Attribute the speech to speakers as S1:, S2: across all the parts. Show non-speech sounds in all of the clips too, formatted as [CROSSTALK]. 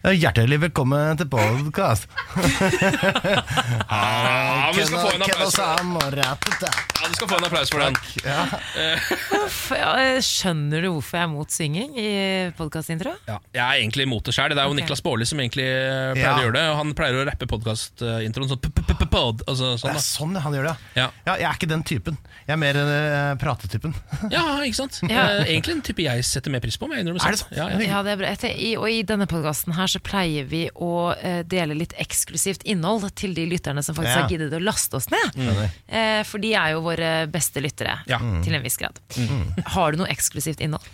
S1: Hjertelig velkommen til podkast.
S2: Ja, men Ah, vi skal få en applaus for den.
S1: Nei,
S2: Ja, du skal få en applaus for den.
S3: Uff, ja, eh, Skjønner du hvorfor jeg er mot synging i podkastintro?
S2: Jeg er egentlig imot det sjøl. Det er jo
S3: Ok.
S2: Niklas Baarli som egentlig eh, pleier
S1: Ja.
S2: å gjøre det. og Han pleier å rappe podkastintroen sånn p-p-p-pod. Altså, sånn, da.
S1: sånn han gjør det, ja.
S2: Ja.
S1: ja. Jeg er ikke den typen. Jeg er mer eh, pratetypen.
S2: ja, ikke sant?
S3: Ja.
S2: Eh, Egentlig en type jeg setter mer pris på. om Jeg innrømmer
S1: Er det
S2: selv.
S1: sant?
S2: Ja, ja.
S3: Ja, det er bra. Jeg tenker- i- Og i denne podkasten her så pleier vi å eh, dele litt eksklusivt innhold til de lytterne som faktisk
S1: Ja. Mm.
S3: har giddet å laste oss ned. Eh, For de er jo våre beste lyttere,
S2: Ja.
S1: Mm.
S3: til en viss grad. Har du noe eksklusivt innhold?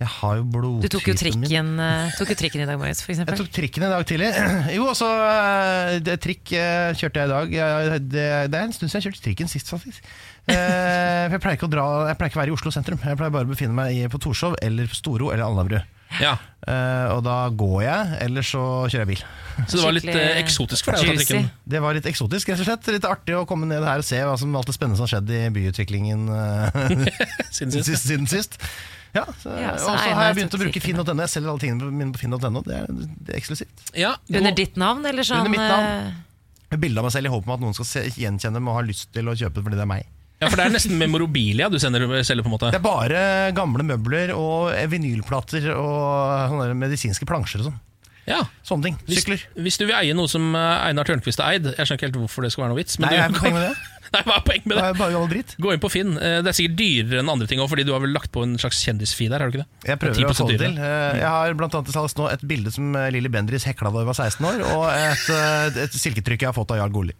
S1: Jeg har jo blodtypen
S3: Du tok jo
S1: min.
S3: trikken, eh, tok jo trikken i dag morges, for
S1: Jeg
S3: eksempel.
S1: tok trikken i dag tidlig. [CLEARS THROAT] Jo, og så eh, det- Trikk eh, kjørte jeg i dag. Jeg- Det, det er en stund siden jeg kjørte trikken sist, faktisk. Eh, For jeg pleier ikke å dra Jeg pleier ikke å være i Oslo sentrum. Jeg pleier bare å befinne meg i- på Torshov eller på Storo eller Alnabru.
S2: Ja.
S1: Eh, Og da går jeg, eller så kjører jeg bil.
S2: Så det var litt eh,
S3: Skikkelig
S2: eksotisk for deg å ta
S3: juicy.
S2: trikken.
S1: Det var litt eksotisk, rett og slett. Litt artig å komme ned her og se hva som alt det spennende som har skjedd i byutviklingen eh, [LAUGHS]
S2: Siden
S1: siden,
S2: sist.
S1: sist, siden sist. Ja, så,
S3: Ja, så
S1: og så
S3: Einar
S1: har jeg begynt
S3: tok
S1: å bruke
S3: trikken.
S1: finn.no. Jeg selger alle tingene mine på finn.no. Det, er- det er eksklusivt.
S2: Ja,
S3: Under
S2: god-
S3: ditt navn, eller sånn?
S1: Under mitt navn.
S3: eh,
S1: Jeg bildet meg selv i håp om at noen skal se, gjenkjenne meg og ha lyst til å kjøpe fordi det er meg.
S2: ja, for det er nesten memorabilia du sender selger, på en måte.
S1: Det er bare gamle møbler og eh, vinylplater og sånne der medisinske plansjer og sånn.
S2: Ja.
S1: Sånne ting.
S2: Hvis,
S1: Sykler.
S2: hvis du vil eie noe som eh, Einar Tørnquist har eid Jeg skjønner ikke helt hvorfor det skal være noe vits.
S1: Nei,
S2: du-
S1: jeg er ikke poeng med det.
S2: [LAUGHS] Nei, hva er poenget med
S1: Det
S2: det?
S1: er bare gammel dritt.
S2: Gå inn på Finn. Eh, Det er sikkert dyrere enn andre ting òg, fordi du har vel lagt på en slags kjendisfee der? har du ikke det?
S1: Jeg prøver å
S2: 10%
S1: få det
S2: dyrere.
S1: til. Eh, Jeg har blant annet til salgs nå et bilde som eh, Lilly Bendriss hekla da hun var 16 år, og et, eh, et silketrykk jeg har fått av Jarl Goli.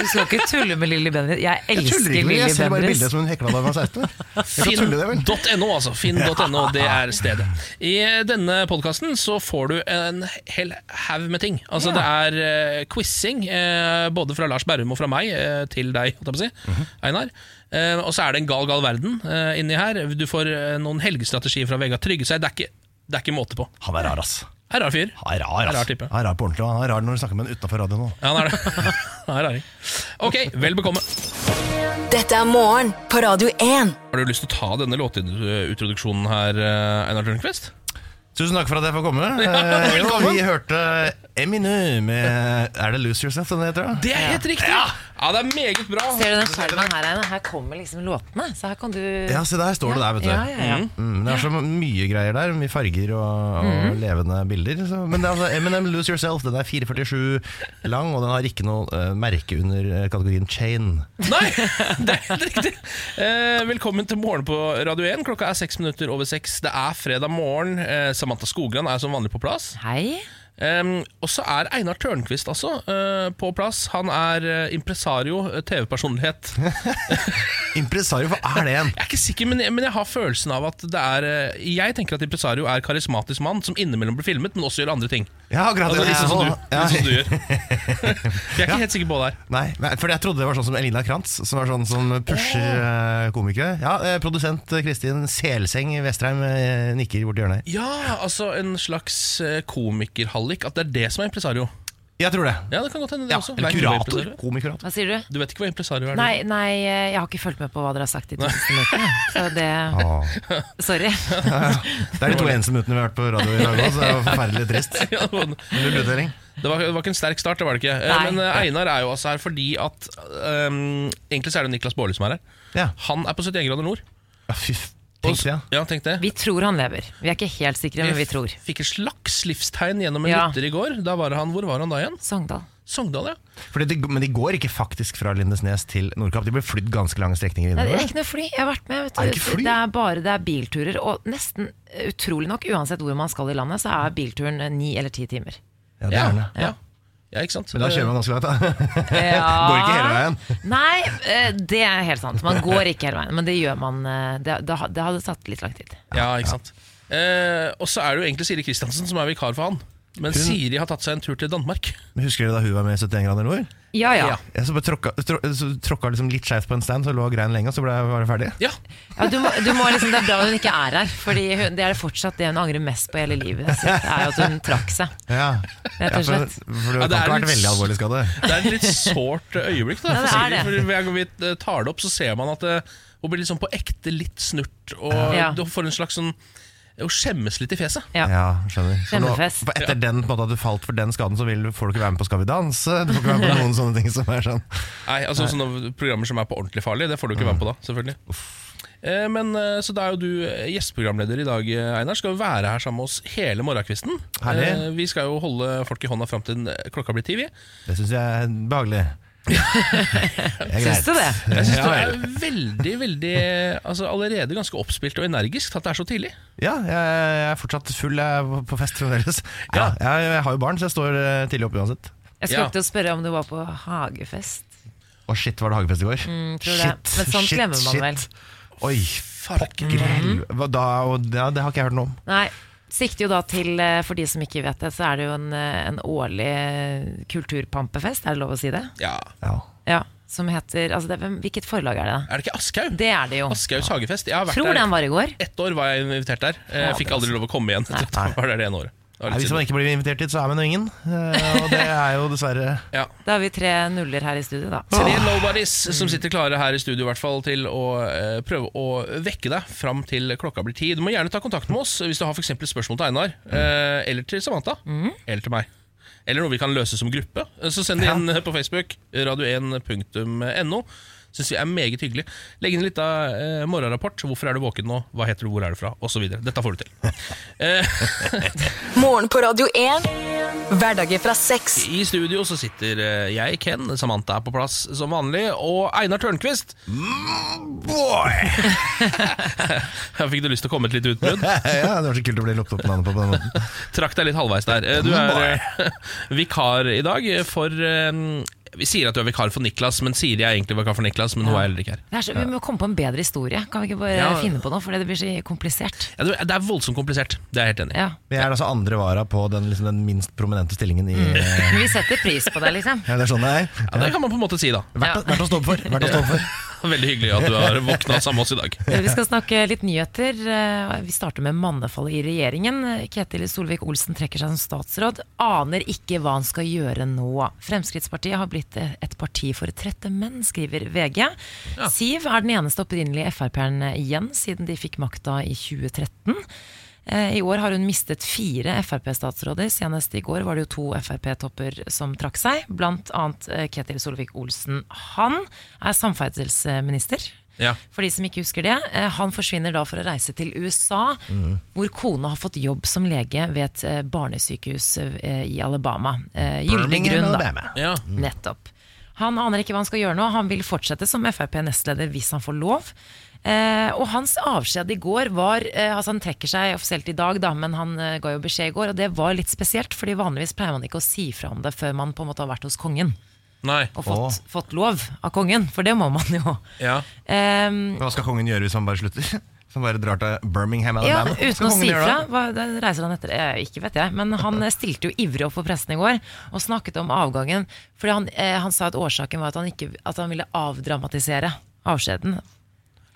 S3: Du skal ikke tulle med Lilly Bendriss. Jeg
S1: Jeg tuller
S3: elsker
S1: ikke med det,
S3: Lilly
S1: jeg ser bare
S3: Bendriss.
S1: bildet som hun hekla da hun var 16 år. Jeg kan tulle det vel.
S2: Finn.no, altså. Finn.no, det er stedet. I denne podkasten så får du en hel haug med ting. Altså Det er uh, quizing, eh, både fra Lars Berrum og fra meg, eh, til deg, holdt jeg på å si,
S1: Mhm.
S2: Einar. Eh, og så er det en gal, gal verden eh, inni her. Du får eh, noen helgestrategier fra Vegard Tryggeseid. Det, er ikke- det er ikke måte på.
S1: Han er rar, ass.
S2: Her er fyr.
S1: Han er rar,
S2: Rar
S1: ass.
S2: type.
S1: Han er rar på ordentlig, og han er rar når du snakker med ham utafor radioen òg.
S2: Ja, han er det. [LAUGHS] Han er raring. Ok, vel bekomme.
S4: Dette er morgen på Radio 1.
S2: Har du lyst til å ta denne låtintroduksjonen her, eh, Einar Tørnquist?
S1: Tusen takk for at jeg får komme. Eh, jo, vi hørte Eminu med Er det Lose Yourself den heter? da?
S2: Det er helt riktig! Ja, det er meget bra.
S3: Ser du den skjermen her, Einar? Her kommer liksom låtene. Så her kan du
S1: Ja, se der står det der, vet du.
S3: Ja, ja, ja.
S1: Mm, det er så mye greier der, mye farger og, og
S2: Mhm.
S1: levende bilder. Så. Men det er altså Eminem Lose Yourself. Den er 4,47 lang, og den har ikke noe eh, merke under eh, kategorien chain.
S2: Nei, det er helt riktig. Eh, velkommen til Morgen på Radio 1. Klokka er seks minutter over seks. Det er fredag morgen. Eh, Samantha Skogran er som vanlig på plass.
S3: Hei.
S2: Um, og så er Einar Tørnquist altså eh, på plass. Han er eh, impresario, eh, TV-personlighet. Jeg
S1: Impresario, hva er det igjen?
S2: er ikke sikker, men jeg, men jeg har følelsen av at det er eh, Jeg tenker at impresario er karismatisk mann som innimellom blir filmet, men også gjør andre ting.
S1: Ja, akkurat
S2: Altså,
S1: det. liksom
S2: litt sånn som du,
S1: Ja.
S2: litt sånn som du
S1: [LAUGHS]
S2: gjør. Jeg er ikke helt sikker på det her.
S1: Nei, nei, fordi jeg trodde det var sånn som Elina Krantz, som er sånn som pusher eh, komikere. Ja, eh, Produsent eh, Kristin Selseng i Vestreim eh, nikker borti hjørnet her.
S2: Ja, altså en slags eh, komikerhallik. At det er det som er impresario.
S1: Jeg tror det.
S2: Ja, det kan godt hende det
S1: Ja,
S2: også.
S1: eller
S2: Vet du hva
S1: kurator.
S2: impresario er?
S1: Komikurator.
S3: Hva sier du?
S2: Du vet ikke hva impresario er? du?
S3: Nei, nei, jeg har ikke fulgt med på hva dere har sagt de to siste minuttene. [LAUGHS] Så det
S1: Ah.
S3: Sorry.
S1: Det er de to eneste minuttene vi har vært på radio i dag òg, så det er jo forferdelig trist.
S2: [LAUGHS] Ja, det var-
S1: Null utdeling.
S2: Det var, det var ikke en sterk start, det var det ikke. Eh,
S3: Nei.
S2: Men eh, Einar er jo altså her fordi at ehm, Egentlig så er det Niklas Baarli som er her.
S1: Ja.
S2: Han er på 71 grader nord.
S1: Ja, fy f-
S2: Og-
S1: Tenk det, ja.
S2: Ja, tenk det.
S3: Vi tror han lever. Vi er ikke helt sikre, men vi
S2: f-
S3: tror.
S2: fikk et slags livstegn gjennom en
S3: Ja.
S2: lytter i går. Da var han, Hvor var han da igjen?
S3: Sogndal.
S2: Sogndal, ja.
S1: Fordi de, men de går ikke faktisk fra Lindesnes til Nordkapp. De blir flydd ganske lange strekninger
S3: Nei, det er
S1: innover.
S3: ikke noe fly. Jeg har vært med.
S1: Er
S3: Vet
S1: det
S3: du.
S1: ikke fly?
S3: Det er bare det er bilturer. Og nesten eh, utrolig nok, uansett hvor man skal i landet, så er bilturen eh, ni eller ti timer.
S1: Ja, det
S2: Ja,
S1: er det.
S2: ja. ja. ikke sant?
S1: Men da kjører man ganske langt, da.
S3: [LAUGHS] Ja.
S1: [LAUGHS] Går ikke hele veien.
S3: Nei, eh, det er helt sant. Man går ikke hele veien, men det gjør man. eh, Det, det, ha- det hadde tatt litt lang tid.
S2: Ja, ikke sant. Eh, og så er det jo egentlig Siri Kristiansen som er vikar for han. Men Siri har tatt seg en tur til Danmark.
S1: [LAUGHS] Men Husker dere da hun var med i 71 grader nord?
S3: Ja, ja.
S2: Ja.
S1: Jeg så bare tråkka, trå, så tråkka liksom litt skeivt på en stand, så lå greien lenge, og så ble jeg bare ferdig.
S2: Ja,
S3: Ja, du må, du må liksom, det er bra hun ikke er her, Fordi hun, det er fortsatt det hun angrer mest på i hele livet. sitt, Det er jo at hun trakk seg.
S1: Ja,
S3: Rett og
S1: ja for,
S3: slett.
S1: for du
S2: Ja,
S1: kan ikke
S2: det er
S1: ha vært
S2: litt-
S1: veldig alvorlig skade.
S2: Det er et litt sårt eh, øyeblikk da, for
S3: Ja, det er
S2: Siri. For Hver gang vi eh, tar det opp, så ser man at eh, hun blir liksom på ekte litt snurt. Og
S3: Ja.
S2: du får en slags sånn å skjemmes litt i fjeset.
S3: Ja.
S1: Ja, skjønner. Så nå,
S3: Fremmefest.
S1: for etter den, på en måte, at du falt for den skaden, så vil, du- får du ikke være med på Skal vi danse. Du får ikke være
S3: [LAUGHS]
S1: med på noen sånne ting som er sånn.
S2: Nei, altså sånne programmer som er på ordentlig farlig, det får du ikke være med på da, selvfølgelig. Eh, Men eh, Så da er jo du gjesteprogramleder i dag, eh, Einar. Skal jo være her sammen med oss hele morgenkvisten.
S1: Herlig.
S2: Eh, Vi skal jo holde folk i hånda fram til den- eh, klokka blir ti, vi.
S1: Det syns jeg er
S3: [LAUGHS]
S1: behagelig. Det er
S3: Syns du det?
S2: Jeg synes
S1: Ja,
S2: det er veldig, veldig Altså Allerede ganske oppspilt og energisk at det er så tidlig.
S1: Ja, jeg, jeg er fortsatt full jeg er på fest fremdeles. Ja,
S2: Ja.
S1: jeg, jeg har jo barn, så jeg står eh, tidlig oppe uansett.
S3: Jeg skulle
S2: Ja.
S3: til å spørre om du var på hagefest.
S1: Å shit, var det hagefest i går?
S3: Mm, tror det. Men sånn glemmer man vel. Mhm.
S1: Oi,
S2: Farken.
S1: pokker i helvete. Hva Da, og, ja, det har ikke jeg hørt noe om.
S3: Nei, sikter jo da til, eh, for de som ikke vet det, så er det jo en, eh, en årlig eh, kulturpampefest, er det lov å si det?
S2: Ja.
S1: Ja.
S3: Ja, som heter, altså det, er- hvem- Hvilket forlag er det? da?
S2: Er det ikke Aschhaug?
S3: Det er det jo.
S2: Aschehougs hagefest. Jeg har vært
S3: Tror den
S2: der
S3: var i går.
S2: ett år, var jeg invitert der. Eh, Fikk aldri lov å komme igjen. etter at
S1: altså. Nei.
S2: jeg var der [LAUGHS] det ene året. Det var
S1: Nei,
S2: litt
S1: hvis man
S2: synd.
S1: ikke blir invitert dit, så er man jo ingen. Eh, Og det er jo dessverre
S2: Ja.
S3: Da har vi tre nuller her i studio, da.
S2: Tre nobodies som sitter klare her i studio i hvert fall til å eh, prøve å vekke deg fram til klokka blir ti. Du må gjerne ta kontakt med oss hvis du har for eksempel spørsmål til Einar, eh, eller til Samantha, eller til meg. Eller noe vi kan løse som gruppe. Eh, Så send det inn eh, på Facebook, radio1.no. Syns vi er meget hyggelig. Legg inn litt av eh, morgenrapport. Hvorfor er du våken nå? Hva heter du? Hvor er du fra? Og så videre. Dette får du til.
S4: Morgen på Radio 1. Hverdager fra seks.
S2: I studio så sitter eh, jeg, Ken, Samantha er på plass som vanlig, og Einar Tørnquist.
S1: Boy!
S2: Her fikk du lyst til å komme med et litt utbrudd?
S1: [LAUGHS] ja, det var så kult å bli lukket opp med navnet på på den måten.
S2: Trakk deg litt halvveis der. Eh, Du er eh, [LAUGHS] vikar i dag for eh, Vi sier at du er vikar for Niklas, men sier jeg egentlig vikar for Niklas, men nå er jeg heller ikke her.
S3: Det er så, vi må komme på en bedre historie. Kan vi ikke bare
S2: Ja.
S3: finne på noe, for det blir så komplisert.
S2: Ja, du- det er voldsomt komplisert, det er jeg helt enig i.
S3: Ja.
S1: Men jeg er altså andre vara på den, liksom, den minst prominente stillingen i eh,
S3: Men vi setter pris på det, liksom.
S1: Ja, det er sånn det er.
S2: Ja, det kan man på en måte si, da. [LAUGHS]
S1: Verdt, å- verdt å stå opp for. Verdt å stå opp for.
S2: Veldig hyggelig at du har våkna sammen med oss i dag.
S3: Eh, Vi skal snakke litt nyheter. Eh, Vi starter med mannefallet i regjeringen. Ketil Solvik-Olsen trekker seg som statsråd. Aner ikke hva han skal gjøre nå. Fremskrittspartiet har blitt et parti for trette menn, skriver VG. Siv er den eneste opprinnelige Frp-eren igjen siden de fikk makta i 2013. Eh, I år har hun mistet fire Frp-statsråder. Senest i går var det jo to Frp-topper som trakk seg, blant annet eh, Ketil Solvik-Olsen. Han er samferdselsminister.
S2: Ja.
S3: For de som ikke husker det, eh, Han forsvinner da for å reise til USA, hvor kona har fått jobb som lege ved et eh, barnesykehus eh, i Alabama. Eh, Gyldig grunn, da.
S1: Alabama.
S2: Ja.
S3: Nettopp. Han aner ikke hva han skal gjøre nå. Han vil fortsette som Frp-nestleder hvis han får lov. Eh, og hans avskjed i går var eh, Altså Han trekker seg offisielt i dag, da, men han eh, ga jo beskjed i går. Og det var litt spesielt, fordi vanligvis pleier man ikke å si fra om det før man på en måte har vært hos kongen
S2: Nei.
S3: og fått, fått lov av kongen. For det må man jo.
S2: Ja.
S3: Eh,
S1: Men Hva skal kongen gjøre hvis han bare slutter? [LAUGHS] Hvis han bare drar til Birmingham?
S3: ja,
S1: Alabama? Hva
S3: uten
S1: skal
S3: å
S1: kongen
S3: si
S1: gjøre da?
S3: fra. Hva, da reiser han etter eh, Ikke vet jeg, men han eh, stilte jo ivrig opp for pressen i går og snakket om avgangen. Fordi han, eh, han sa at årsaken var at han, ikke, at han ville avdramatisere avskjeden.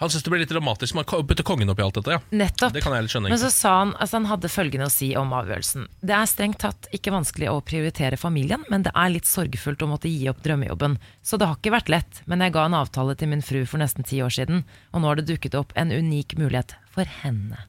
S2: Han syns det blir litt dramatisk. Man kan putte kongen opp i alt dette, ja.
S3: Nettopp.
S2: Det kan jeg litt skjønne.
S3: Men så
S2: egentlig.
S3: sa han altså han hadde følgende å si om avgjørelsen. Det er strengt tatt ikke vanskelig å prioritere familien, men det er litt sorgfullt å måtte gi opp drømmejobben. Så det har ikke vært lett, men jeg ga en avtale til min fru for nesten ti år siden, og nå har det dukket opp en unik mulighet for henne.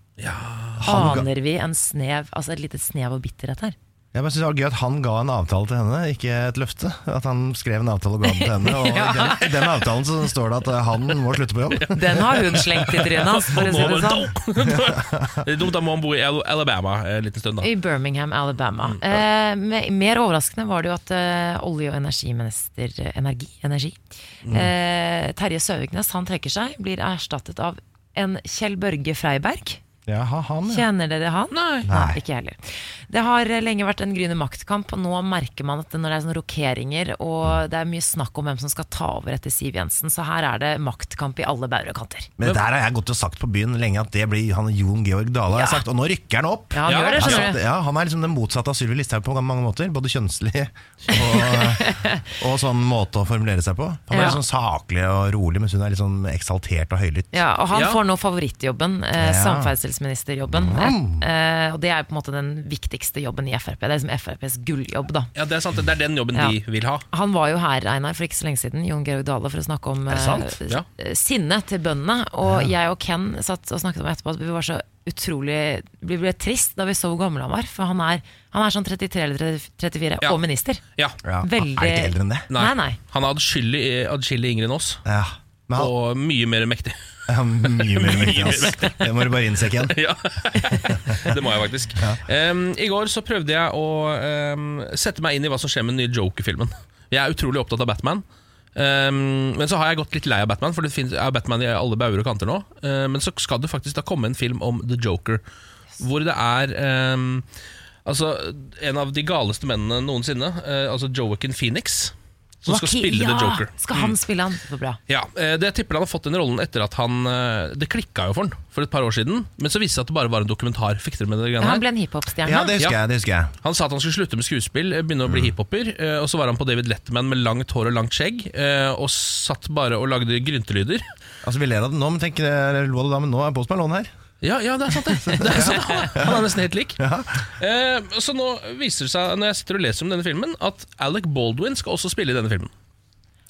S3: Aner vi en snev, altså et lite snev av bitterhet her?
S1: Jeg bare synes det var gøy at han ga en avtale til henne, ikke et løfte. At han skrev en avtale og ga den til
S3: [LAUGHS]
S1: henne. Og i den, i den avtalen så står det at eh, han må slutte på jobb.
S3: Den har hun slengt i trynet hans, for å si det sånn.
S2: [LAUGHS] Det er Dumt, da må han bo i Al- Alabama eh, en liten stund, da.
S3: I Birmingham, Alabama.
S1: Mm,
S3: Eh, me- mer overraskende var det jo at eh, olje- og energiminister eh, Energi, energi.
S1: Mm.
S3: Eh, Terje Søviknes han trekker seg, blir erstattet av en Kjell Børge Freiberg.
S1: Jaha, han, ja.
S3: Kjenner dere han?
S2: Nei.
S1: Nei.
S3: Ikke jeg heller. Det har eh, lenge vært en gryende maktkamp, og nå merker man at det- når det er sånne rokeringer og det er mye snakk om hvem som skal ta over etter Siv Jensen, så her er det maktkamp i alle bauger og kanter.
S1: Men der har jeg gått og sagt på byen lenge at det blir han Jon Georg Dale. har Jeg sagt, og nå rykker han opp!
S3: Ja, han
S2: Ja,
S3: gjør det,
S1: Jeg har
S3: skjønner
S1: sagt,
S3: du.
S1: ja, han er liksom den motsatte av Sylvi Listhaug på mange måter. Både kjønnslig og,
S3: [LAUGHS]
S1: og sånn måte å formulere seg på. Han er
S3: Ja.
S1: litt sånn saklig og rolig, mens hun er litt sånn eksaltert og høylytt.
S3: Ja, og han
S2: Ja.
S3: får nå favorittjobben, eh,
S1: Ja.
S2: Mm.
S3: samferdselsministerjobben. Eh, og det er på en måte den viktigste jobben i Frp. Det er liksom FrPs gulljobb, da.
S2: Ja, det er sant, det er den jobben
S3: Ja.
S2: de vil ha.
S3: Han var jo her Einar, for ikke så lenge siden, Jon Georg Dale, for å snakke om
S2: Er det sant?
S3: eh,
S2: Ja.
S3: eh, sinne til bøndene. Og jeg og Ken satt og snakket om etterpå at vi var så utrolig Vi ble trist da vi så hvor gammel han var. For han er, han er sånn 33 eller 34,
S2: Ja.
S3: og minister.
S2: Ja.
S1: Ja,
S3: Veldig-
S1: Er ikke eldre enn det?
S2: Nei.
S3: Nei, nei.
S2: Han er adskillig adskillig yngre enn oss,
S1: Ja. Men [LAUGHS] han,
S2: og mye mer mektig.
S1: ja, mye mer mektig, ass. Det må du bare innse, Ken.
S2: [LAUGHS] ja, Det må jeg faktisk. Em, I går så prøvde jeg å em, sette meg inn i hva som skjer med den nye Joker-filmen. Jeg er utrolig opptatt av Batman. Em, men så har jeg gått litt lei av Batman, for det finnes, er Batman i alle bauger og kanter nå. Eh, men så skal det faktisk da komme en film om The Joker, hvor det er em, Altså, en av de galeste mennene noensinne, eh, altså Joaquin Phoenix, som skal
S3: Joaquin-
S2: spille
S3: ja,
S2: The Joker. Mm.
S3: Skal han spille han? Så bra.
S2: Ja, eh, det jeg tipper han har fått den rollen etter at han eh, Det klikka jo for han for et par år siden, men så viste det seg at det bare var en dokumentar. Fikk dere med det greiene
S3: Han
S2: her?
S3: ble en hiphop-stjerne.
S1: Ja, det husker jeg. det husker jeg
S2: Han sa at han skulle slutte med skuespill, eh, begynne å bli hiphoper, eh, og så var han på David Letterman med langt hår og langt skjegg, eh, og satt bare og lagde gryntelyder. [LAUGHS]
S1: Altså Vi ler av det nå, men tenk, eh, lo av det da, men nå er Post Malone her.
S2: Ja, ja, det er sant, det. det er sant. Han er nesten helt lik. Eh, Så nå viser det seg, når jeg sitter og leser om denne filmen, at Alec Baldwin skal også spille i denne filmen.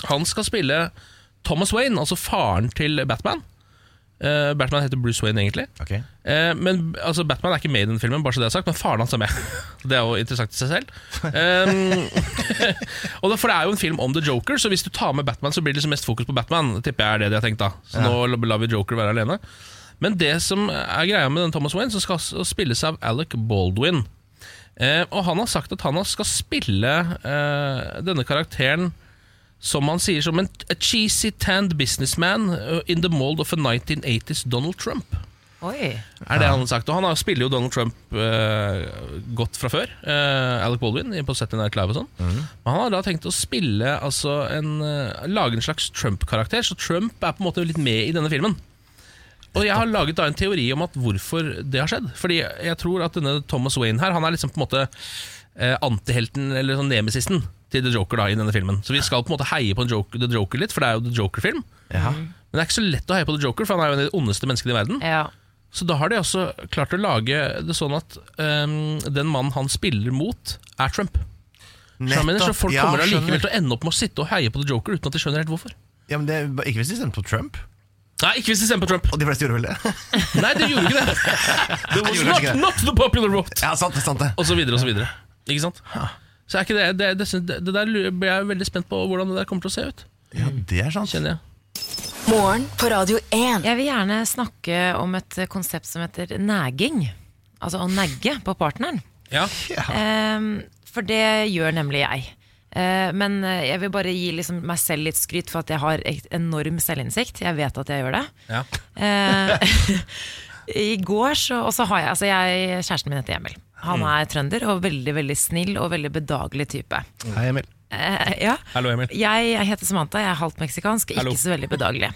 S2: Han skal spille Thomas Wayne, altså faren til Batman. Eh, Batman heter Bruce Wayne, egentlig.
S1: Okay.
S2: Eh, men altså, Batman er ikke med i den filmen, bare så det er sagt, men faren hans er med. [LAUGHS] Det er jo interessant i seg selv. Um, [LAUGHS] og da, for det er jo en film om The Joker, så hvis du tar med Batman, så blir det liksom mest fokus på Batman. Det Tipper jeg er det de har tenkt da. Så nå lar vi Joker være alene. Men det som er greia med den Thomas Wayne, som skal altså spilles av Alec Baldwin. Eh, og han har sagt at han skal spille eh, denne karakteren som han sier som en a cheesy tanned businessman eh, in the mold of a 1980s Donald Trump
S3: Oi.
S2: er det han har sagt. Og han har- spiller jo Donald Trump eh, godt fra før. eh, Alec Baldwin i- på Saturday Night Live og sånn. Men han har da tenkt å spille altså, en, eh, lage en slags Trump-karakter, så Trump er på en måte litt med i denne filmen. Og jeg har laget da en teori om at hvorfor det har skjedd. Fordi jeg tror at denne Thomas Wayne her, han er liksom på en måte eh, antihelten, eller sånn nemesisten, til The Joker da i denne filmen. Så vi skal på en måte heie på en Joker, The Joker litt, for det er jo The Joker-film.
S1: Ja.
S2: Men det er ikke så lett å heie på The Joker, for han er jo en av de ondeste menneskene i verden.
S3: Ja.
S2: Så da har de også klart å lage det sånn at øhm, den mannen han spiller mot, er Trump. Så, jeg mener, så folk
S1: Ja,
S2: kommer allikevel
S1: skjønner.
S2: til å ende opp med å sitte og heie på The Joker uten at de skjønner helt hvorfor.
S1: ja, men det, Ikke hvis de stemte på Trump.
S2: Nei, ikke hvis de stemmer på Trump!
S1: Og de fleste gjorde vel det?
S2: Nei, de gjorde ikke det! It was
S1: gjorde
S2: not,
S1: kanskje ikke [LAUGHS] det.
S2: not the popular vote!
S1: Ja, sant det, sant det
S2: Og så videre og så videre. Ikke sant? Så er ikke det, det, det, syns- det der lurer- blir jeg veldig spent på hvordan det der kommer til å se ut.
S1: Ja, det er sant.
S2: Kjenner jeg.
S4: Morgen på Radio 1.
S3: Jeg vil gjerne snakke om et eh, konsept som heter nagging. Altså å negge på partneren.
S2: Ja,
S3: Ehm, for det gjør nemlig jeg. Eh, men eh, jeg vil bare gi liksom meg selv litt skryt for at jeg har et enorm selvinnsikt. Jeg vet at jeg gjør det.
S2: ja.
S3: Eh, [LAUGHS] I går så Og så har jeg, altså jeg Kjæresten min heter Emil. Han er trønder og veldig veldig snill og veldig bedagelig type.
S1: Hei, Emil.
S3: Eh, ja.
S2: Hallo, Emil.
S3: Jeg heter Samantha, jeg er halvt meksikansk,
S2: Hallo.
S3: ikke så veldig bedagelig.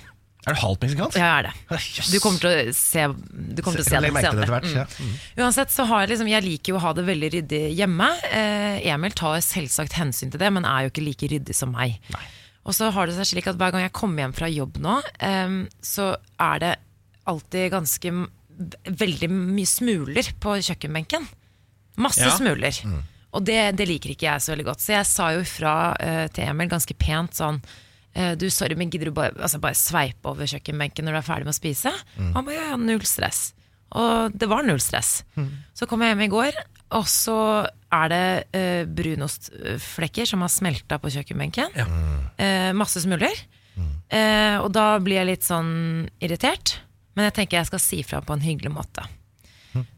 S1: Er du halvt meksikansk?
S3: Jeg er det.
S1: Yes.
S3: Du kommer til å se, du kommer til å se det
S1: Jeg merket det etter
S3: senere.
S1: hvert. Ja. Mm.
S3: Uansett så har jeg liksom, jeg liker jo å ha det veldig ryddig hjemme. Eh, Emil tar selvsagt hensyn til det, men er jo ikke like ryddig som meg. Og så har det seg slik at hver gang jeg kommer hjem fra jobb nå, eh, så er det alltid ganske m- veldig mye smuler på kjøkkenbenken. Masse
S2: Ja.
S3: smuler. Og det, det liker ikke jeg så veldig godt. Så jeg sa jo ifra eh, til Emil ganske pent sånn eh, Du, sorry, men gidder du bare, altså, bare sveipe over kjøkkenbenken når du er ferdig med å spise? Han bare ja, ja, null stress. Og det var null stress. Så kom jeg hjem i går, og så er det eh, brunostflekker som har smelta på kjøkkenbenken.
S2: Ja.
S3: Eh, masse smuler. Eh, og da blir jeg litt sånn irritert. Men jeg tenker jeg skal si fra på en hyggelig måte.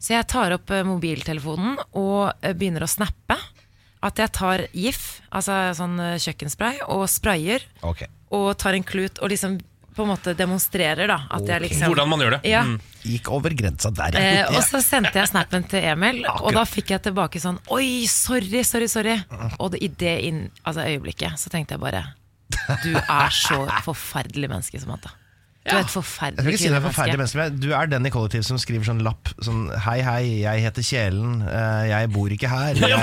S3: Så jeg tar opp eh, mobiltelefonen og eh, begynner å snappe. At jeg tar GIF, altså sånn eh, kjøkkenspray, og sprayer.
S1: Ok.
S3: Og tar en klut og liksom på en måte demonstrerer, da. At jeg liksom
S2: Hvordan man gjør det.
S3: Ja.
S2: Mm.
S1: Gikk over grensa der,
S3: Eh,
S1: ja.
S3: og så sendte jeg snappen til Emil, og da fikk jeg tilbake sånn Oi, sorry, sorry, sorry. Og det, i det inn, altså øyeblikket så tenkte jeg bare Du er så forferdelig menneske, Samantha. Du er
S1: Jeg
S3: et
S1: vil
S3: forferdelig
S1: ikke si det er forferdelig
S3: kvinnemenneske.
S1: menneske, men Du er den i kollektiv som skriver sånn lapp sånn Hei, hei, jeg heter Kjelen. eh, Jeg bor ikke her. Jeg,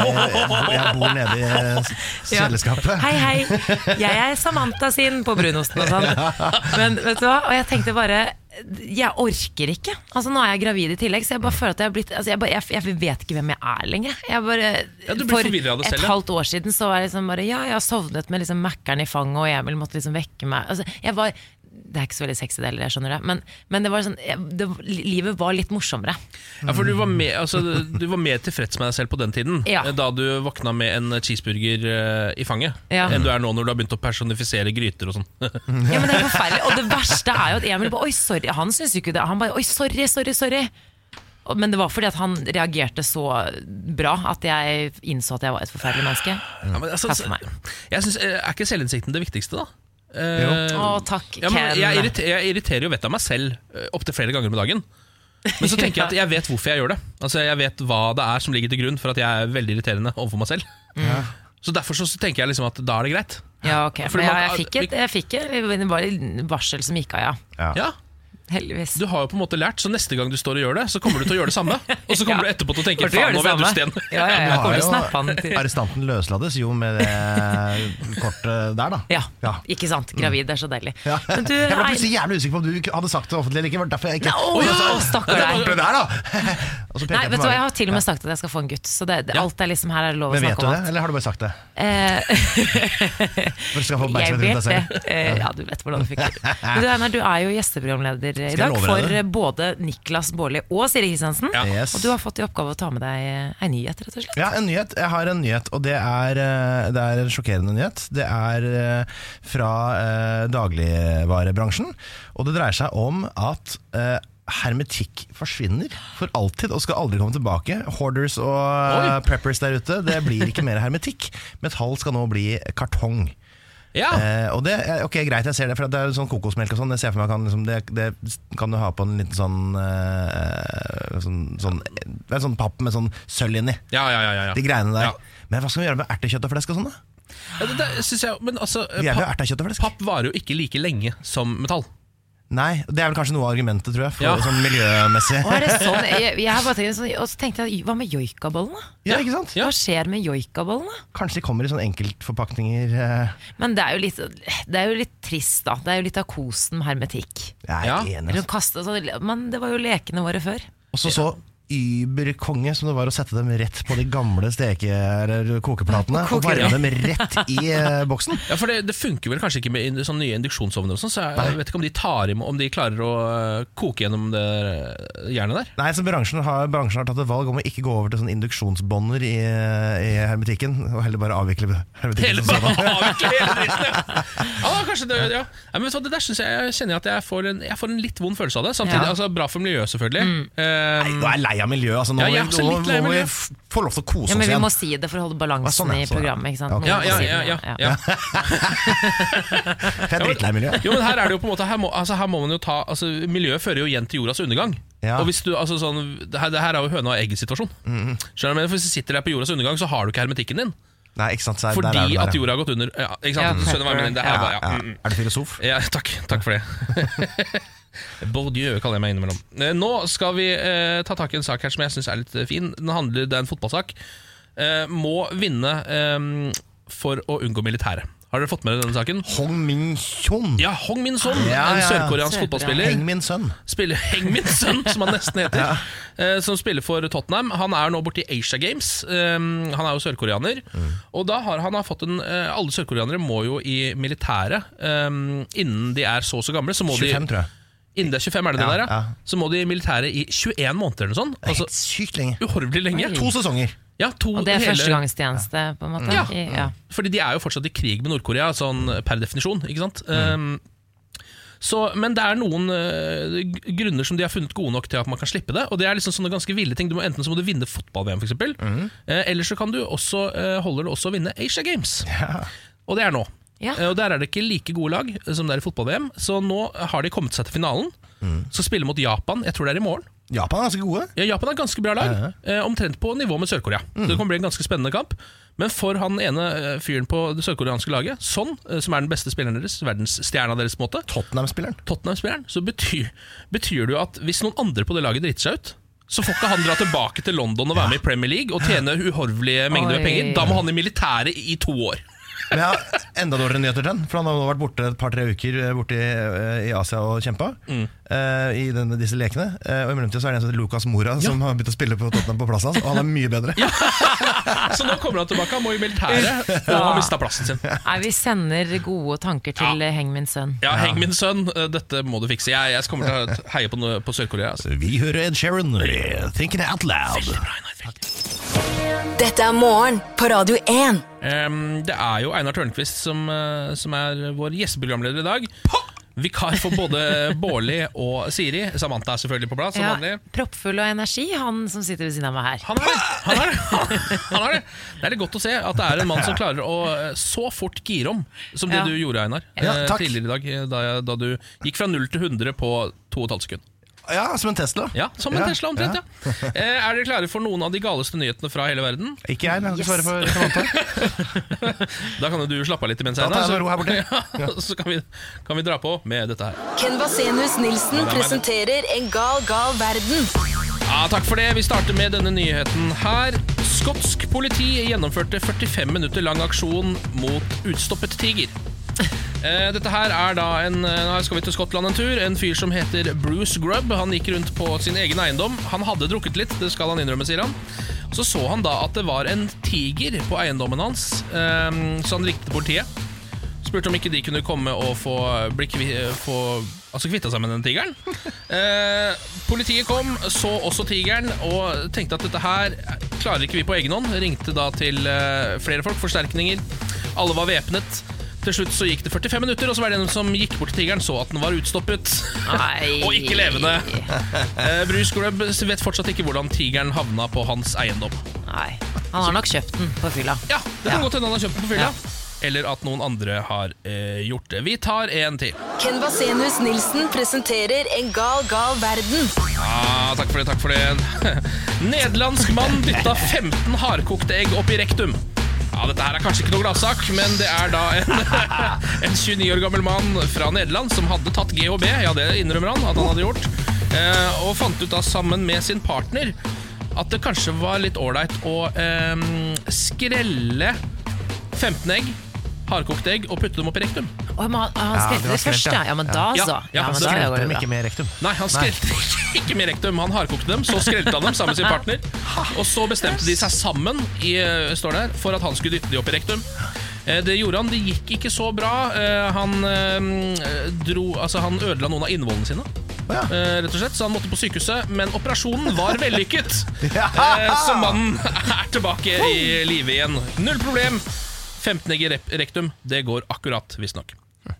S1: jeg bor nede i eh,
S3: [LAUGHS] Ja.
S1: kjøleskapet.
S3: Hei, hei. Jeg er Samantha sin på brunosten og sånn. Men vet du hva? Og jeg tenkte bare jeg orker ikke. Altså Nå er jeg gravid i tillegg, så jeg bare føler at jeg har blitt altså, jeg, bare, jeg, jeg vet ikke hvem jeg er lenger. Jeg bare,
S2: Ja, du blir
S3: for
S2: forvirret av det selv,
S3: et
S2: ja.
S3: halvt år siden så var jeg liksom bare Ja, jeg har sovnet med liksom Mækkern i fanget, og Emil måtte liksom vekke meg. Altså, jeg var det er ikke så veldig sexy, det heller, jeg skjønner det. Men, men det var sånn, jeg- det, livet var litt morsommere.
S2: Ja, for du var, mer- altså, du var mer tilfreds med deg selv på den tiden,
S3: Ja.
S2: eh, da du våkna med en cheeseburger eh, i fanget,
S3: Ja.
S2: enn du er nå når du har begynt å personifisere gryter og sånn.
S3: Ja, men det er forferdelig Og det verste er jo at Emil bare, oi, sorry Han synes jo ikke det Han bare, oi, sorry, sorry, sorry Og- men det var fordi at han reagerte så bra At jeg innså at jeg var et forferdelig menneske
S2: Ja, men altså,
S3: Takk for meg.
S2: jeg synes, eh, er ikke selvinnsikten det viktigste, da? Eh,
S3: Å, takk,
S2: ja, men
S3: Ken
S2: jeg, irriterer, jeg irriterer jo vettet av meg selv eh, opptil flere ganger om dagen. Men så
S3: [LAUGHS]
S2: tenker jeg at jeg vet hvorfor jeg gjør det. Altså Jeg vet hva det er som ligger til grunn for at jeg er veldig irriterende overfor meg selv. Så derfor så, så tenker jeg liksom at da er det greit.
S3: Ja, ok
S2: Fordi
S3: Men ja,
S2: man-
S3: jeg fikk et Jeg fikk et Det var en varsel som gikk av, ja
S2: Ja,
S3: Heldigvis
S2: Du har jo på en måte lært, så neste gang du står og gjør det, så kommer du til å gjøre det samme. Og så
S3: Ja.
S2: kommer du etterpå til å tenke
S3: Kommer til å
S2: faen, nå
S3: gjøre
S2: vet du
S3: det
S2: Sten.
S3: samme. [LAUGHS] Ja, ja, ja,
S1: Vi har
S3: jeg kommer til å
S1: jo-
S3: snappe han til
S1: Arrestanten løslades jo med det kortet der, da.
S3: ja, ikke sant, gravid, det er så deilig
S1: Ja.
S3: Men du,
S1: jeg ble
S3: Ei-
S1: plutselig jævlig usikker på altså. om du hadde sagt det offentlig eller ikke. det var Derfor jeg ikke
S3: Å, ja, stakkar
S1: Det
S3: deg
S1: kortet der, da! [LAUGHS] Og så peker
S3: Nei,
S1: jeg
S3: vet
S1: på
S3: du hva, jeg
S1: magen.
S3: har til og med sagt at jeg skal få en gutt Så det, det,
S2: Ja.
S3: alt er liksom her er det lov å
S1: Men vet du
S3: snakke om
S1: det,
S3: alt
S1: eller har du bare sagt det?
S3: Eh,
S1: For å skaffe
S3: Jeg
S1: oppmerksomhet rundt
S3: vet
S1: deg
S3: det.
S1: selv.
S3: Eh, Ja, du vet hvordan du fikk det. Men du, Einar, du er jo gjesteprogramleder i
S1: jeg
S3: dag
S1: love deg
S3: for
S1: det?
S3: eh, både Niklas Baarli og Siri Kristiansen.
S2: Ja.
S1: Yes.
S3: Og du har fått i oppgave å ta med deg eh, ei nyhet, rett og slett.
S1: Ja, en nyhet. Jeg har en nyhet, og det er, eh, det er en sjokkerende nyhet. Det er eh, fra eh, dagligvarebransjen, og det dreier seg om at eh, Hermetikk forsvinner for alltid og skal aldri komme tilbake. Hoarders og eh,
S2: Oi.
S1: preppers der ute, det blir ikke mer hermetikk. Metall skal nå bli kartong.
S2: Ja,
S1: Eh, og det, er- ok, greit, jeg ser det, for det er jo sånn kokosmelk og sånn. Jeg ser for meg kan, liksom, det, det kan du ha på en liten sånn, eh, sånn, sånn Det er en sånn papp med sånn sølv inni.
S2: ja, ja, ja, ja,
S1: De
S2: ja.
S1: greiene der.
S2: Ja.
S1: Men hva skal vi gjøre med ertekjøtt og flesk og sånn, da?
S2: ja det, det, synes jeg, men altså,
S1: Vi er jo
S2: papp,
S1: ertekjøtt og flesk.
S2: papp varer jo ikke like lenge som metall.
S1: Nei, det er vel kanskje noe av argumentet, tror jeg, for
S2: Ja.
S1: sånn miljømessig.
S3: Og, er det sånn? jeg, jeg har bare tenkt, sånn, og så tenkte jeg, hva med joikabollene?
S1: Ja, ikke sant?
S2: Ja.
S3: Hva skjer med joikabollene?
S1: Kanskje de kommer i sånne enkeltforpakninger eh,
S3: Men det er, jo litt, det er jo litt trist, da. Det er jo litt av kosen med hermetikk.
S1: Jeg er
S2: Ja.
S1: enig. altså.
S3: Rundt kastet, og sånn, men det var jo lekene våre før.
S1: Og så så überkonge som det var å sette dem rett på de gamle steke- eller kokeplatene og
S3: Koker,
S1: varme
S3: ja.
S1: dem rett i eh, boksen.
S2: Ja, for det, det funker vel kanskje ikke med ind- sånn nye induksjonsovner og sånn, så jeg, jeg vet ikke om de, tar imot, om de klarer å øh, koke gjennom det øh, jernet der.
S1: Nei, så bransjen har, bransjen har tatt et valg om å ikke gå over til sånne induksjonsbånder i, eh, i hermetikken, og heller bare avvikle hermetikken.
S2: Hele
S1: som
S2: [LAUGHS] bare
S1: sådan.
S2: avvikler hele dritten, ja. Ja, da, kanskje det, ja. Nei, men vet du hva, det der synes jeg, jeg kjenner jeg at jeg får, en, jeg får en litt vond følelse av det. Samtidig,
S3: Ja.
S2: altså bra for miljøet selvfølgelig. Eh,
S1: Nå er jeg lei av miljøet, altså. Nå,
S2: Ja, jeg er
S1: må vi-
S2: også
S1: nå,
S2: litt lei av
S1: må vi
S2: miljøet.
S1: f- få lov til å kose
S3: Ja, men
S1: oss
S3: vi
S1: igjen.
S3: må si det for å holde balansen
S1: sånn, ja, sånn,
S3: i
S1: ja.
S3: programmet. ikke sant?
S1: Ja,
S3: Noen
S2: ja,
S3: må
S2: ja,
S3: si
S2: ja,
S3: det,
S2: ja,
S3: ja.
S2: ja.
S1: For jeg er drittlei miljøet.
S2: Jo, men her er det jo på en måte Her må, altså, her må man jo ta altså, Miljøet fører jo igjen til jordas undergang
S1: Ja. Mm-hmm.
S2: Og hvis du, altså sånn Det her, det her er jo høna og egget situasjon Skjønner du, men hvis du sitter der på jordas undergang Så har du ikke hermetikken din
S1: [LAUGHS] Nei, ikke sant. Så er- der er
S2: Fordi
S1: du der,
S2: at
S1: ja.
S2: jorda har gått under ja, Ikke sant,
S3: Ja,
S2: du skjønner hva jeg mener Det her
S1: ja,
S2: er bare, ja,
S1: ja.
S2: mm, mm.
S1: Er du filosof?
S2: ja takk, takk for det [LAUGHS] Bourdieu kaller jeg meg innimellom Eh, Nå skal vi eh, ta tak i en sak her Som jeg synes er litt eh, fin Den handler, det er en fotballsak Eh, Må vinne eh, for å unngå militæret Har dere fått med dere denne saken?
S1: Hong Min Son.
S2: Ja, Hong Min Son,
S1: Ja,
S2: en
S1: ja, ja.
S2: sørkoreansk
S3: Sørkorea.
S2: fotballspiller
S1: Heng min sønn.
S2: spiller Heng min sønn, som han nesten
S1: [LAUGHS]
S2: heter. eh, Som spiller for Tottenham. Han er nå borti Asia Games. Um, han er jo sørkoreaner.
S1: Mm.
S2: Og da har han har fått en eh, Alle sørkoreanere må jo i militæret um, innen de er så og så gamle. Så må
S1: 25,
S2: de,
S1: tror jeg.
S2: Innen de er 25, er det det
S1: Ja,
S2: der, ja?
S1: ja.
S2: Så må de i militæret i 21 måneder eller noe sånt. Altså
S1: Helt sykt lenge.
S2: uhorvelig lenge.
S1: To sesonger.
S2: ja, to
S3: Og det er
S2: hele-
S3: førstegangstjeneste, på en måte?
S2: Ja.
S3: I, ja.
S2: Fordi de er jo fortsatt i krig med Nord-Korea, sånn per definisjon. ikke sant? Um, så, men det er noen eh, g- grunner som de har funnet gode nok til at man kan slippe det. Og det er liksom sånne ganske ville ting. Du må, enten så må du vinne fotball-VM, f.eks. eksempel Eh, eller så kan du også, eh, holder det også å vinne Asia Games. Og det er nå.
S3: Ja.
S2: Eh, og Der er det ikke like gode lag eh, som det er i fotball-VM, så nå har de kommet seg til finalen. Skal spille mot Japan, jeg tror det er i morgen.
S1: Japan er ganske gode.
S2: Ja, Japan er et ganske bra lag, eh, omtrent på nivå med Sør-Korea. Så Det kommer bli en ganske spennende kamp. Men for han ene eh, fyren på det sørkoreanske laget, Son, eh, som er den beste spilleren deres, verdensstjerna deres, på en måte,
S1: Tottenham-spilleren.
S2: Tottenham-spilleren, så betyr, betyr det jo at hvis noen andre på det laget driter seg ut, så får ikke han dra tilbake til London og være med i Premier League og tjene uhorvelige mengder
S3: Oi.
S2: med penger. Da må han i militæret i to år.
S1: Men jeg har enda dårligere nyheter til han, for han har nå vært borte et par-tre uker eh, borte i, eh, i Asia og kjempa eh, i denne, disse lekene. Eh, og i mellomtiden så er det en som heter Lucas Mora som har begynt å spille på Tottenham på plassen hans, og han er mye [LAUGHS] bedre.
S2: [LAUGHS] Så nå kommer han tilbake, han må i militæret, og han har mista plassen sin.
S3: Nei, vi sender gode tanker til eh, Heng min sønn.
S2: Ja, heng min sønn, eh, dette må du fikse. Jeg, jeg kommer til å heie på, noe- på Sør-Korea. Altså.
S1: Vi hører Ed Sheeran, eh, 'Thinking Out Loud'.
S4: Dette er morgen på Radio 1.
S2: Em, det er jo Einar Tørnquist som, eh, som er vår gjesteprogramleder i dag. Vikar for både Bårli og Siri. Samantha er selvfølgelig på plass. som
S3: Ja,
S2: vanlig
S3: proppfull av energi, han som sitter ved siden av meg her.
S2: Han er det! Han er det. Han er det. det er litt godt å se at det er en mann som klarer å eh, så fort gire om som det
S3: Ja.
S2: du gjorde, Einar. eh,
S1: Ja, takk.
S2: tidligere i dag, eh, da, jeg- da du gikk fra 0 til 100 på 2,5 sekunder.
S1: Ja, som en Tesla.
S2: Ja, som en
S1: Ja,
S2: Tesla omtrent, ja. Eh, Er dere klare for noen av de galeste nyhetene fra hele verden?
S1: Ikke jeg, men jeg kan ikke svare for [LAUGHS] Samantha.
S2: Da kan jo du slappe av litt imens,
S1: Da tar jeg
S2: så-
S1: meg ro her borte.
S2: [LAUGHS] Ja, så kan vi, kan vi dra på med dette her.
S4: Ken Vasenus Nilsen presenterer En gal, gal verden.
S2: Ja, takk for det. Vi starter med denne nyheten her. Skotsk politi gjennomførte 45 minutter lang aksjon mot utstoppet tiger. Eh, Dette her er da en eh, Nå skal vi til Skottland en tur. En fyr som heter Bruce Grubb. Han gikk rundt på sin egen eiendom. Han hadde drukket litt, det skal han innrømme, sier han. Så så han da at det var en tiger på eiendommen hans, eh, så han ringte politiet. Spurte om ikke de kunne komme og få, bli kvi, få altså kvitta seg med den tigeren. Eh, politiet kom, så også tigeren og tenkte at dette her klarer ikke vi på egen hånd. Ringte da til eh, flere folk, forsterkninger. Alle var væpnet. Til slutt så gikk det 45 minutter, og så var det en som gikk bort til tigeren, så at den var utstoppet.
S3: Nei.
S2: og ikke levende. Eh, Bruce Grubb vet fortsatt ikke hvordan tigeren havna på hans eiendom.
S3: Nei. Han har nok kjøpt den på fylla.
S2: Ja, det kan godt hende han har kjøpt den på fylla. Eller at noen andre har eh, gjort det. Vi tar en til.
S4: Ken Vasenus Nilsen presenterer En gal, gal verden.
S2: Ah, takk for det, takk for det. [LAUGHS] Nederlandsk mann dytta 15 hardkokte egg opp i rektum. Ja, Dette her er kanskje ikke noe gladsak, men det er da en, [LAUGHS] en 29 år gammel mann fra Nederland som hadde tatt GHB, ja det innrømmer han at han hadde gjort, eh, og fant ut da sammen med sin partner at det kanskje var litt ålreit å eh, skrelle 15 egg, hardkokte egg, og putte dem opp i rektum.
S3: Å, men han,
S1: Ja,
S3: han
S1: det
S3: skrelte
S1: var
S3: det først,
S1: skrelt,
S3: ja.
S1: ja.
S3: Ja, men da
S2: Ja,
S3: så.
S2: ja,
S3: Ja, men
S2: så
S3: da
S2: skrelte
S3: går
S1: Dem
S3: det
S1: ikke
S3: bra.
S1: med rektum.
S2: Nei, han skrelte ikke med rektum. Han hardkokte dem, så skrelte han dem sammen med sin partner. Og så bestemte de seg sammen i, eh, står det her, for at han skulle dytte de opp i rektum. Eh, Det gjorde han. Det gikk ikke så bra. Eh, Han, eh, dro, altså, han ødela noen av innvollene sine.
S1: Å, ja.
S2: eh, Rett og slett, så han måtte på sykehuset, men operasjonen var vellykket.
S1: Ja.
S2: Eh, Så mannen [LAUGHS] er tilbake i live igjen. Null problem. 15 egg i rep- rektum. Det går akkurat, visstnok.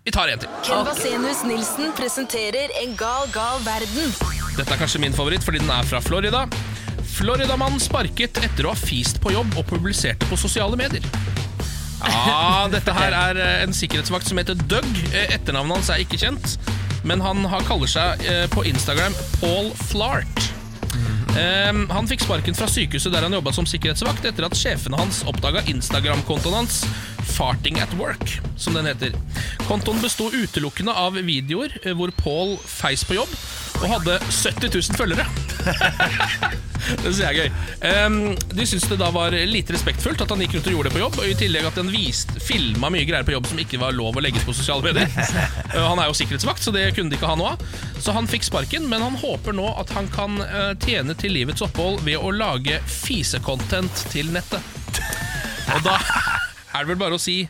S2: Vi tar en til.
S4: Ken Vasenus Nilsen presenterer En gal, gal verden.
S2: Dette er kanskje min favoritt fordi den er fra Florida. Floridamann sparket etter å ha fist på jobb og publiserte på sosiale medier. Ja, dette her er eh, en sikkerhetsvakt som heter Doug. Eh, Etternavnet hans er ikke kjent, men han har- kaller seg eh, på Instagram Paul Flart. Ehm, han fikk sparken fra sykehuset der han jobba som sikkerhetsvakt etter at sjefene hans oppdaga Instagram-kontoen hans, Farting at Work, som den heter. Kontoen besto utelukkende av videoer eh, hvor Paul feis på jobb og hadde 70 000 følgere. Det synes jeg er gøy. Ehm, de syntes det da var lite respektfullt at han gikk rundt og gjorde det på jobb, og i tillegg at han vist, filma mye greier på jobb som ikke var lov å legge ut på sosiale medier. Eh, han er jo sikkerhetsvakt, så det kunne de ikke ha noe av. Så han fikk sparken, men han håper nå at han kan eh, tjene til livets opphold ved å lage fisecontent til nettet. Og da [LAUGHS] er det vel bare å si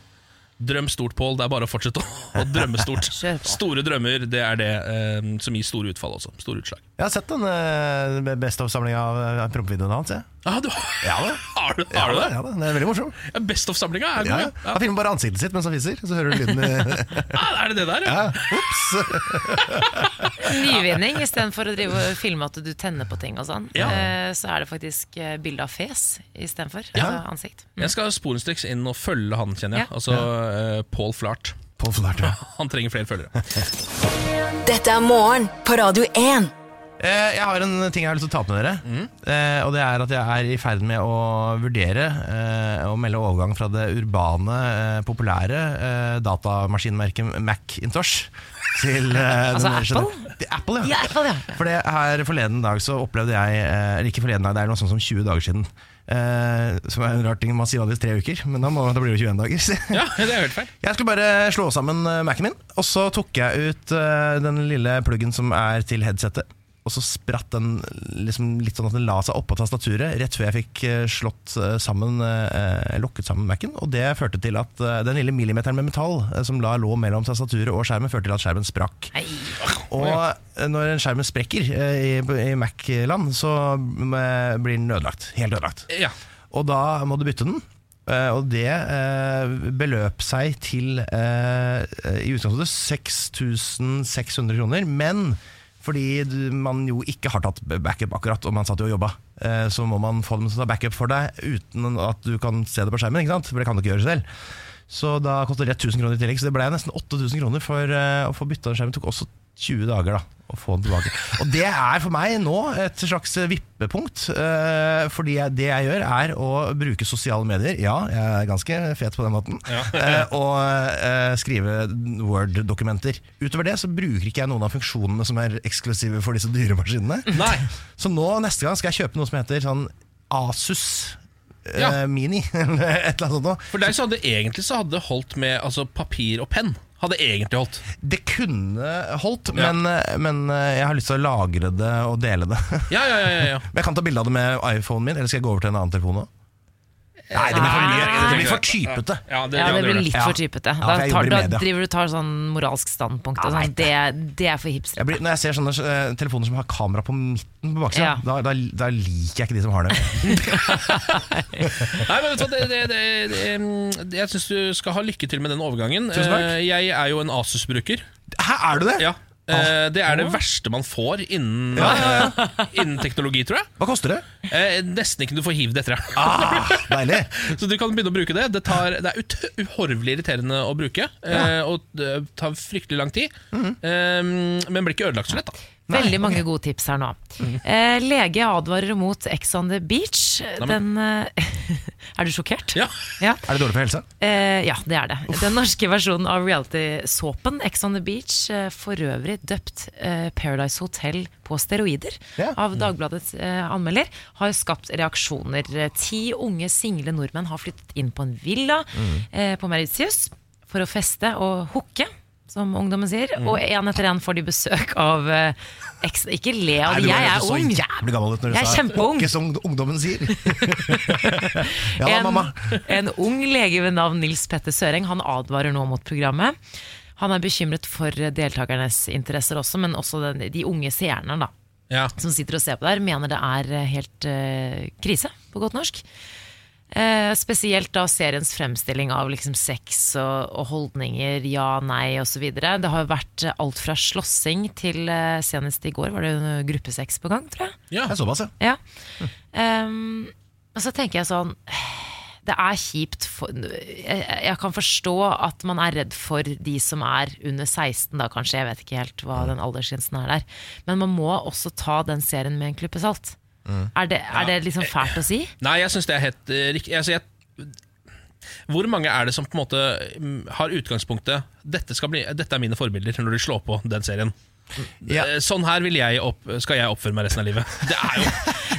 S2: Drøm stort, Pål. Det er bare å fortsette å å drømme stort.
S3: Kjør på.
S2: Store drømmer det er det eh, som gir store utfall også. Store utslag.
S1: Jeg har sett den eh, best of-samlinga av eh, prompevideoen hans. jeg.
S2: Ah, du,
S1: Ja, det.
S2: Har du, har du
S1: Ja,
S2: det?
S1: Ja, det er veldig morsom.
S2: Ja, Best of-samlinga er
S1: Ja,
S2: god,
S1: ja.
S2: ja.
S1: Han filmer bare ansiktet sitt mens han fiser, så hører du lyden [LAUGHS] i-
S2: Ah, er det det der, ja?
S1: ja. Ops!
S3: Nyvinning istedenfor å drive og filme at du tenner på ting og sånn.
S2: Ja.
S3: eh, Så er det faktisk eh, bilde av fes istedenfor. Altså ansikt.
S2: Jeg skal sporenstreks inn og følge han, kjenner jeg.
S3: Ja.
S2: Altså eh, Paul Flart.
S1: På flert, ja.
S2: Han trenger
S1: [LAUGHS]
S2: flere følgere.
S4: Dette er morgen på Radio 1.
S1: Eh, Jeg har en ting jeg har lyst til å ta opp med dere. Eh, Og det er at jeg er i ferd med å vurdere eh, å melde overgang fra det urbane, eh, populære eh, datamaskinmerket Macintosh til [LAUGHS] eh, den
S3: Altså
S1: mer
S3: Apple?
S1: gener- Til Apple, ja.
S3: Ja, i hvert fall, ja.
S1: For det her forleden dag så opplevde jeg eh, Eller ikke forleden dag, det er noe sånn som 20 dager siden Eh, som er en rar ting man sier vanligvis tre uker, men da, må, da blir det 21 dager. [LAUGHS] Så
S2: Ja, det er helt feil.
S1: Jeg skulle bare slå sammen eh, Mac-en min, og så tok jeg ut eh, den lille pluggen som er til headsetet. Og så spratt den liksom litt sånn at den la seg oppå tastaturet rett før jeg fikk eh, slått eh, sammen eh, lokket sammen Mac-en. Og det førte til at eh, den lille millimeteren med metall eh, som la lå mellom tastaturet og skjermen, førte til at skjermen sprakk.
S3: Nei.
S1: Og eh, når en skjerm sprekker eh, i, i Mac-land, så eh, blir den ødelagt. Helt ødelagt.
S2: Ja.
S1: Og da må du bytte den. Eh, og det eh, beløp seg til eh, i utgangspunktet 6600 kroner. Men fordi du, man jo ikke har tatt backup akkurat, og man satt jo og jobba, eh, så må man få dem til å ta backup for deg uten at du kan se det på skjermen. ikke sant? For det kan du ikke gjøre selv. Så da kostet det 1000 kroner i tillegg, så det ble nesten 8000 kroner for eh, å få bytta den skjermen. Det tok også 20 dager da å få den tilbake. Og det er for meg nå et slags vippepunkt. eh, fordi jeg, det jeg gjør, er å bruke sosiale medier. Ja, jeg er ganske fet på den måten. [LAUGHS] eh, og eh, skrive Word-dokumenter. Utover det så bruker ikke jeg noen av funksjonene som er eksklusive for disse dyre maskinene.
S2: Nei.
S1: Så nå, neste gang skal jeg kjøpe noe som heter sånn Asus eh,
S2: Ja.
S1: Mini, [LAUGHS] eller et eller annet sånt. noe.
S2: For der så hadde egentlig så hadde det holdt med altså, papir og penn. Hadde egentlig holdt.
S1: Det kunne holdt,
S2: Ja.
S1: men, eh, men jeg har lyst til å lagre det og dele det. [LAUGHS]
S2: Ja, ja, ja, ja, ja.
S1: Men Jeg kan ta bilde av det med iPhonen min, eller skal jeg gå over til en annen telefon nå? Nei, det blir for mye. Det blir for typete.
S2: Ja, det,
S3: Ja, det blir
S2: det.
S3: litt
S1: Ja.
S3: for typete.
S1: Ja,
S3: Da,
S1: for jeg
S3: tar,
S1: jobber i
S3: da
S1: media.
S3: driver du og tar sånn moralsk standpunkt. Og sånn. det, det er for hipster.
S1: Jeg blir, når jeg ser sånne eh, telefoner som har kamera på midten på baksida,
S3: Ja.
S1: da, da, da liker jeg ikke de som har det.
S2: Nei, men vet du hva, det, det, det, det, mm, det, Jeg syns du skal ha lykke til med den overgangen.
S1: Tusen takk.
S2: Eh, Jeg er jo en Asus-bruker.
S1: Hæ, er du det?
S2: Ja. Eh, Det er det verste man får innen,
S1: Ja,
S2: eh, innen teknologi, tror jeg.
S1: Hva koster det?
S2: Eh, Nesten ikke du får hiv det etter deg.
S1: Ah, deilig.
S2: Så du kan begynne å bruke det. Det, tar, det er ut, uhorvelig irriterende å bruke, eh, og det tar fryktelig lang tid.
S3: Mhm.
S2: eh, men blir ikke ødelagt så lett, da.
S3: Veldig mange gode tips her nå. Eh, lege advarer mot Ex on the beach. Den, eh, [LAUGHS] er du sjokkert?
S2: Ja.
S3: Ja.
S1: Er det dårlig for helsa?
S3: Eh, ja, det er det. Den norske versjonen av reality-såpen Ex on the Beach, eh, for øvrig døpt eh, Paradise Hotel på steroider,
S1: Ja. Mm.
S3: av Dagbladets eh, anmelder, har skapt reaksjoner. Eh, Ti unge single nordmenn har flyttet inn på en villa
S1: Mm.
S3: eh, på Mauritius for å feste og hooke. Som ungdommen sier.
S1: Mm.
S3: Og en etter en får de besøk av eh, eks... Ikke le av
S1: Nei,
S3: det,
S1: du
S3: jeg
S1: bare
S3: er
S1: hørtes
S3: ung!
S1: så jævlig gammel ut når du
S3: Jeg er
S1: sa
S3: kjempeung.
S1: Ikke som ungdommen
S3: [LAUGHS]
S1: sier. ja da, mamma.
S3: en, [LAUGHS] en ung lege ved navn Nils Petter Søreng Han advarer nå mot programmet. Han er bekymret for deltakernes interesser også, men også den, de unge seerne da,
S2: Ja.
S3: som sitter og ser på der, mener det er eh, helt eh, krise, på godt norsk. Eh, spesielt da seriens fremstilling av liksom sex og, og holdninger, ja, nei osv. Det har jo vært eh, alt fra slåssing til eh, senest i går var det jo en gruppesex på gang, tror jeg.
S2: Ja.
S1: Det er såpass, ja.
S3: Ja. Ehm, og så tenker jeg sånn Det er kjipt for, jeg, jeg kan forstå at man er redd for de som er under 16, da kanskje. Jeg vet ikke helt hva den aldersgrensen er der. Men man må også ta den serien med en klype salt.
S2: Mm.
S3: Er, det, er det liksom fælt å
S2: [LAUGHS]
S3: si?
S2: Nei, jeg syns det er helt eh, riktig. Altså, jeg, hvor mange er det som på en måte mm, har utgangspunktet dette, skal bli, 'Dette er mine forbilder' når de slår på den serien?
S1: Ja.
S2: Eh, Sånn her vil jeg opp, skal jeg oppføre meg resten av livet. Det er
S3: [LAUGHS]
S2: jo,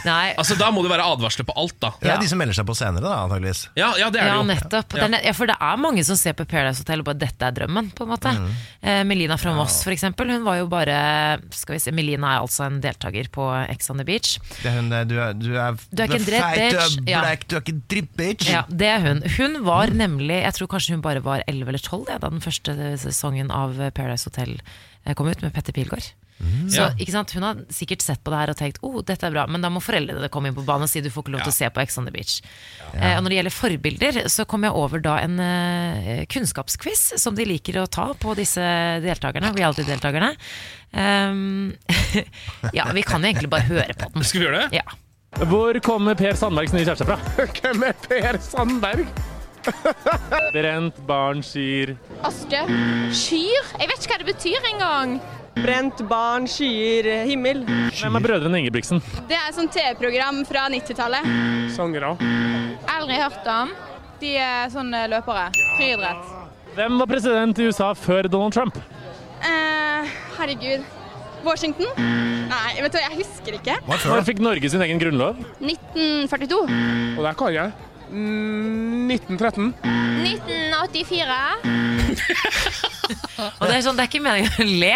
S3: Nei.
S2: altså, da må det være advarsler på alt, da.
S1: Det er
S3: Ja.
S1: de som melder seg på senere, da, antageligvis.
S2: Ja, ja det er
S3: Ja,
S2: det jo.
S3: nettopp. Det er ne- Ja, for det er mange som ser på Paradise Hotel og bare 'dette er drømmen'. på en måte.
S2: Mm.
S3: Eh, Melina fra Moss, for eksempel. Hun var jo bare skal vi se, Melina er altså en deltaker på Ex on the Beach.
S1: Det er hun der, du er, du er,
S3: Du er ikke en dritt
S1: feit, Du
S3: bitch.
S1: er
S3: Ja.
S1: black, du er ikke en dritt bitch.
S3: Ja, det er hun. Hun var nemlig Jeg tror kanskje hun bare var 11 eller 12 ja, da den første sesongen av Paradise Hotel eh, kom ut, med Petter Pilgaard. Så
S2: Ja.
S3: ikke sant, Hun har sikkert sett på det her og tenkt oh, dette er bra, men da må foreldrene komme inn på banen og si du får ikke lov til å se på Ex on the Beach. Eh, og Når det gjelder forbilder, så kom jeg over da en eh, kunnskapsquiz som de liker å ta på disse deltakerne, reality-deltakerne. Ehm, [LAUGHS] ja, vi kan jo egentlig bare høre på den.
S2: Skal vi gjøre det?
S3: Ja.
S5: Hvor kommer Per Sandbergs nye kjæreste fra? Hvem er Per Sandberg? [LAUGHS] Brent barn skyr.
S6: Aske. Skyr. Jeg vet ikke hva det betyr engang.
S7: Brent barn skyer himmel.
S5: Hvem er brødrene Ingebrigtsen?
S6: Det er et sånt TV-program fra 90-tallet.
S5: Sangere.
S6: Aldri hørt om. De er sånne løpere. Friidrett.
S5: Hvem var president i USA før Donald Trump?
S6: Eh, herregud. Washington? Nei, vet du hva, jeg husker ikke.
S1: Hva er før,
S5: Når
S1: da?
S5: fikk Norge sin egen grunnlov?
S6: 1942.
S5: Og der kan jeg. Mm, 1913.
S6: 1984.
S3: Og det er, sånn, det er ikke meningen å le,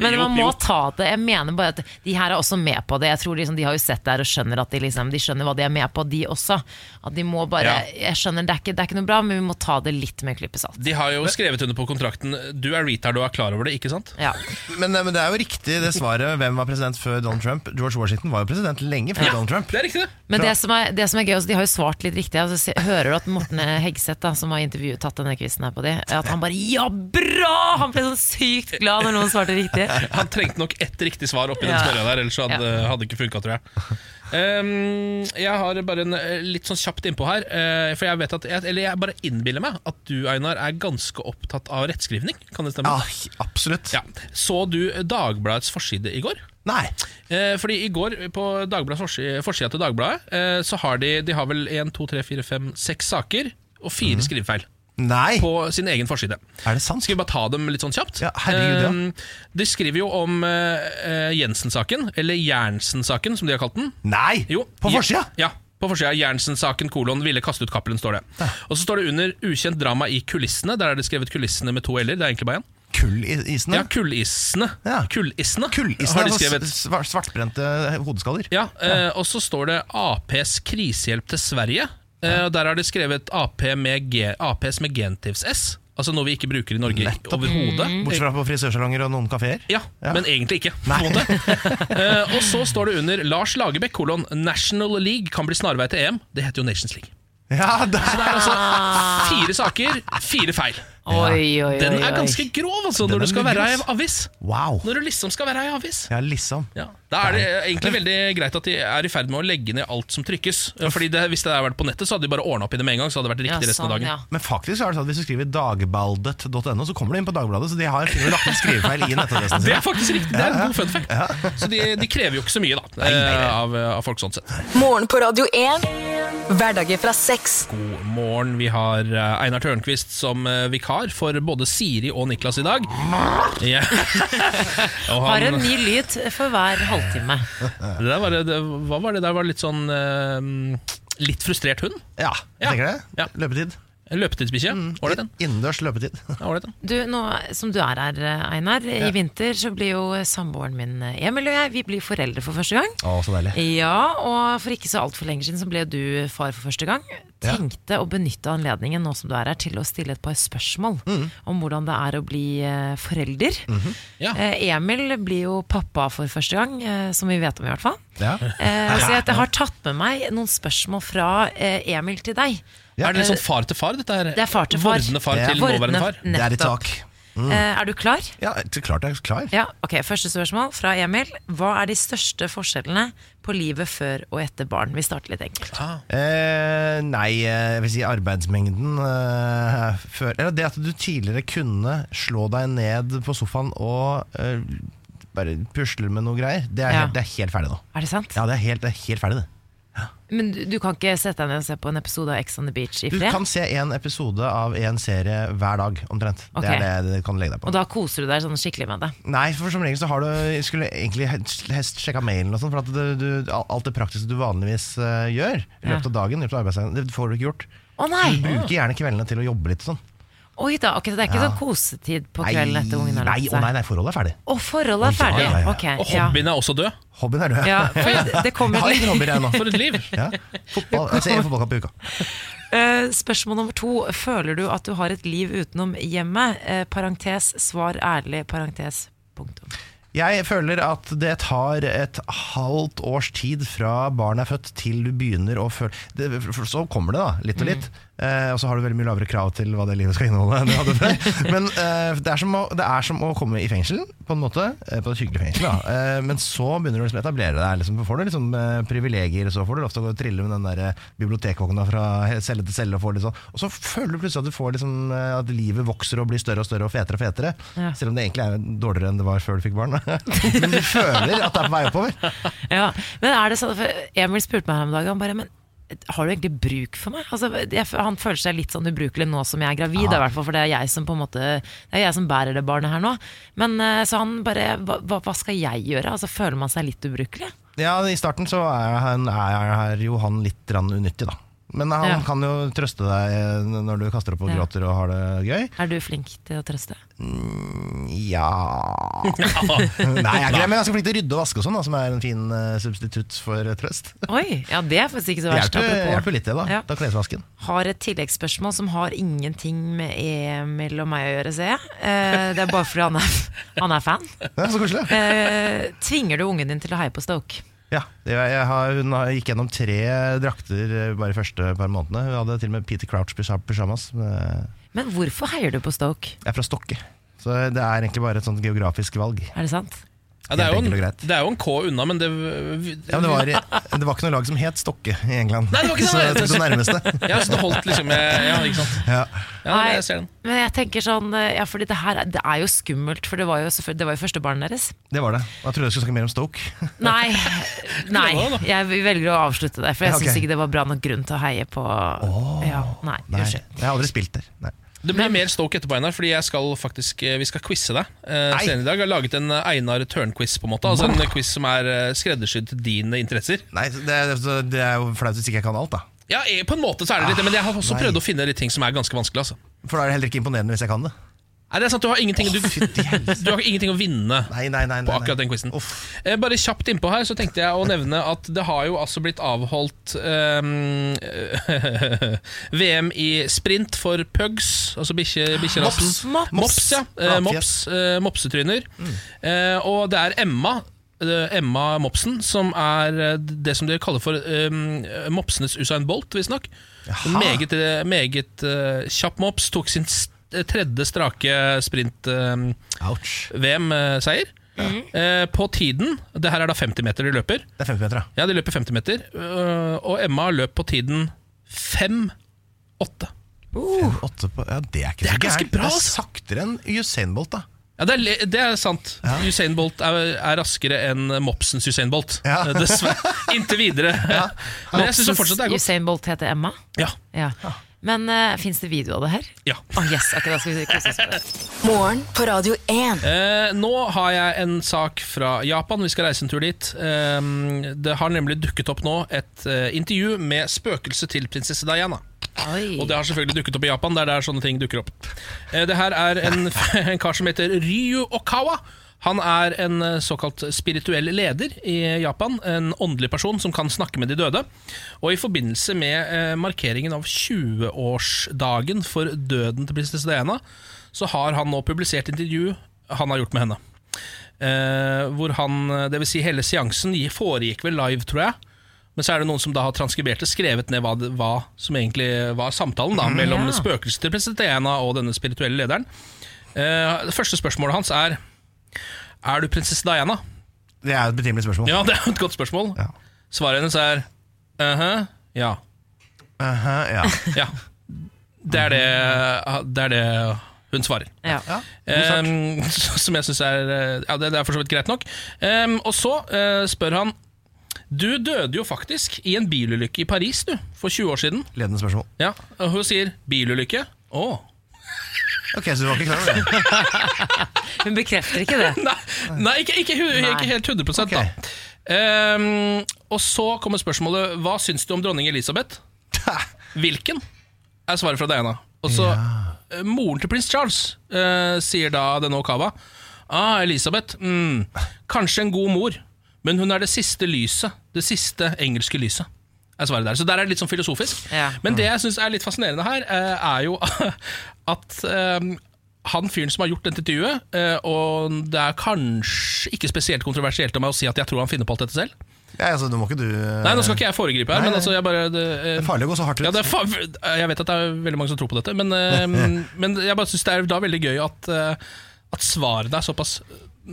S3: men
S5: Jo,
S3: man må
S5: jo.
S3: ta det. Jeg mener bare at De her er også med på det. Jeg tror liksom, De har jo sett det her og skjønner at de, liksom, de skjønner hva de er med på, de også. At de må bare, Jeg skjønner, det er, ikke, det er ikke noe bra, men vi må ta det litt med en klype salt.
S2: De har jo skrevet under på kontrakten 'du er retard og er klar over det', ikke sant?
S3: Ja.
S1: Men, eh, men det er jo riktig det svaret. Hvem var president før Donald Trump? George Washington var jo president lenge før Donald Trump.
S2: Det er riktig, det.
S3: Men det som, er, det som er gøy, også, de har jo svart litt riktig. Altså, se- hører du at Morten Hegseth, da, som har intervjuet tatt denne quizen her på de, at han bare 'ja, bra!' Han ble sånn sykt glad når noen
S2: [LAUGHS]
S3: svarte riktig.
S2: Han trengte nok ett riktig svar oppi den
S3: Ja.
S2: smørja der, ellers hadde hadde det ikke funka, tror jeg. Ehm, jeg har bare en eh, litt sånn kjapt innpå her, eh, for jeg vet at jeg, Eller jeg bare innbiller meg at du, Einar, er ganske opptatt av rettskrivning. Kan det stemme?
S1: Ja, absolutt.
S2: Ja. Så du Dagbladets forside i går?
S1: Nei.
S2: Eh, fordi i går på Dagbladets forsi- forsida til Dagbladet, eh, så har de De har vel 1, 2, 3, 4, 5, 6 saker og fire skrivefeil
S1: Nei.
S2: på sin egen forside.
S1: Er det sant?
S2: Skal vi bare ta dem litt sånn kjapt?
S1: Ja, herregud, ja.
S2: Eh, de skriver jo om eh, eh, Jensen-saken, eller Jernsen-saken, som de har kalt den.
S1: Nei!
S2: Jo,
S1: På
S2: Je-
S1: forsida!
S2: Ja, på forsida. Jernsen-saken, kolon, ville kaste ut Cappelen, står det. Og så står det under 'ukjent drama i kulissene'. Der er det skrevet 'kulissene' med to l-er. Det er egentlig bare én.
S1: Kullisene.
S2: Ja, kullissene.
S1: Ja.
S2: Kullissene,
S1: Kullisene
S2: har de
S1: altså
S2: skrevet.
S1: s- svar- svartbrente hodeskaller.
S2: Ja, eh, og så står det Aps krisehjelp til Sverige. Eh, og der har de skrevet AP med G, Aps med gentivs S. Altså noe vi ikke bruker i Norge
S1: Nettopp.
S2: overhodet.
S3: Mm.
S1: Bortsett fra på frisørsalonger og noen kafeer.
S2: Ja,
S1: Ja.
S2: men egentlig ikke. På
S1: [LAUGHS]
S2: en måte. Eh, og så står det under Lars Lagerbäck kolon National League kan bli snarvei til EM. Det heter jo Nations League.
S1: Ja, der.
S2: Det er altså fire saker, fire feil.
S3: Oi, oi, Ah. oi.
S2: Den
S3: oi.
S2: er ganske grov, altså,
S1: Den
S2: når
S1: er
S2: du skal være ei
S1: grov.
S2: avis.
S1: Wow.
S2: Når du liksom skal være ei avis.
S1: Ja, liksom.
S2: Ja. Da er det egentlig veldig greit at de er i ferd med å legge ned alt som trykkes. Fordi det, Hvis det hadde vært på nettet, så hadde de bare ordna opp i det med en gang. Så hadde det vært riktig
S3: Ja,
S2: resten av
S3: sånn,
S2: dagen
S3: ja.
S1: Men faktisk så er det sånn at hvis du skriver dagbaldet.no, så kommer du inn på Dagbladet. Så de har til og med lagt en skrivefeil i nettadressen
S2: Det er
S1: sin.
S2: faktisk riktig, det er en god fun fact. Så de, de krever jo ikke så mye da eh, av, av folk sånn sett.
S4: Morgen på Radio 1. Hverdager fra seks.
S2: God morgen. Vi har eh, Einar Tørnquist som eh, vikar for både Siri og Niklas i dag. Ja. [LAUGHS] Og
S3: Har en
S2: han,
S3: ny lyd for hver halvtime.
S2: det der var, det, hva var det der? Var litt sånn eh, Litt frustrert hund?
S1: Ja, jeg
S2: Ja.
S1: tenker det.
S2: Ja.
S1: Løpetid.
S2: Løpetidsbikkje?
S3: Mm.
S2: Ålreit, den.
S1: Innendørs løpetid.
S2: Ja, ålreit den.
S3: Du, nå som du er her, Einar, i vinter så blir jo samboeren min Emil og jeg, vi blir foreldre for første gang.
S1: Å, så deilig.
S3: Ja, og for ikke så altfor lenge siden så ble du far for første gang.
S1: Ja.
S3: Tenkte å benytte anledningen nå som du er her til å stille et par spørsmål
S1: Mm.
S3: om hvordan det er å bli eh, forelder.
S1: Mhm.
S2: Ja.
S3: Eh, Emil blir jo pappa for første gang, eh, som vi vet om i hvert fall.
S1: [LAUGHS] Ja.
S3: Eh, så jeg har tatt med meg noen spørsmål fra eh, Emil til deg.
S2: Er det litt sånn far til far, dette her?
S3: Det er far til far.
S2: Vordende far
S1: Ja.
S2: til nåværende far?
S3: Vordende-
S1: Det er i
S3: nettopp.
S1: tak.
S3: Eh, er du klar?
S1: Ja, så klart jeg er klar.
S3: Ja, ok, Første spørsmål fra Emil. Hva er de største forskjellene på livet før og etter barn? Vi starter litt enkelt.
S1: Eh, nei, eh, jeg vil si arbeidsmengden eh, før Eller det at du tidligere kunne slå deg ned på sofaen og eh, bare pusle med noe greier, det er,
S3: Ja.
S1: helt, det er helt ferdig nå.
S3: Er det sant?
S1: Ja, det er helt, det er helt ferdig, det.
S3: Men du, du kan ikke sette deg ned og se på en episode av Ex on the Beach i
S1: Du
S3: fred?
S1: kan se en episode av en serie hver dag, omtrent.
S3: Ok.
S1: Det er det du kan legge deg på.
S3: Og da koser du deg sånn skikkelig med det?
S1: Nei, for som regel så har du Jeg skulle egentlig helst helst sjekka mailen og sånn, for at du, du, alt det praktiske du vanligvis eh, gjør i
S3: Ja.
S1: løpet av dagen, i løpet av arbeidsdagen, det får du ikke gjort.
S3: Å nei!
S1: Bruker gjerne kveldene til å jobbe litt og sånn.
S3: Oi da, ok, så Det er ikke
S1: Mm-hmm. Ja.
S3: sånn kosetid på
S1: Nei,
S3: kvelden etter ungen har
S1: nei,
S3: lagt
S1: å nei,
S3: seg?
S1: nei, forholdet er ferdig.
S3: Og forholdet er
S1: Å,
S3: ferdig?
S1: ja, ja, ja.
S3: Ok,
S2: Og
S3: ja.
S2: hobbyen er også død?
S1: Hobbyen er død. [LAUGHS]
S3: Ja, for det
S1: Jeg [LAUGHS]
S3: kommer
S1: har
S3: litt
S1: ingen hobbyer, jeg nå.
S2: For et
S3: [LAUGHS]
S2: liv!
S1: Ja. Fotball, altså, jeg ser en fotballkamp i uka.
S3: Eh, Spørsmål nummer to. Føler du at du har et liv utenom hjemmet? Eh, Parentes svar ærlig, parentes punktum.
S1: Jeg føler at det tar et halvt års tid fra barnet er født til du begynner å føle det, for Så kommer det, da. Litt og litt. Eh, og så har du veldig mye lavere krav til hva det livet skal inneholde. enn du hadde før. Men eh, det, er som å, det er som å komme i fengsel, på en måte. Eh, på et hyggelig fengsel, da. Eh, men så begynner du liksom å etablere deg. Liksom, får du liksom eh, privilegier, så får du lov til å gå og trille med den der eh, bibliotekvogna fra celle til celle. Og, får litt sånn. og så føler du plutselig at, du får liksom, eh, at livet vokser og blir større og større og fetere og fetere.
S3: Ja.
S1: Selv om det egentlig er dårligere enn det var før du fikk barn. [LAUGHS] da. Men du føler at det er på vei oppover.
S3: Ja, men er det sånn, for Emil spurte meg her om dagen, han bare, men har du egentlig bruk for meg? Altså, jeg, han føler seg litt sånn ubrukelig nå som jeg er gravid, da, i hvert fall, for det er jeg som på en måte Det er jeg som bærer det barnet her nå. Men eh, så han bare hva, hva hva skal jeg gjøre? Altså, føler man seg litt ubrukelig?
S1: Ja, I starten så er, han, er her jo han litt grann unyttig, da. Men han
S3: Ja.
S1: kan jo trøste deg når du kaster opp og
S3: Ja.
S1: gråter og har det gøy.
S3: Er du flink til å trøste?
S1: Ja
S2: Ja.
S1: Nei, jeg er ikke det, men jeg er ganske flink til å rydde og vaske og sånn, da, som er en fin eh, substitutt for eh, trøst.
S3: Oi, ja det er faktisk ikke så
S1: Det
S3: verst.
S1: hjelper,
S3: apropos.
S1: hjelper litt, det, da.
S3: Ja.
S1: Da klesvasken.
S3: Har et tilleggsspørsmål som har ingenting med Emil og meg å gjøre, ser jeg. Eh, det er bare fordi han er, han er fan.
S1: Ja, så koselig.
S3: Eh, tvinger du ungen din til å heie på Stoke?
S1: Ja, det- jeg har, hun har, gikk gjennom tre drakter eh, bare de første par månedene. Hun hadde til og med Peter Crouch eh, pysjamas. Jeg
S3: Men hvorfor heier du på Stoke?
S1: er fra Stokke, så det er egentlig bare et sånt geografisk valg.
S3: Er det sant?
S2: Ja, det, er jo
S1: Helt enkelt
S2: en,
S1: og greit.
S2: det er jo en K unna, men det
S1: Ja, men det, var, det var ikke noe lag som het Stokke i England,
S2: Nei, det var ikke det.
S1: så jeg tok det nærmeste.
S2: Ja, så det holdt liksom jeg, Ja, ikke sant.
S1: Ja.
S2: Ja,
S3: Nei.
S2: jeg ser den.
S3: Men jeg tenker sånn, eh, ja, fordi det her er- det er jo skummelt, for det var jo, selvfølgelig- det var jo første barnet deres.
S1: Det var det. Jeg trodde jeg skulle snakke mer om Stoke.
S3: Nei, nei,
S2: Prøv da, da.
S3: jeg velger å avslutte det, for jeg
S1: Ja, ok.
S3: syns ikke det var bra nok grunn til å heie på ja, Nei,
S1: Nei,
S3: unnskyld.
S1: jeg har aldri spilt der. Nei.
S2: Det blir mer Stoke etterpå, Einar, fordi jeg skal faktisk, eh, vi skal quize deg. eh,
S1: Nei.
S2: senere i dag Jeg har laget en eh, Einar Tørn-quiz, på en måte. Altså en quiz som er eh, skreddersydd til dine interesser.
S1: Nei, det, er- det er jo flaut hvis ikke jeg kan alt, da.
S2: Ja, eh, på en måte så er det litt det, men jeg har også
S1: nei.
S2: prøvd å finne litt ting som er ganske vanskelig, altså.
S1: For da er det heller ikke imponerende hvis jeg kan det.
S2: Nei, det er sant, du har ingenting, du,
S1: Fytti helsike.
S2: du har ingenting å vinne.
S1: Nei, nei, nei, nei, nei.
S2: På akkurat den quizen.
S1: Uff.
S2: Eh, Bare kjapt innpå her så tenkte jeg å nevne at det har jo altså blitt avholdt [LAUGHS] eh, VM i sprint for pugs, altså bikkje- bikkjerassen.
S1: Ah, Mops. Mops. Mm.
S2: Mops, ja. Eh, mops
S1: Flatfjes.
S2: eh, mopsetryner. Eh, og det er Emma. eh, Emma Mopsen, som er eh, det som dere kaller for eh, mopsenes Usain Bolt, visstnok. En Meget, eh, meget eh, kjapp mops. Tok sin s- tredje strake ehm, sprint-VM-seier.
S1: Ouch.
S2: Eh, på tiden Det her er da 50 meter de løper.
S1: Det er 50 meter, da.
S2: Ja, de løper 50 meter. øh, og Emma løp på tiden 5-8.
S1: Åtte på, ja, det er ikke
S2: Det
S1: så
S2: er ganske
S1: gærent.
S2: bra,
S1: Det er
S2: altså.
S1: saktere enn Usain Bolt, da.
S2: Ja, det er, le- det er sant. Usain Bolt er, er raskere enn mopsens Usain Bolt.
S1: Ja.
S2: Eh, Dessverre. Inntil videre. Men jeg syns jo fortsatt det er godt.
S3: Usain Bolt heter Emma.
S2: Ja,
S3: Ja. Men uh, fins det video av det her?
S2: ja.
S3: Å yes, ok, da skal vi kose oss med det.
S4: Morgen på Radio 1.
S2: Eh, nå har jeg en sak fra Japan. Vi skal reise en tur dit. Eh, det har nemlig dukket opp nå et eh, intervju med spøkelset til prinsesse Diana. Og det
S3: Oi.
S2: har selvfølgelig dukket opp i Japan, der det er sånne ting dukker opp. Eh, Det her er en, [LAUGHS] en kar som heter Ryu Okawa. Han er en eh, såkalt spirituell leder i Japan. En åndelig person som kan snakke med de døde. Og i forbindelse med eh, markeringen av 20-årsdagen for døden til prinsesse Diana, så har han nå publisert intervju han har gjort med henne. Eh, hvor han, eh, det vil si hele seansen gi- foregikk vel live, tror jeg. Men så er det noen som da har transkribert det, skrevet ned hva, det- hva som egentlig var samtalen da, mellom
S3: ja.
S2: spøkelset til president Diana og denne spirituelle lederen. Eh, det første spørsmålet hans er Er du prinsesse Diana?
S1: Det er et betimelig spørsmål.
S2: Ja, det er jo et godt spørsmål.
S1: Ja.
S2: Svaret hennes er «Mhm, ja.
S1: Aha, ja.
S2: ja. Det er det, det er det hun svarer.
S3: Ja.
S1: ja.
S2: [LAUGHS] Ehm, som jeg syns er eh, Ja, det, det er for så vidt greit nok. Ehm, og så eh, spør han Du døde jo faktisk i en bilulykke i Paris, du, for 20 år siden.
S1: Ledende spørsmål.
S2: Ja, Og hun sier 'bilulykke'. Å.
S1: Ok, så du var ikke klar over det?
S3: Hun bekrefter ikke det.
S2: [LAUGHS] Nei, nei, ikke, ikke, hu-
S3: Nei.
S2: ikke helt 100
S1: Ok.
S2: da. Ehm, og så kommer spørsmålet 'Hva syns du om dronning Elisabeth?' Hvilken? er svaret fra Diana. Og så eh, Moren til prins Charles eh, sier da denne Okawa Ah, Elisabeth. Mm, kanskje en god mor, men hun er det siste lyset. Det siste engelske lyset. Er svaret der. Så der er det litt sånn filosofisk.
S3: Ja.
S2: Men det jeg syns er litt fascinerende her, eh, er jo [LAUGHS] at eh, han fyren som har gjort dette intervjuet, eh, og det er kanskje ikke spesielt kontroversielt av meg å si at jeg tror han finner på alt dette selv.
S1: Ja, altså, nå må ikke du eh,
S2: Nei, nå skal ikke jeg foregripe her,
S1: Nei,
S2: men
S1: nei.
S2: altså jeg bare det,
S1: Det
S2: eh,
S1: er farlig å gå så hardt ut.
S2: ja, det er fa jeg vet at det er veldig mange som tror på dette,
S1: [LAUGHS]
S2: men, eh, men jeg bare syns det er da veldig gøy at, eh, at svarene er såpass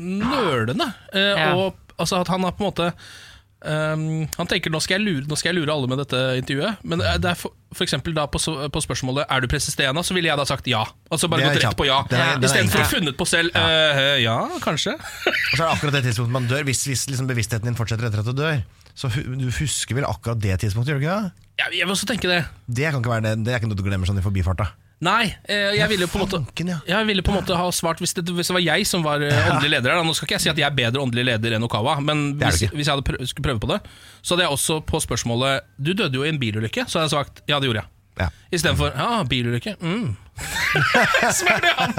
S2: nølende. eh,
S3: Ja.
S2: Og altså, at han har på en måte eh, han tenker nå skal, jeg lure, nå skal jeg lure alle med dette intervjuet. Men eh, det er for, for eksempel da på, så- på spørsmålet Er du prinsesse Diana, så ville jeg da sagt ja. Altså bare
S1: Det er
S2: gått rett
S1: kjapt.
S2: på ja.
S1: Den er- den er
S2: Istedenfor å
S1: enkel.
S2: funnet på selv. eh, ja, kanskje.
S1: Og så er det akkurat det tidspunktet man dør, hvis, hvis liksom bevisstheten din fortsetter etter at du dør. Så hu- du husker vel akkurat det tidspunktet, gjør du ikke det?
S2: Jeg, jeg vil også tenke det.
S1: Det kan ikke være det, det er ikke noe du glemmer sånn i forbifarta.
S2: Nei, eh, jeg ville på en måte
S1: Fanken, ja.
S2: jeg ville på en måte ha svart hvis det, hvis det var jeg som var eh, åndelig leder. her, Da. Nå skal ikke jeg si at jeg er bedre åndelig leder enn Okawa, men
S1: Det er
S2: hvis,
S1: du ikke.
S2: hvis jeg hadde prøv, skulle prøve på det, så hadde jeg også på spørsmålet Du døde jo i en bilulykke, så hadde jeg sagt ja, det gjorde jeg.
S1: Ja.
S2: Istedenfor ja, bilulykke. Mm. [LAUGHS] Som er det han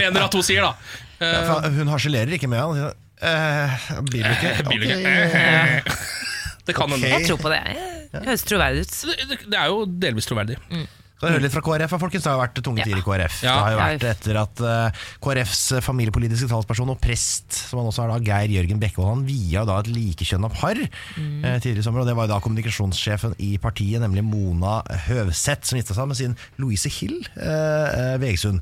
S2: mener at hun sier, da.
S1: Ja, for hun harselerer ikke med han. Eh, bilulykke.
S2: Bilulykke. [LAUGHS] Det kan hende.
S1: Ok.
S3: Jeg tror på det. Det høres troverdig ut.
S2: Det, det, det er jo delvis troverdig.
S1: Skal høre litt fra KrF, da, folkens. Det har vært tunge tider i KrF. Det
S2: Ja.
S1: har jo
S3: Ja,
S1: vært
S3: vi-
S1: etter at eh, KrFs familiepolitiske talsperson og prest, som han også er da, Geir Jørgen Bekkevold, han via da et likekjønna par
S2: Mm.
S1: eh, tidligere i sommer. Og det var jo da kommunikasjonssjefen i partiet, nemlig Mona Høvseth, som gifta seg med sin Louise Hill eh, eh, Vegsund.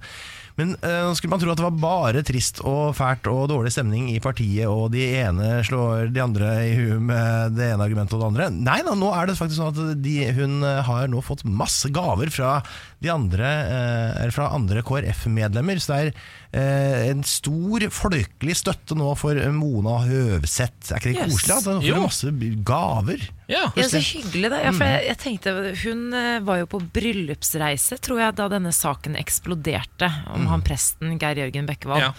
S1: Men eh, nå skulle man tro at det var bare trist og fælt og dårlig stemning i partiet, og de ene slår de andre i huet med det ene argumentet og det andre. Nei da, nå er det faktisk sånn at de, hun eh, har nå fått masse gaver fra, de andre, eh, eller fra andre KrF-medlemmer, så det er eh, en stor folkelig støtte nå for Mona Høvseth. Er ikke det
S3: Yes.
S1: koselig? At hun
S2: Jo.
S1: får masse gaver.
S2: Ja.
S3: Ja, så hyggelig da. Ja,
S1: Mm.
S3: for jeg, jeg tenkte, hun eh, var jo på bryllupsreise, tror jeg, da denne saken eksploderte om han
S1: Mm.
S3: presten Geir Jørgen Bekkevold.
S2: Ja.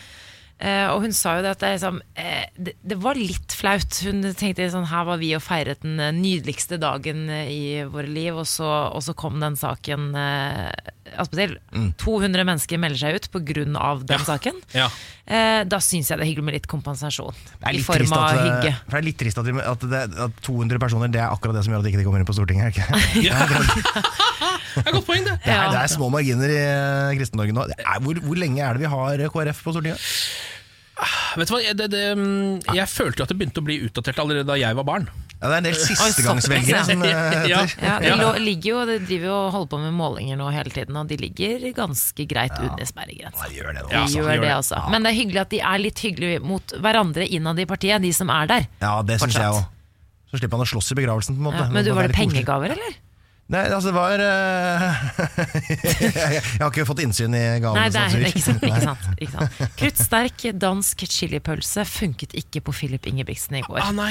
S3: Eh, og hun sa jo det at det, er liksom, eh, det, det var litt flaut. Hun tenkte sånn her var vi og feiret den eh, nydeligste dagen eh, i våre liv, og så, og så kom den saken eh, Attpåtil.
S1: Mm.
S3: 200 mennesker melder seg ut pga. den saken.
S2: Ja.
S3: Eh, da syns jeg det er hyggelig med litt kompensasjon.
S1: Det er
S3: I
S1: litt
S3: form
S1: trist
S3: av
S1: at, eh,
S3: hygge.
S1: For det er litt trist at, de- at, det, at 200 personer, det er akkurat det som gjør at de ikke kommer inn på Stortinget. er det
S3: [LAUGHS]
S1: Ikke?
S2: [LAUGHS] Det er et godt poeng, det.
S1: Det er,
S3: Ja.
S1: det er små marginer i eh, Kristen-Norge nå. Det er, hvor, hvor lenge er det vi har eh, KrF på Stortinget?
S2: Vet du hva, jeg- det, det, mm, Jeg følte jo at det begynte å bli utdatert allerede da jeg var barn.
S1: Ja, det er en del
S3: ja.
S1: sistegangsvelgere som eh,
S2: Ja.
S1: heter.
S3: [LAUGHS] Ja, de lå- ligger jo, de driver jo og holder på med målinger nå hele tiden, og de ligger ganske greit under
S1: Ja,
S3: sperregrensen.
S1: de gjør det nå.
S3: De
S2: Ja,
S1: altså.
S2: de gjør
S3: gjør det,
S2: det.
S3: altså. Men det er hyggelig at de er litt hyggelige mot hverandre innad i partiet, de som er der.
S1: Ja, det syns
S3: Fortsatt.
S1: jeg òg. Så slipper han å slåss i begravelsen. på en måte
S3: Ja, men du,
S1: Det
S3: var
S1: er litt
S3: det
S1: koselig.
S3: pengegaver, eller?
S1: Nei, altså det var eh, [LAUGHS] Jeg har ikke fått innsyn i gavene.
S3: Nei, det er
S1: sannsynligvis.
S3: ikke sant.
S1: Nei.
S3: Ikke sant, ikke sant. Kruttsterk dansk chilipølse funket ikke på Filip Ingebrigtsen i går.
S2: Ah, nei.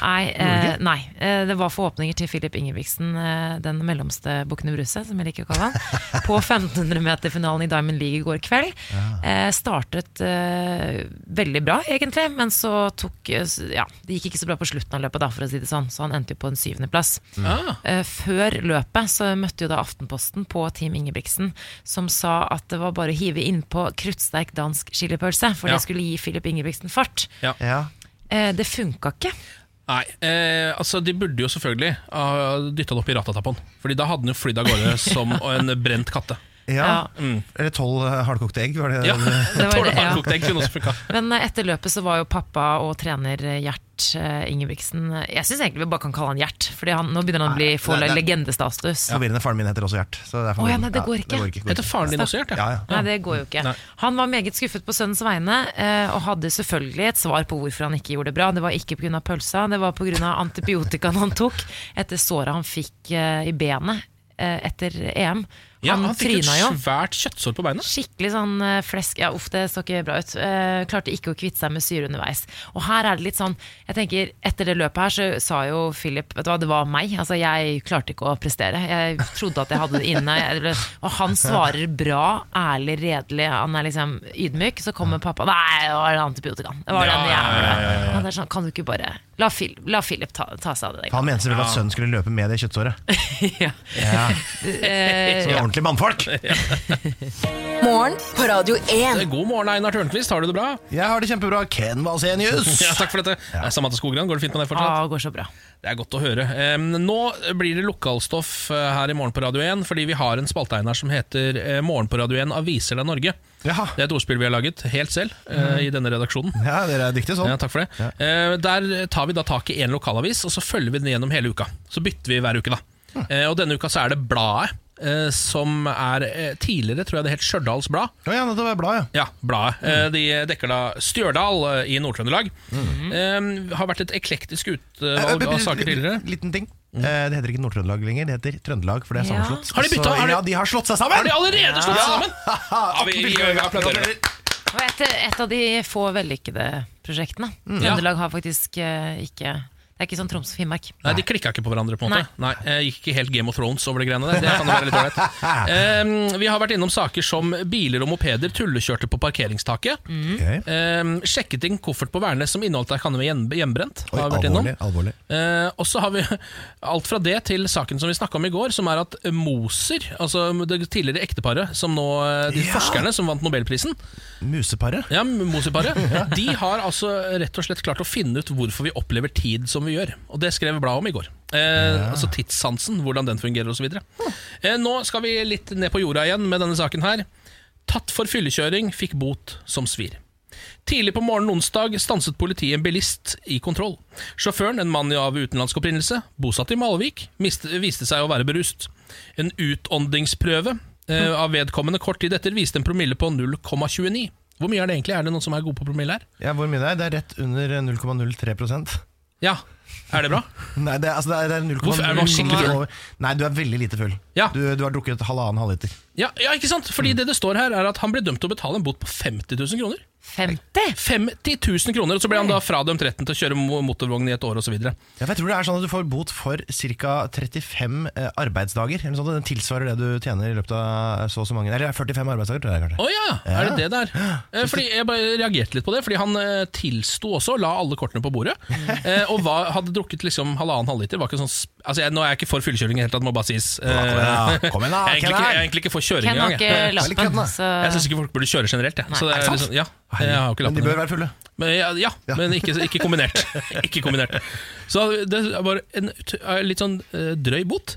S3: Nei, eh, nei. Eh, det var forhåpninger til Filip Ingebrigtsen, eh, den mellomste Bukkene Bruse, som jeg liker å kalle han, på 1500-meterfinalen i Diamond League i går kveld. Eh, startet eh, veldig bra, egentlig, men så tok eh, s- Ja, det gikk ikke så bra på slutten av løpet, da, for å si det sånn, så han endte jo på en syvendeplass.
S2: Ah.
S3: Eh, Før løpet så møtte jo da Aftenposten på Team Ingebrigtsen, som sa at det var bare å hive innpå kruttsterk dansk chilipølse, for
S2: Ja.
S3: det skulle gi Filip Ingebrigtsen fart.
S1: Ja.
S3: Eh, Det funka ikke.
S2: Nei, eh, altså De burde jo selvfølgelig ha dytta det opp i rattet på den. Fordi da hadde den jo flydd av
S3: [LAUGHS]
S2: gårde som en brent katte.
S1: ja.
S3: Ja.
S1: Eller tolv eh, hardkokte egg, var det
S2: Ja,
S3: det,
S2: Tåler
S3: ja.
S2: hardkokt egg kunne også funka.
S3: Men eh, etter løpet så var jo pappa og trener eh, Gjert eh, Ingebrigtsen eh, Jeg syns egentlig vi bare kan kalle han Gjert, for nå begynner han å bli få
S1: det- det-
S3: legendestatus.
S1: Forvirrende. Faren min heter også Gjert. Så det er
S3: Å ja,
S1: forvirrende.
S3: nei, det går ikke.
S1: går
S2: Heter faren din også Gjert?
S1: Ja, ja.
S3: Nei, det går jo ikke.
S2: Nei.
S3: Han var meget skuffet på sønnens vegne, eh, og hadde selvfølgelig et svar på hvorfor han ikke gjorde det bra. Det var ikke pga. pølsa, det var pga. antibiotikaen han tok etter såret han fikk eh, i benet eh, etter EM.
S2: Ja,
S3: han,
S2: han fikk et
S3: tryna jo.
S2: svært kjøttsår på beinet.
S3: Skikkelig sånn eh, flesk Ja, uff, det så ikke bra ut. Eh, klarte ikke å kvitte seg med syre underveis. Og her er det litt sånn Jeg tenker, Etter det løpet her så sa jo Philip Vet du hva, det var meg. Altså, jeg klarte ikke å prestere. Jeg trodde at jeg hadde det inne. Jeg ble- Og han svarer bra, ærlig, redelig. Han er liksom ydmyk. Så kommer pappa Nei, det var antibiotikaen. Det var
S2: Ja,
S3: den
S2: ja, ja,
S3: jævla Og det er sånn, Kan du ikke bare La, Phil, la Philip ta, ta seg av det.
S1: Han mente selvfølgelig at sønnen skulle løpe med det kjøttsåret.
S3: der». [LAUGHS] Ja.
S1: Ja.
S3: Eh,
S1: Som ordentlige mannfolk!
S4: Morgen på Radio 1.
S2: God morgen, Einar Tørnquist. Har du det bra?
S1: Jeg har det kjempebra. Ken Vasenius!
S2: [LAUGHS] Ja, takk for dette. Samantha Skogran, går det fint med deg fortsatt?
S3: Ah, går så bra.
S2: Det er godt å høre. Em, nå blir det lokalstoff eh, her i Morgen på Radio 1, fordi vi har en spalte Einar, som heter eh, Morgen på Radio 1 aviser deg Norge.
S1: Jaha.
S2: Det er et ordspill vi har laget helt selv eh, i denne redaksjonen.
S1: Ja, dere er dyktige sånn.
S2: Ja, takk for det. Eh, der tar vi da tak i én lokalavis, og så følger vi den gjennom hele uka. Så bytter vi hver uke, da. Eh, og denne uka så er det Bladet, eh, som er eh, tidligere, tror jeg det het Stjørdals Blad.
S1: Å ja, dette var bladet, ja.
S2: Ja, bladet. Eh, De dekker da Stjørdal eh, i Nord-Trøndelag. Eh, har vært et eklektisk utvalg av saker tidligere.
S1: Eh,
S2: Mm.
S1: Liten ting. Eh, Det heter ikke Nord-Trøndelag lenger, det heter Trøndelag, for det er
S3: Ja.
S1: sammenslått.
S2: Har de byttet?
S1: Så-
S2: Har de-
S1: Ja, de har slått seg
S2: Har
S1: sammen!
S2: de allerede slått seg
S1: [LAUGHS]
S2: sammen? Ja, vi, vi, vi applauderer det.
S3: Og
S2: Mm.
S3: et, et av de få vellykkede prosjektene. Trøndelag har faktisk eh, ikke Det er ikke sånn Troms og Finnmark.
S2: Nei, De klikka ikke på hverandre. på en måte Nei, eh, Gikk ikke helt Game of Thrones over de greiene der. Det kan jo være litt
S1: [LAUGHS]
S2: ålreit. Em, vi har vært innom saker som biler og mopeder tullekjørte på parkeringstaket.
S1: Ok.
S2: Eh, Em, sjekket inn koffert på Værnes som inneholdt ei kanne med hjem- hjemmebrent.
S1: Oi,
S2: har vi vært
S1: alvorlig,
S2: innom.
S1: alvorlig.
S2: Eh, og så har vi [LAUGHS] alt fra det til saken som vi snakka om i går, som er at Moser, altså det tidligere ekteparet, som nå, eh, de
S1: Ja.
S2: forskerne som vant Nobelprisen,
S1: Museparet.
S2: ja, Moser-paret, de har altså rett og slett klart å finne ut hvorfor vi opplever tid som vi gjør. Og det skrev bladet om i går. Eh, Altså tidssansen, hvordan den fungerer osv. Eh, nå skal vi litt ned på jorda igjen med denne saken her. Tatt for fyllekjøring, fikk bot som svir. Tidlig på morgenen onsdag stanset politiet en bilist i kontroll. Sjåføren, en mann av utenlandsk opprinnelse, bosatt i Malvik, miste, viste seg å være berust. En utåndingsprøve eh, av vedkommende kort tid etter viste en promille på 0,29. Hvor mye er det egentlig? Er det noen som er gode på promille her?
S1: Ja, hvor mye det er? Det er rett under eh, 0,03
S2: Ja. Er det bra?
S1: Nei, det er, altså, det er, det er 0,0
S2: Hvorfor er man skikkelig full?
S1: over- Nei, du er veldig lite full.
S2: Ja.
S1: Du, du har drukket halvannen halvliter.
S2: Ja, ja ikke sant? Fordi det det står her, er at han ble dømt til å betale en bot på 50 000 kroner.
S3: 50!
S2: 50 000 kroner, og så ble han da fradømt retten til å kjøre mo- motorvogn i et år osv.
S1: Ja, for jeg tror det er sånn at du får bot for ca. 35 eh, arbeidsdager. Eller noe sånt, og Den tilsvarer det du tjener i løpet av eh, så og så mange Eller 45 arbeidsdager, tror jeg
S2: Å
S1: kanskje.
S2: ja, er det det der? Eh, Fordi Jeg bare reagerte litt på det, fordi han eh, tilsto også, la alle kortene på
S1: [LAUGHS]
S2: bordet. eh, Og var, hadde drukket liksom halvannen halvliter. Var ikke sånn, sp- altså jeg, nå er jeg ikke for fyllekjøring i det hele tatt, må bare sies. Eh,
S1: Kom igjen, da. Kom igjen da,
S2: [LAUGHS] jeg, er egentlig
S1: Ken
S2: ikke, jeg
S1: her.
S2: er egentlig ikke for kjøring
S3: Ken har
S2: engang.
S3: ikke
S2: Jeg,
S3: lappen, så
S2: [LAUGHS] jeg syns ikke folk burde kjøre generelt. Jeg. Så
S3: Nei,
S1: er
S2: det er
S1: det
S2: liksom, ja, jeg har
S1: Men
S2: ikke lappen.
S1: de bør være fulle.
S2: Men, ja, ja, men ikke, ikke
S1: [LAUGHS]
S2: kombinert. ikke kombinert. Så det var en ut- eh, litt sånn eh, drøy bot.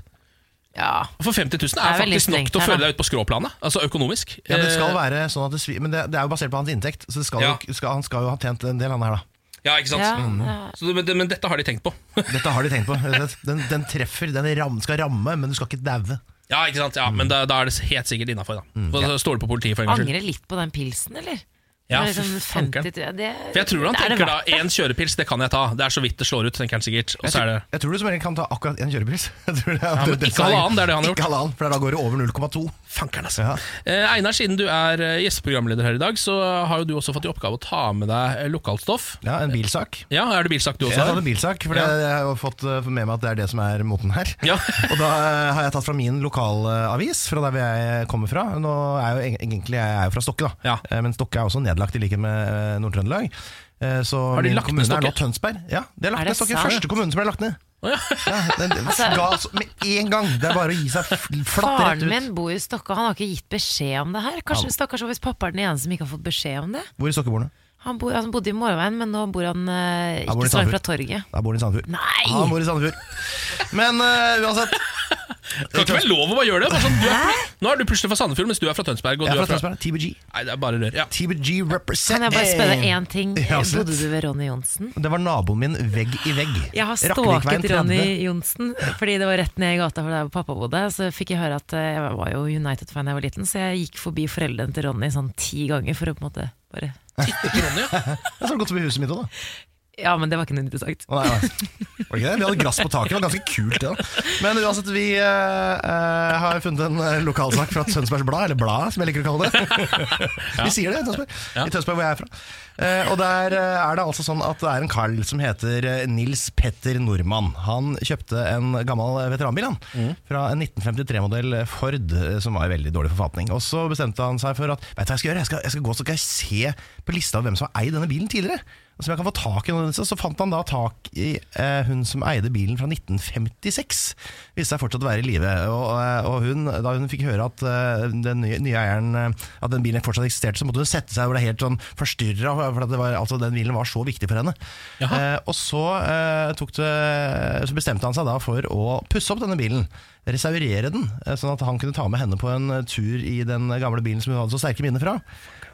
S3: ja.
S2: For 50 000
S3: Det
S2: er,
S3: er veldig
S2: faktisk nok
S3: strengt
S2: til å
S3: her, da.
S2: føle deg ut på skråplanet, altså økonomisk.
S1: Ja, det skal
S2: Eh,
S1: være sånn at det svi, Men det, det er jo basert på hans inntekt, så det skal
S2: Ja.
S1: jo, skal, han skal jo ha tjent en del, han her, da.
S2: ja, ikke sant?
S3: ja. ja.
S2: Så, det- men, men dette har de tenkt på.
S1: Dette har de tenkt på. Den, den treffer, den ram, skal ramme, men du skal ikke daue.
S2: Ja, ikke sant? Ja, Men da, da er det helt sikkert innafor. Mm. Ja. Stole på politiet for en gangs skyld.
S3: Angrer litt på den pilsen, eller?
S2: Ja,
S3: Det er liksom
S2: fy fankeren.
S3: 50 000, det,
S2: For jeg tror han
S3: er det
S2: tenker da
S3: verdt det?
S2: én kjørepils, det kan jeg ta. Det er så vidt det slår ut, tenker han sikkert. Og så er det
S1: Jeg tror du som regel kan ta akkurat én kjørepils. [LAUGHS] Jeg tror det er-
S2: men
S1: det-
S2: ikke halvannen, det er det han har
S1: Ikke
S2: gjort.
S1: halvannen, for da går det over 0,2.
S2: Fankeren, altså.
S1: Ja.
S2: Eh, Einar, siden du er eh, gjesteprogramleder her i dag, så har jo du også fått i oppgave å ta med deg eh, lokalt stoff.
S1: Ja, en bilsak.
S2: Ja, er det bilsak du
S1: Jeg
S2: også
S1: hadde
S2: har?
S1: bilsak, for det-
S2: Ja.
S1: jeg har jo fått eh, med meg at det er det som er moten her.
S2: Ja.
S1: [LAUGHS] Og da eh, har jeg tatt fra min lokalavis, fra der hvor jeg kommer fra. Nå er jeg jo eng- egentlig jeg er jo fra Stokke, da.
S2: Ja.
S1: Eh, Men Stokke er også nedlagt, i likhet med eh, Nord-Trøndelag. Eh, Så
S2: Har de
S1: min
S2: lagt ned
S1: kommune er nå
S2: Stokke?
S1: Tønsberg. Ja, de har lagt
S3: Er det
S1: ned Stokke.
S3: sant? Altså-
S1: Første kommune som ble lagt ned.
S2: Å, ja.
S1: Ja,
S3: [LAUGHS]
S1: den, den ga oss med en gang. Det er bare å gi seg f- flatt rett
S3: Faren
S1: ut.
S3: min bor jo i Stokka, han har ikke gitt beskjed om det her. Kanskje stakkars hvis pappa er den eneste som ikke har fått beskjed om det.
S1: Hvor i Sokkeborene?
S3: Han, bor, han bodde i Morveien, men nå bor han eh,
S1: Han bor i
S3: ikke så langt fra
S1: Sandefjord.
S3: torget.
S1: Der bor han i Sandefjord.
S3: Nei!
S1: Han bor i Sandefjord. Men eh, uansett.
S2: Kan ikke være lov å bare gjøre det! Bare sånn, du er, pl- nå er du plutselig fra Sandefjord, mens du er fra Tønsberg. Og
S1: Jeg
S2: du
S1: er fra Tønsberg. TBG.
S2: Nei, det er bare rør. Ja.
S1: TBG represent.
S3: Kan jeg bare spørre deg én ting?
S1: Ja, absolutt.
S3: Bodde du ved Ronny Johnsen?
S1: Det var naboen min vegg i vegg.
S3: Jeg har
S1: Rakkevikveien
S3: stalket
S1: 30.
S3: Ronny Johnsen, fordi det var rett ned i gata for der hvor pappa bodde. Så fikk jeg høre at eh, jeg var jo United-fan da jeg var liten, så jeg gikk forbi foreldrene til Ronny sånn ti ganger for å på en måte bare
S2: Ronny, ja.
S1: Jeg så godt forbi huset mitt òg, da.
S3: Ja, men det var ikke noe interessant.
S1: Å, nei, nei. Var det ikke det? Vi hadde gress på taket, det var ganske kult det. da. Men uansett, vi eh, eh, har funnet en eh, lokalsak fra Tønsbergs Blad, eller Bladet, som jeg liker å kalle det. Vi sier det i Tønsberg,
S2: Ja.
S1: i Tønsberg hvor jeg er fra. Eh, og der eh, er det altså sånn at det er en karl som heter eh, Nils Petter Nordmann. Han kjøpte en gammel eh, veteranbil han, fra en 1953-modell Ford, eh, som var i veldig dårlig forfatning. Og så bestemte han seg for at vet du hva jeg skal gjøre? Jeg skal, jeg skal gå så skal jeg se på lista over hvem som har eid denne bilen tidligere. Som jeg kan få tak i noen av disse. Så fant han da tak i eh, hun som eide bilen fra 1956. Viste seg fortsatt å være i live. Og, eh, og hun, da hun fikk høre at eh, den nye, nye eieren eh, At den bilen fortsatt eksisterte, så måtte hun sette seg og ble helt sånn forstyrra. For at det var, altså, den bilen var så viktig for henne. Eh, og så, eh, tok det, så bestemte han seg da for å pusse opp denne bilen. Restaurere den, eh, sånn at han kunne ta med henne på en eh, tur i den gamle bilen som hun hadde så sterke minner fra.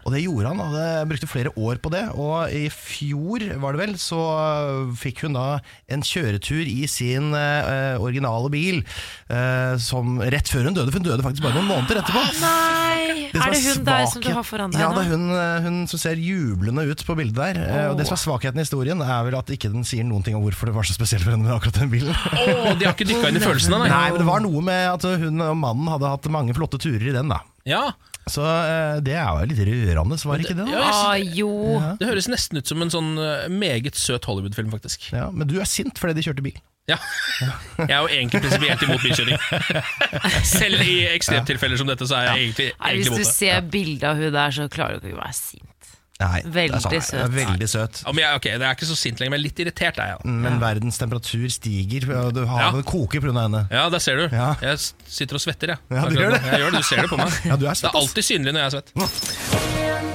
S1: Og det gjorde han, og det brukte flere år på det. Og i fjor, var det vel, så øh, fikk hun da en kjøretur i sin øh, øh, originale bil øh, som rett før hun døde, for hun døde faktisk bare noen måneder etterpå.
S3: Ah, Nei!
S1: som
S3: er det hun der som du
S1: svakhet-
S3: har foran deg
S1: Ja, det
S3: nå?
S1: er hun, øh, hun som ser jublende ut på bildet der. Eh, Og det som er svakheten i historien, er vel at ikke den sier noen ting om hvorfor det var så spesielt for henne med akkurat den bilen.
S2: Å, de har ikke dykka inn i følelsene, nei.
S1: Nei, men det var var noe med at hun og mannen hadde hatt mange flotte turer i den, da.
S2: Ja,
S1: Så eh, det er jo litt rørende, var det ikke det? da?
S2: ja jeg
S3: Ah,
S2: synes,
S3: jo.
S2: det høres nesten ut som en sånn eh, meget søt Hollywood-film, faktisk.
S1: Ja, men du er sint fordi de kjørte bil.
S2: Ja. Jeg er jo egentlig prinsipielt imot bilkjøring. Selv i ekstremtilfeller som dette, så er jeg egentlig,
S3: Nei,
S2: egentlig
S3: hvis du
S2: imot det.
S3: ser bildet av hun der, så klarer du ikke å være sint.
S1: Nei,
S3: Veldig
S1: det er sant, det er
S3: søt.
S1: Veldig søt.
S2: Ja, men jeg, ok, det er ikke så sint lenger, men litt irritert er jeg. da.
S1: Men verdens temperatur stiger, og du har
S2: Ja.
S1: det koker pga. henne.
S2: Ja, der ser du.
S1: Ja.
S2: Jeg s- sitter og svetter, jeg.
S1: Ja, du
S2: Akkurat
S1: gjør
S2: nå.
S1: det.
S2: Jeg gjør det, Du ser det på meg.
S1: Ja, du er
S2: det
S1: søt,
S2: er
S1: ass.
S2: alltid synlig når jeg er svett.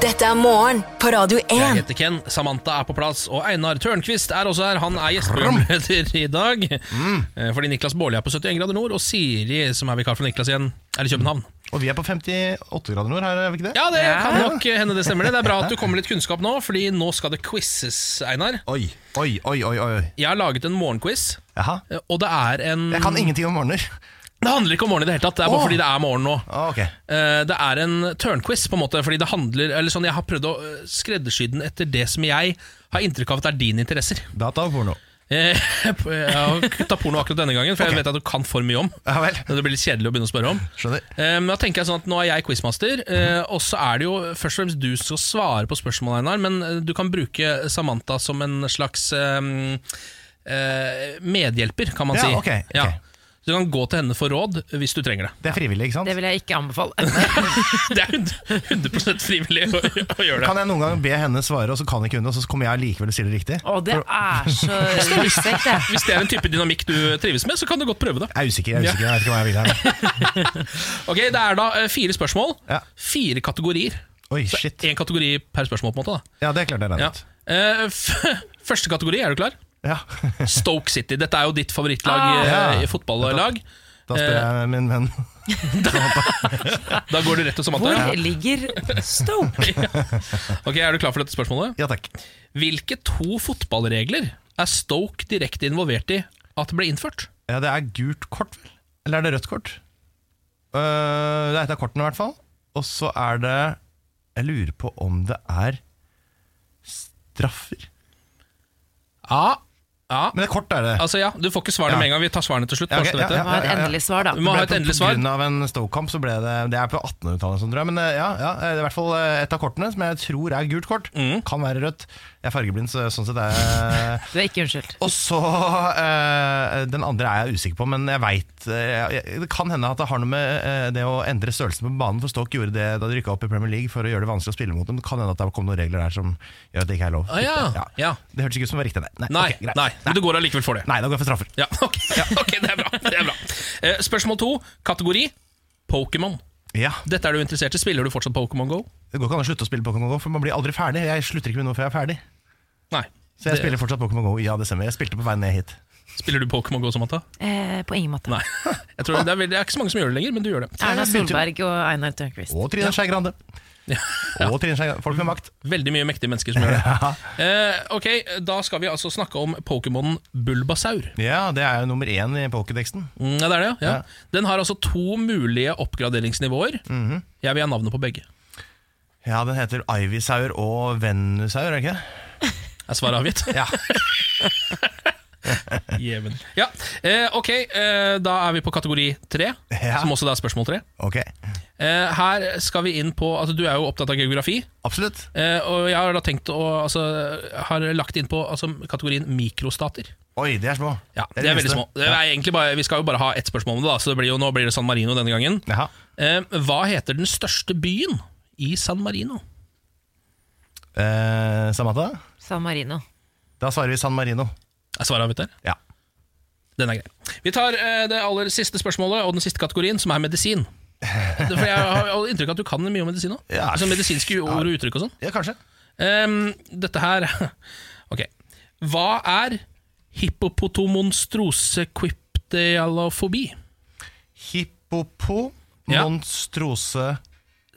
S4: Dette er morgen på Radio
S2: Eh. Jeg
S4: 1.
S2: heter Ken, Samantha er på plass, og Einar Tørnquist er også her. Han er gjesteprogramleder i dag.
S1: Mm.
S2: Eh, Fordi Niklas Baarli er på 71 grader nord, og Siri, som er vikar for Niklas igjen, er i København.
S1: Og vi er på 58 grader nord her, er vi ikke det?
S2: Ja, det kan nok hende det stemmer. Det Det er bra at du kommer litt kunnskap nå, Fordi nå skal det quizzes, Einar.
S1: Oi, oi, oi, oi. oi.
S2: Jeg har laget en morgenquiz,
S1: Jaha.
S2: eh, og det er en
S1: Jeg kan ingenting om morgener.
S2: Det handler ikke om morgenen i det hele tatt, det er bare
S1: Åh.
S2: fordi det er morgen nå.
S1: Ah, ok.
S2: Eh, Det er en tørnquiz, på en måte, fordi det handler Eller sånn, jeg har prøvd å eh, skreddersy den etter det som jeg har inntrykk av at er dine interesser. [LAUGHS]
S1: Data og porno.
S2: Eh, Jeg har kutta porno akkurat denne gangen, for jeg vet at du kan for mye om.
S1: Ja vel.
S2: Det blir litt kjedelig å begynne å spørre om.
S1: Skjønner.
S2: Eh, Men da tenker jeg sånn at Nå er jeg quizmaster, eh, og så er det jo først og fremst du som skal svare på spørsmål, Einar. Men eh, du kan bruke Samantha som en slags eh, eh, medhjelper, kan man
S1: Ja,
S2: si.
S1: ok, ok.
S2: Så du kan gå til henne for råd hvis du trenger det. [LAUGHS]
S1: Det er frivillig, ikke sant?
S3: Det vil jeg ikke anbefale.
S2: Det er 100, 100 frivillig å, å gjøre det.
S1: Kan jeg noen gang be henne svare, og så kan ikke hun, og så kommer jeg likevel og stiller riktig?
S3: Å, det er [LAUGHS] så respekt, det.
S2: Hvis det er en type dynamikk du trives med, så kan du godt prøve det.
S1: Jeg er usikker, jeg er usikker, jeg vet ikke hva jeg vil her.
S2: Ok, Det er da eh, fire spørsmål.
S1: Ja.
S2: Fire kategorier.
S1: Oi, shit.
S2: Én kategori per spørsmål, på en måte. da
S1: Ja, det klarte jeg
S2: ja.
S1: regnet ut.
S2: Eh, f [LAUGHS] Første kategori, er du klar?
S1: Ja. [LAUGHS]
S2: Stoke City. Dette er jo ditt favorittlag,
S3: Ah.
S2: eh,
S1: Ja.
S2: fotballag.
S1: Da spør jeg min venn.
S2: Da går du rett til Samantha.
S3: Hvor ligger Stoke?
S2: Ok, Er du klar for dette spørsmålet?
S1: Ja takk.
S2: Hvilke to fotballregler er Stoke direkte involvert i at ble innført?
S1: Ja, det er gult kort, vel? Eller er det rødt kort? Øh, det er et av kortene, i hvert fall. Og så er det Jeg lurer på om det er straffer.
S2: Ja, ja.
S1: Men det er kort, er det.
S2: Altså ja, Du får ikke svarene
S1: Ja.
S2: med en gang. Vi tar svarene til slutt.
S1: Ja,
S2: bare
S1: ok,
S2: så du
S1: ja,
S2: vet det.
S3: Det var et endelig svar, da.
S2: Du må ha
S1: Det
S2: et
S1: ble
S2: endelig
S1: På
S2: svar.
S1: grunn av en Stoke-kamp så ble det Det er på 1800-tallet, sånn, tror jeg. Men eh, ja, ja, det er i hvert fall eh, et av kortene som jeg tror er gult kort.
S2: Mm.
S1: Kan være rødt. Jeg er fargeblind, så sånn sett er jeg
S3: Du er ikke unnskyldt.
S1: Og så eh, Den andre er jeg usikker på, men jeg veit Det kan hende at det har noe med eh, det å endre størrelsen på banen, for Stoke gjorde det da de rykka opp i Premier League for å gjøre det vanskelig å spille mot dem. Det kan hende at det kom noen regler der som gjør at det ikke er lov.
S2: Ah, ja, ja.
S1: Det hørtes ikke ut som det var riktig, nei. Nei,
S2: Nei,
S1: ok, greit.
S2: nei, men du går allikevel for det.
S1: nei, da går jeg for straffer.
S2: Ja, ok, ja, ok, det er bra. Det er bra. Eh, spørsmål to, kategori Pokémon.
S1: Ja,
S2: Dette er du interessert i. Spiller du fortsatt Pokémon Go?
S1: Det går ikke an å slutte å spille Pokémon GO, for man blir aldri ferdig. Jeg slutter ikke med noe før jeg er ferdig.
S2: Nei.
S1: Så jeg
S2: Det-
S1: spiller fortsatt Pokémon GO. Ja, det stemmer. Jeg spilte på vei ned hit.
S2: Spiller du Pokémon Go, Samantha?
S3: Eh, på ingen måte.
S2: Nei. Jeg tror det, er, veldig- det er ikke så mange som gjør det lenger, men du gjør det.
S3: Erna Solberg og Einar Tørnquist.
S1: Og Trine Skei Grande. Og Trine Skei Grande. Folk med makt. [LAUGHS]
S2: Veldig mye mektige mennesker som gjør [LAUGHS] det. Eh, ok, Da skal vi altså snakke om Pokémonen Bulbasaur.
S1: Ja, det er jo nummer én i pokédexen.
S2: Mm, ja, det er det, ja.
S1: Ja.
S2: Den har altså to mulige oppgraderingsnivåer. Jeg vil ha navnet på begge.
S1: Ja, den heter Ivysaur og Venusaur, er det ikke det?
S2: Er svaret avgitt?
S1: Ja.
S2: [LAUGHS] Jevn. Ja, eh, ok, eh, da er vi på kategori tre,
S1: Ja.
S2: som også da er spørsmål tre.
S1: Ok,
S2: Eh, her skal vi inn på altså, Du er jo opptatt av geografi.
S1: absolutt.
S2: Eh, og jeg har da tenkt å altså, Har lagt inn på altså, kategorien mikrostater.
S1: Oi, de er små.
S2: Ja, de er veldig små. Det er egentlig bare, vi skal jo bare ha ett spørsmål om det, da, så det blir jo, nå blir det San Marino denne gangen.
S1: Jaha.
S2: Eh, hva heter den største byen i San Marino?
S1: Eh, Samantha,
S3: San Marino.
S1: da svarer vi San Marino.
S2: Er svaret avgitt der?
S1: Ja.
S2: Den er grei. Vi tar eh, det aller siste spørsmålet og den siste kategorien, som er medisin. Det- For Jeg har jo inntrykk av at du kan mye om medisin òg.
S1: Ja.
S2: Altså medisinske ord og uttrykk og sånn.
S1: Ja, kanskje.
S2: Ehm, dette her [LAUGHS] Ok. Hva er hippopotomonstrosecryptealofobi?
S1: Hippopo,
S2: Ja.
S1: monstrose,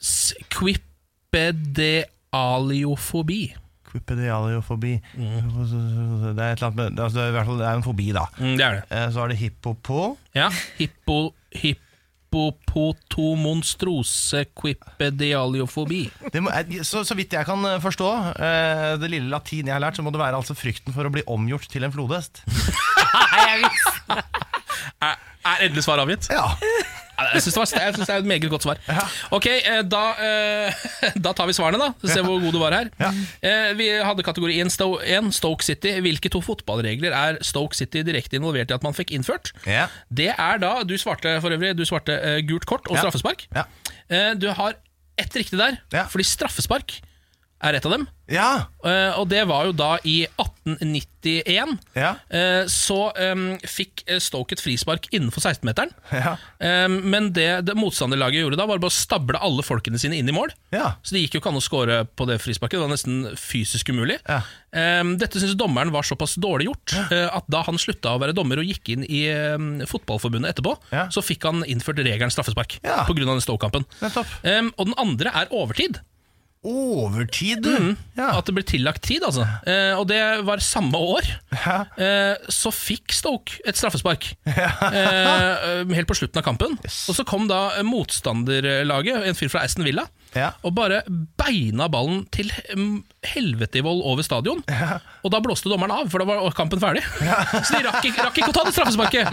S2: Squipedealiofobi.
S1: quipedialiofobi Det er et eller annet med altså, Det er i hvert fall det er en fobi, da.
S2: Mm, det er det.
S1: Eh, Så er det hippopo.
S2: Ja. Hippo, hippopotomonstrosecquipedealiofobi.
S1: Det må, eh, så, så vidt jeg kan eh, forstå, eh, det lille latin jeg har lært, så må det være altså frykten for å bli omgjort til en flodhest.
S3: Nei, jeg visste
S2: Er, er endelig svar avgitt?
S1: Ja.
S2: Ja, Jeg syns det, var- jeg synes det er et meget godt svar. Ok, eh, da, eh, [LAUGHS] da tar vi svarene, da. Se hvor god du var her.
S1: Ja.
S2: Eh, Vi hadde kategori 1, Sto 1, Stoke City. Hvilke to fotballregler er Stoke City direkte involvert i at man fikk innført?
S1: Ja.
S2: Det er da Du svarte for øvrig Du svarte eh, gult kort og
S1: Ja.
S2: straffespark.
S1: Ja.
S2: Eh, Du har ett riktig der,
S1: Ja.
S2: fordi straffespark er et av dem.
S1: Ja.
S2: Eh, Og det var jo da i 1891.
S1: Ja.
S2: Eh, Så eh, fikk eh, Stoke et frispark innenfor 16-meteren.
S1: Ja.
S2: Eh, Men det, det motstanderlaget gjorde da, var bare å stable alle folkene sine inn i mål.
S1: Ja.
S2: Så det gikk jo ikke an å score på det frisparket. Det var nesten fysisk umulig.
S1: Ja.
S2: Eh, Dette syns dommeren var såpass dårlig gjort eh, at da han slutta å være dommer og gikk inn i eh, Fotballforbundet etterpå,
S1: Ja.
S2: så fikk han innført regelen straffespark
S1: Ja.
S2: pga. Stoke-kampen.
S1: Nettopp.
S2: Eh, Og den andre er overtid.
S1: Overtid, du. Ja.
S2: Mm. At det ble tillagt tid, altså. Eh, og det var samme år.
S1: Ja.
S2: Eh, Så fikk Stoke et straffespark eh, helt på slutten av kampen. Og så kom da motstanderlaget, en fyr fra Aston Villa,
S1: Ja.
S2: og bare beina ballen til mm, helvete i vold over stadion. Og da blåste dommeren av, for da var kampen ferdig. [LAUGHS] Så de rakk, ikke- rakk ikke å ta
S1: [LAUGHS]
S2: det straffesparket!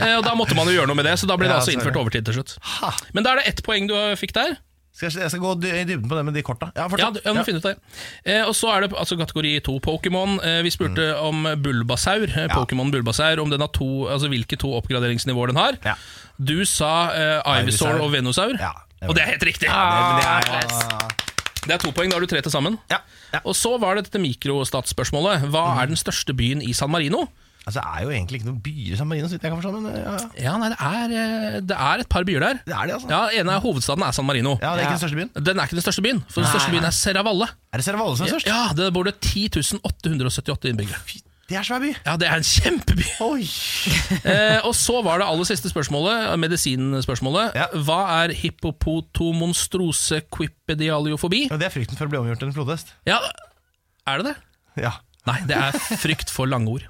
S2: Eh, Og da måtte man jo gjøre noe med det, så da ble det
S1: Ja,
S2: altså innført
S1: sorry.
S2: overtid til slutt.
S1: Ha.
S2: Men da er det ett poeng du fikk der.
S1: Skal jeg, jeg skal gå dy- i dybden på det med de korta. Ja,
S2: Ja,
S1: fortsatt.
S2: du, ja, må finne ut av det. Eh, og så er det altså, kategori to Pokémon. Eh, vi spurte om Bulbasaur, eh, Pokémon Bulbasaur, om den har to, altså, hvilke to oppgraderingsnivåer den har.
S1: Ja.
S2: Du sa eh, Ivysaur
S1: Ivysaur.
S2: og Venusaur,
S1: Ja, det var
S2: og det er helt riktig!
S1: Men det er-
S2: Det er to poeng, da har du tre til sammen.
S1: ja. ja.
S2: Og så var det dette mikrostatsspørsmålet. Hva er den største byen i San Marino?
S1: Altså, det er jo egentlig ikke noen byer i San Marino, så vidt jeg kan forstå. Men ja, ja.
S2: Ja, nei, det er, eh, det er et par byer der.
S1: det er det, altså.
S2: Ja, ene er hovedstaden er San Marino.
S1: Ja, det er ikke den største byen.
S2: Den er ikke den største byen, for den største byen er Serravalle.
S1: Er det Serravalle som er størst?
S2: Ja, Det bor det 10.878 innbyggere.
S1: Fy, Det er svær by.
S2: Ja, det er en kjempeby!
S1: Oi.
S2: Eh, og så var det aller siste spørsmålet, medisinspørsmålet.
S1: Ja.
S2: Hva er hippopotomonstrose quipedialiofobi?
S1: Ja, det er frykten for å bli omgjort til en flodhest.
S2: Ja, er det det?
S1: Ja.
S2: Nei, det er frykt for langord.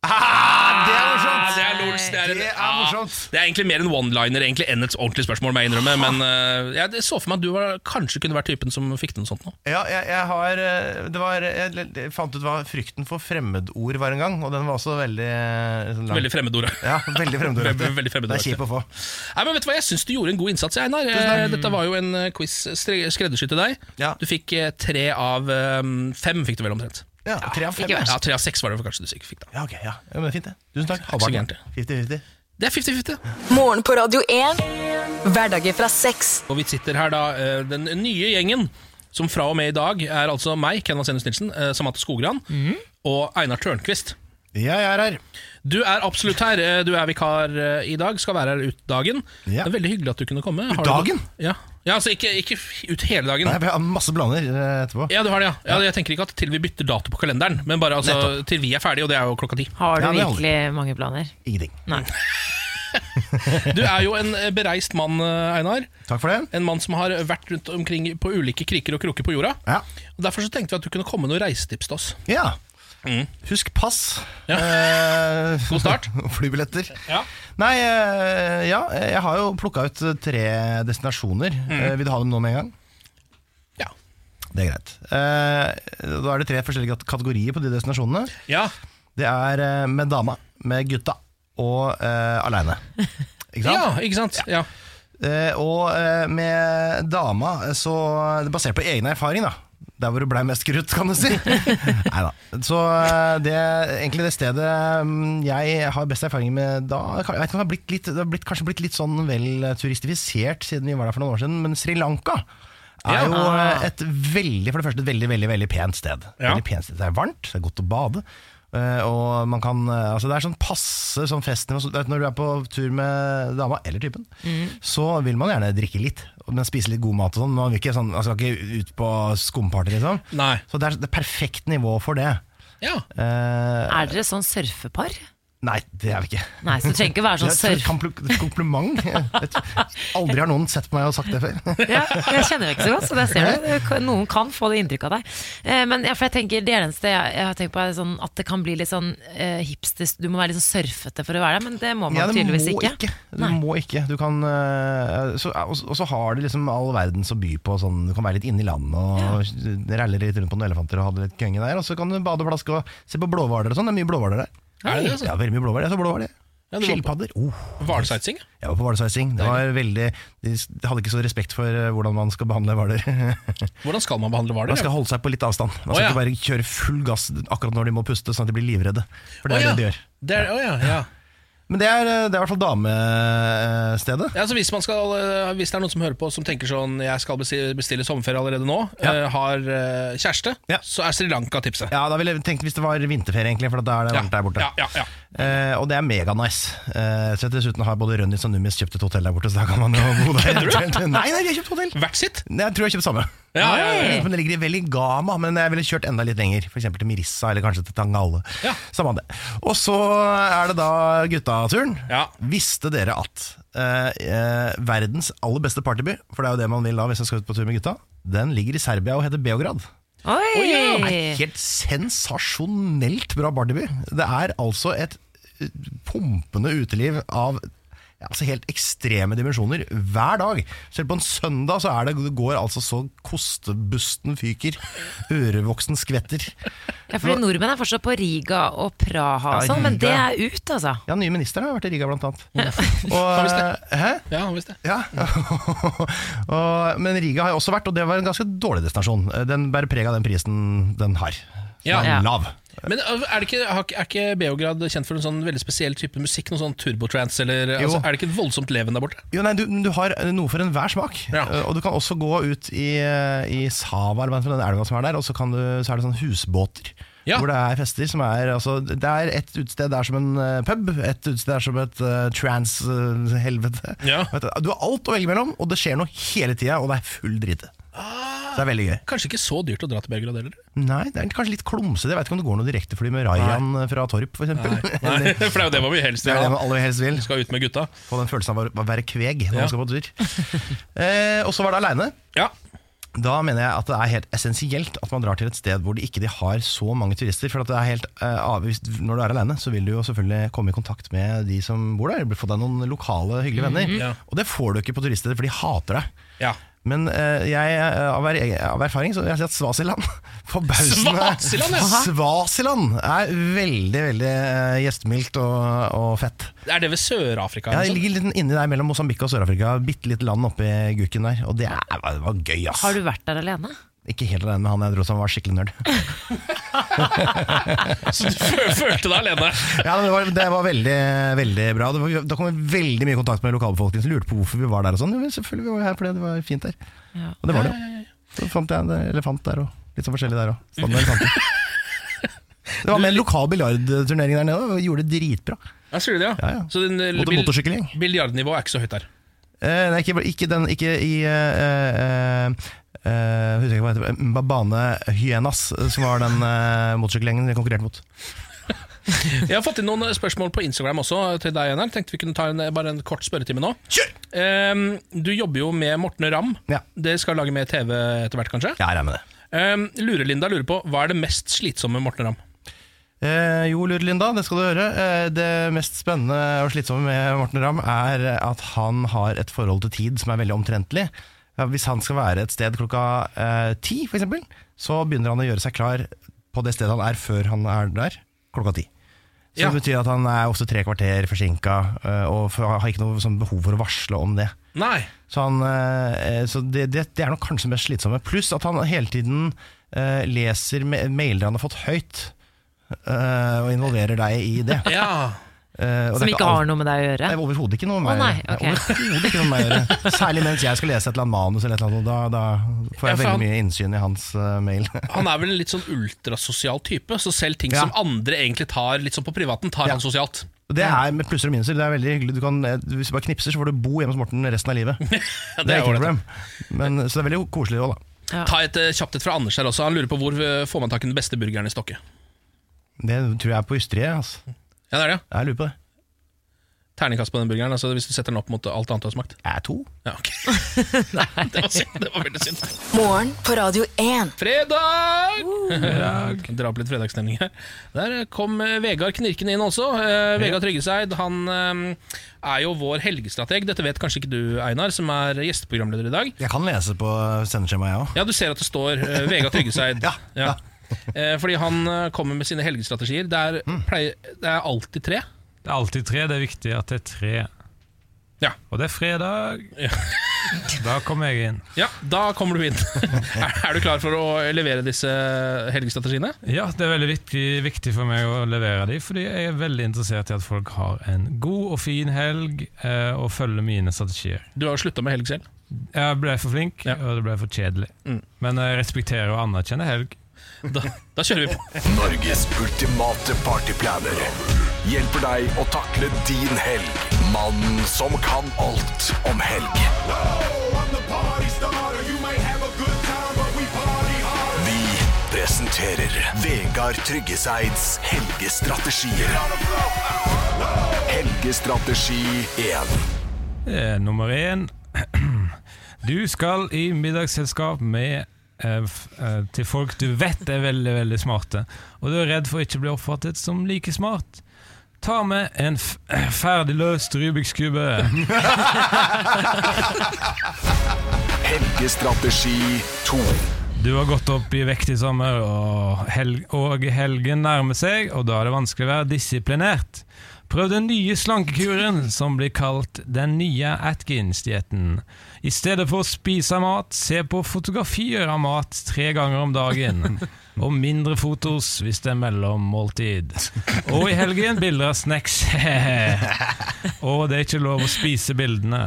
S1: Ah, det er morsomt!
S2: Det er lords, det er, en-
S1: Det er
S2: ja,
S1: morsomt.
S2: det er egentlig mer en one-liner egentlig, enn et ordentlig spørsmål, må jeg innrømme. Men
S1: Ah.
S2: eh, jeg så for meg at du var, kanskje kunne vært typen som fikk til noe sånt nå.
S1: Ja, jeg, jeg har eh, Det var Jeg l- jeg fant ut hva frykten for fremmedord var en gang, og den var også veldig eh, sånn lang.
S2: Veldig fremmedord.
S1: Ja, veldig fremmedordaktig.
S2: Veldig- veldig fremmedordaktig.
S1: Det er kjip å få.
S2: Nei, men vet du hva, Jeg syns du gjorde en god innsats, jeg, Einar. Eh, Dette var jo en eh, quiz stre- skreddersydd til deg.
S1: Ja.
S2: Du fikk eh, tre av eh, fem, fikk du vel omtrent.
S1: Ja, tre av fem.
S3: ikke verst.
S2: Ja, tre av seks var det kanskje du sikkert fikk, da.
S1: Ja, ok, ja. ja men det er Fint, det. Tusen takk.
S2: Ikke så gærent, det.
S1: 50-50.
S2: Det er 50-50.
S4: Morgen på Radio 1. Hverdager fra seks.
S2: Og vi sitter her da, eh, den nye gjengen, som fra og med i dag er altså meg, Kenvas Enus Nilsen, eh, Samantha Skogran
S1: Mhm.
S2: og Einar Tørnquist.
S1: Ja, jeg er her.
S2: Du er absolutt her. eh, Du er vikar eh, i dag, skal være her ut dagen.
S1: Ja.
S2: Det er Veldig hyggelig at du kunne komme. Har du-
S1: dagen?
S2: Ja. ja, altså ikke, ikke f- ut hele dagen.
S1: Nei, jeg har masse planer eh, etterpå.
S2: Ja, du har det, ja. ja. Jeg tenker ikke at til vi bytter dato på kalenderen, men bare altså, til vi er ferdige, og det er
S1: [LAUGHS]
S2: jo klokka ti.
S3: Har du
S1: Ja, det holder.
S3: virkelig mange planer?
S1: Ingenting.
S3: Nei.
S2: Du er jo en eh, bereist mann, eh, Einar.
S1: Takk for det.
S2: En mann som har vært rundt omkring på ulike kriker og kroker på jorda.
S1: Ja.
S2: Og Derfor så tenkte vi at du kunne komme med noen reisetips til oss.
S1: ja. Husk pass.
S2: Mm. Ja.
S1: Eh,
S2: God start.
S1: [LAUGHS] Flybilletter.
S2: Ja.
S1: Nei, eh, ja, jeg har jo plukka ut tre destinasjoner.
S2: Mm.
S1: Eh, Vil du ha dem nå med en gang?
S2: Ja.
S1: Det er greit. Eh, Da er det tre forskjellige kat- kategorier på de destinasjonene.
S2: ja.
S1: Det er eh, med dama, med gutta og eh, aleine. Ikke sant?
S2: ikke sant? Ja.
S1: Eh, og eh, med dama, eh, så basert på egen erfaring, da. Der hvor du blei mest krutt, kan du si. Nei da. Så eh, det egentlig det stedet mm, jeg har best erfaring med da Jeg vet ikke om det har blitt litt, det har blitt, kanskje blitt litt sånn vel turistifisert siden vi var der for noen år siden, men Sri Lanka er
S2: Ja.
S1: jo
S3: Ah.
S1: eh, et veldig, for det første et veldig, veldig, veldig pent sted.
S2: Ja.
S1: Veldig pent sted. Det er varmt, det er godt å bade. eh, og man kan, eh, altså Det er sånn passe sånn festnivå. så- det er Når du er på tur med dama eller typen,
S3: Mm.
S1: så vil man gjerne drikke litt, men spise litt god mat og sånn. men Man vil ikke sånn, man skal ikke ut på skumparty, liksom.
S2: Nei.
S1: Så det er det perfekte nivå for det.
S2: Ja.
S1: Eh,
S3: Er dere sånn surfepar?
S1: nei, det er vi ikke.
S3: Nei, så du
S1: [LAUGHS]
S3: trenger ikke være sånn
S1: Det er et
S3: surf...
S1: kompl- kompliment. Jeg tror- Aldri har noen sett på meg og sagt det
S3: [LAUGHS]
S1: før.
S3: Ja, jeg kjenner deg ikke så godt, så der ser du. Det kan- Noen kan få det inntrykk av deg. Eh, Men ja, for jeg tenker, det eneste jeg, jeg har tenkt på, er sånn at det kan bli litt sånn eh, hipster Du må være litt sånn surfete for å være der, men det må man
S1: Ja, det
S3: tydeligvis
S1: må
S3: ikke.
S1: Du
S3: Nei.
S1: må ikke. Du kan, øh, så, og, og så har det liksom all verdens å by på. Sånn, du kan være litt inne i landet og [LAUGHS] ralle litt rundt på noen elefanter og ha det litt kønge der. Og så kan du bade og plaske og se på blåhvaler og sånn. Det er mye blåhvaler der.
S2: Er det det, altså?
S1: Ja, veldig mye blåhvaler. Jeg så blåhval, jeg.
S2: Ja, det var på-
S1: Skilpadder. Oh.
S2: Hvalsightseeing?
S1: Jeg var på hvalsveising. Det var veldig De s- hadde ikke så respekt for eh, hvordan man skal behandle hvaler. [LAUGHS]
S2: Hvordan skal man behandle hvaler?
S1: Man skal holde seg på litt avstand. Man skal
S2: Å, ja.
S1: ikke bare kjøre full gass akkurat når de må puste, sånn at de blir livredde. For det er
S2: Å, ja.
S1: det de gjør.
S2: Det er, å ja, ja.
S1: Men det er, eh, det er i hvert fall eh, damestedet.
S2: Ja, altså hvis, man skal, eh, hvis det er noen som hører på som tenker sånn Jeg skal besti- bestille sommerferie allerede nå,
S1: Ja.
S2: eh, har eh, kjæreste,
S1: Ja.
S2: så er Sri Lanka tipset.
S1: Ja, da ville jeg tenkt hvis det var vinterferie, egentlig, for da er det varmt der borte.
S2: ja, ja, ja.
S1: Eh, og det er meganice. Eh, så dessuten har både Rønnis og Nummis kjøpt et hotell der borte, så da kan man jo bo der. eventuelt. [LAUGHS] Nei, nei, de har kjøpt hotell!
S2: Hvert sitt.
S1: Nei, Jeg tror jeg har kjøpt samme.
S2: Ja, ja, ja,
S1: Men Det ligger i Veligama, men jeg ville kjørt enda litt lenger. F.eks. til Mirissa, eller kanskje til Tangalle.
S2: Ja.
S1: Samme det. Og så er det da guttaturen.
S2: Ja.
S1: Visste dere at eh, eh, verdens aller beste partyby, for det er jo det man vil da hvis man skal ut på tur med gutta, den ligger i Serbia og heter Beograd.
S3: Oi!
S1: Helt sensasjonelt bra partyby. Det er altså et eh, pumpende uteliv av ja, altså helt ekstreme dimensjoner hver dag. Selv på en søndag så er det, det går altså så kostebusten fyker. Ørevoksen skvetter.
S3: Ja, fordi nordmenn er fortsatt på Riga og Praha og
S1: Ja,
S3: sånn, men det
S1: Riga.
S3: er ut, altså.
S1: Ja, nye ministeren har vært i Riga, blant annet. Og, eh,
S2: visst
S1: hæ?
S2: Ja, visst det.
S1: Ja. [LAUGHS] og, men Riga har jeg også vært, og det var en ganske dårlig destinasjon. Den bærer preg av den prisen den har. Den
S2: Ja.
S1: er lav.
S2: Men eh, er, det ikke, har ikke- er ikke Beograd kjent for en sånn veldig spesiell type musikk? Noe sånn turbotrance? Eller,
S1: Jo.
S2: altså, er det ikke et voldsomt leven der borte?
S1: Jo, nei, du, du har noe for enhver smak.
S2: Ja.
S1: Eh, Og du kan også gå ut i, eh, i Sava, eller hva som er den elva som er der, og så, kan du, så er det sånne husbåter.
S2: Ja.
S1: Hvor det er fester som er altså, Det er et utested er som en eh, pub, et utested er som et eh, trans-helvete. [LAUGHS]
S2: Ja.
S1: Du har alt å velge mellom, og det skjer noe hele tida, og det er full drite. Så det er veldig gøy.
S2: Kanskje ikke så dyrt å dra til Beograd heller?
S1: Nei, det er kanskje litt klumsete. Jeg vet ikke om det går noe direktefly med Rayan fra Torp, f.eks. [LAUGHS]
S2: Nei, [LAUGHS] for det er jo det man vil helst
S1: Det er det
S2: gjøre.
S1: man aller helst vil.
S2: da. Skal ut med gutta.
S1: Få den følelsen av å å være kveg når
S2: Ja.
S1: man skal på tur. [LAUGHS] Eh, og så var det aleine.
S2: Ja,
S1: Da mener jeg at det er helt essensielt at man drar til et sted hvor de ikke de har så mange turister. For at det er helt eh, avvist Når du er alene, så vil du jo selvfølgelig komme i kontakt med de som bor der. Få deg noen lokale, hyggelige venner.
S2: Mhm. Ja.
S1: Og det får du ikke på turiststeder, for de hater deg.
S2: ja.
S1: Men eh, jeg, eh, av, er, av erfaring så vil jeg si at Svasiland [LAUGHS] Forbausende
S2: Svasiland, ja.
S1: Svasiland er veldig, veldig eh, gjestmildt og, og fett.
S2: Er det sånn? ved Sør-Afrika? liksom?
S1: Ja, det
S2: eller noe sånt?
S1: ligger litt inni der mellom Mosambik og Sør-Afrika. Bitte litt land oppi gukken der. Og det, er, det var gøy, ass.
S3: Har du vært der alene?
S1: Ikke helt alene med han jeg dro som var skikkelig
S3: [LAUGHS]
S1: nerd.
S2: Så du fø- følte deg alene?
S1: Ja, men det var, det var veldig, veldig bra. Det var, da kom vi veldig mye i kontakt med lokalbefolkningen som lurte på hvorfor vi var der og sånn. Jo, men selvfølgelig vi var jo her fordi det var fint der.
S3: Ja.
S1: Og det var det jo. Så fant jeg en elefant der og litt sånn forskjellig der òg.
S3: [LAUGHS]
S1: Det var med en lokal biljardturnering der nede og gjorde det dritbra.
S2: Ja, sier du det, ja?
S1: Ja, ja.
S2: Så den, eh,
S1: Mot en
S2: bil-
S1: motorsykkelgjeng.
S2: Biljardnivået er ikke så høyt der.
S1: Eh, nei, ikke, ikke den Ikke i eh, eh, eh, husker jeg ikke hva det heter Mbabane Hyenas, eh, som var den uh, motorsykkelgjengen vi konkurrerte mot.
S2: Jeg har fått inn noen eh, spørsmål på Instagram også til deg, Einar. Tenkte vi kunne ta en, eh, bare en kort spørretime nå.
S1: Kjør!
S2: Ehm, du jobber jo med Morten Ramm.
S1: Ja.
S2: Dere skal lage mer TV etter hvert, kanskje?
S1: Jeg regner med det.
S2: Ehm, Lurer-Linda lurer på hva er det mest slitsomme med Morten Ramm?
S1: Eh, jo, lurer Linda, det skal du høre. Eh, det mest spennende og slitsomme med Morten Ramm er at han har et forhold til tid som er veldig omtrentlig. Ja, Hvis han skal være et sted klokka eh, ti, for eksempel, så begynner han å gjøre seg klar på det stedet han er før han er der, klokka ti. Så
S2: Ja.
S1: det betyr at han er ofte tre kvarter forsinka, eh, og f- har ikke noe sånn behov for å varsle om det.
S2: Nei.
S1: Så, han, eh, så det, det, det er nok kanskje det mest slitsomme. Pluss at han hele tiden eh, leser me mailer han har fått høyt, eh, og involverer deg i det.
S2: Ja.
S1: Eh, og
S3: Som
S1: det er
S3: ikke
S1: alt-
S3: har noe med deg å
S1: Det
S3: gjøre?
S1: er overhodet ikke noe med
S3: Å, nei,
S1: det er
S3: ok.
S1: overhodet ikke noe med å gjøre. Særlig mens jeg skal lese et eller annet manus, eller et eller annet, da, da får
S2: Ja,
S1: jeg
S2: for
S1: veldig
S2: han-
S1: mye innsyn i hans eh, mail.
S2: [LAUGHS]
S1: [LAUGHS]
S2: Han er vel en litt sånn ultrasosial type, så selv ting
S1: Ja.
S2: som andre egentlig tar litt sånn på privaten, tar
S1: Ja.
S2: han sosialt.
S1: Og Det er med plusser og minuser. Det er veldig hyggelig. Du kan, eh, hvis du bare knipser, så får du bo hjemme hos Morten resten av [LAUGHS] livet. Det
S2: Ja,
S1: er ikke noe
S2: ålreit.
S1: problem. Men, så det er veldig koselig òg, da.
S2: Ta et eh, kjapt et fra Anders her også. Han lurer på hvor eh, får man tak i den beste burgeren i Stokke.
S1: Det tror jeg er på ysteriet. Altså.
S2: Ja, det er det.
S1: Jeg lurer på det.
S2: Terningkast på den burgeren, altså hvis du setter den opp mot alt annet du har smakt.
S1: Jeg er to.
S2: Ja, ok. [LAUGHS] det, var synd. det var veldig synd.
S4: Morgen på Radio 1.
S2: Fredag! Dra opp litt fredagsstemning her. Der kom eh, Vegard Knirken inn også. Eh, Vegard Tryggeseid han eh, er jo vår helgestrateg. Dette vet kanskje ikke du, Einar, som er gjesteprogramleder i dag.
S1: Jeg kan lese på sendeskjemaet, jeg òg.
S2: Ja, du ser at det står
S1: [LAUGHS]
S2: eh, Vegard Tryggeseid.
S1: Ja, ja. Mm.
S2: Eh, Fordi han eh, kommer med sine helgestrategier. Det er, pleier, det er alltid tre. Det
S8: Det er alltid tre. Det er viktig at det er tre.
S2: Ja.
S8: Og det er fredag.
S2: Ja.
S8: [LAUGHS] da kommer jeg inn.
S2: Ja, da kommer du inn. [LAUGHS] er, er du klar for å levere disse helgestrategiene?
S8: Ja, det er veldig viktig, viktig for meg å levere de, fordi jeg er veldig interessert i at folk har en god og fin helg, eh, og følger mine strategier.
S2: Du har jo slutta med helg selv.
S8: Jeg ble for flink,
S2: Ja.
S8: og det ble for kjedelig.
S2: Mm.
S8: Men jeg respekterer og anerkjenner helg.
S2: Da, da kjører vi på.
S9: Norges ultimate partyplaner hjelper deg å takle din helg. Mannen som kan alt om helg. Vi presenterer Vegard Tryggeseids helgestrategier. Helgestrategi 1.
S8: Eh, nummer én [CLEARS THROAT] Du skal i middagsselskap med eh, f- eh, til folk du vet er veldig veldig smarte, og du er redd for å ikke bli oppfattet som like smart. Ta med en f [CLEARS THROAT] ferdig løst Rubiks kube.
S9: Helgestrategi 2.
S8: Du har gått opp i vekt i sommer, og, hel og helgen nærmer seg, og da er det vanskelig å være disiplinert. Prøv den nye slankekuren, som blir kalt den nye Atkins-dietten. I stedet for å spise mat, se på fotografier av mat tre ganger om dagen. Og mindre fotos hvis det er mellom måltid. Og i helgen bilder av snacks. [LAUGHS] og det er ikke lov å spise bildene.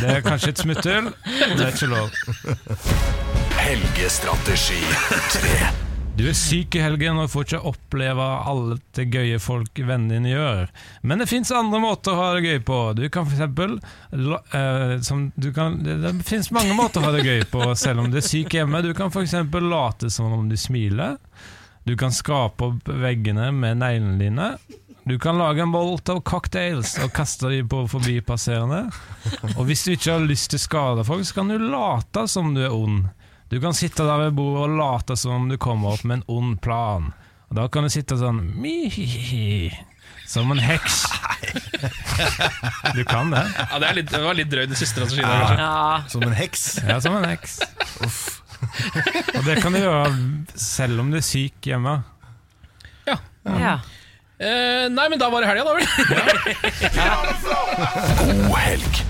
S8: Det er kanskje et smutthull, men det er ikke lov.
S9: Helgestrategi 3.
S8: Du er syk i helgen og får ikke oppleve alt det gøye folk vennene dine gjør. Men det fins andre måter å ha det gøy på. Du kan for eksempel la- eh, som du kan, Det, det fins mange måter å ha det gøy på selv om du er syk hjemme. Du kan for eksempel late som om du smiler. Du kan skrape opp veggene med neglene dine. Du kan lage en bolt av cocktails og kaste dem på forbipasserende. Og hvis du ikke har lyst til å skade folk, så kan du late som du er ond. Du kan sitte der ved bordet og late som om du kommer opp med en ond plan. Og da kan du sitte sånn «Mi-hi-hi», Som en heks. Du kan det.
S2: Ja, det, er litt, det var litt drøy den siste strategien. der, kanskje.
S3: Ja,
S1: Som en heks.
S8: Ja, som en heks. Og det kan du gjøre selv om du er syk hjemme.
S3: ja.
S2: Eh, nei, men da var det helga, da vel.
S9: God helg.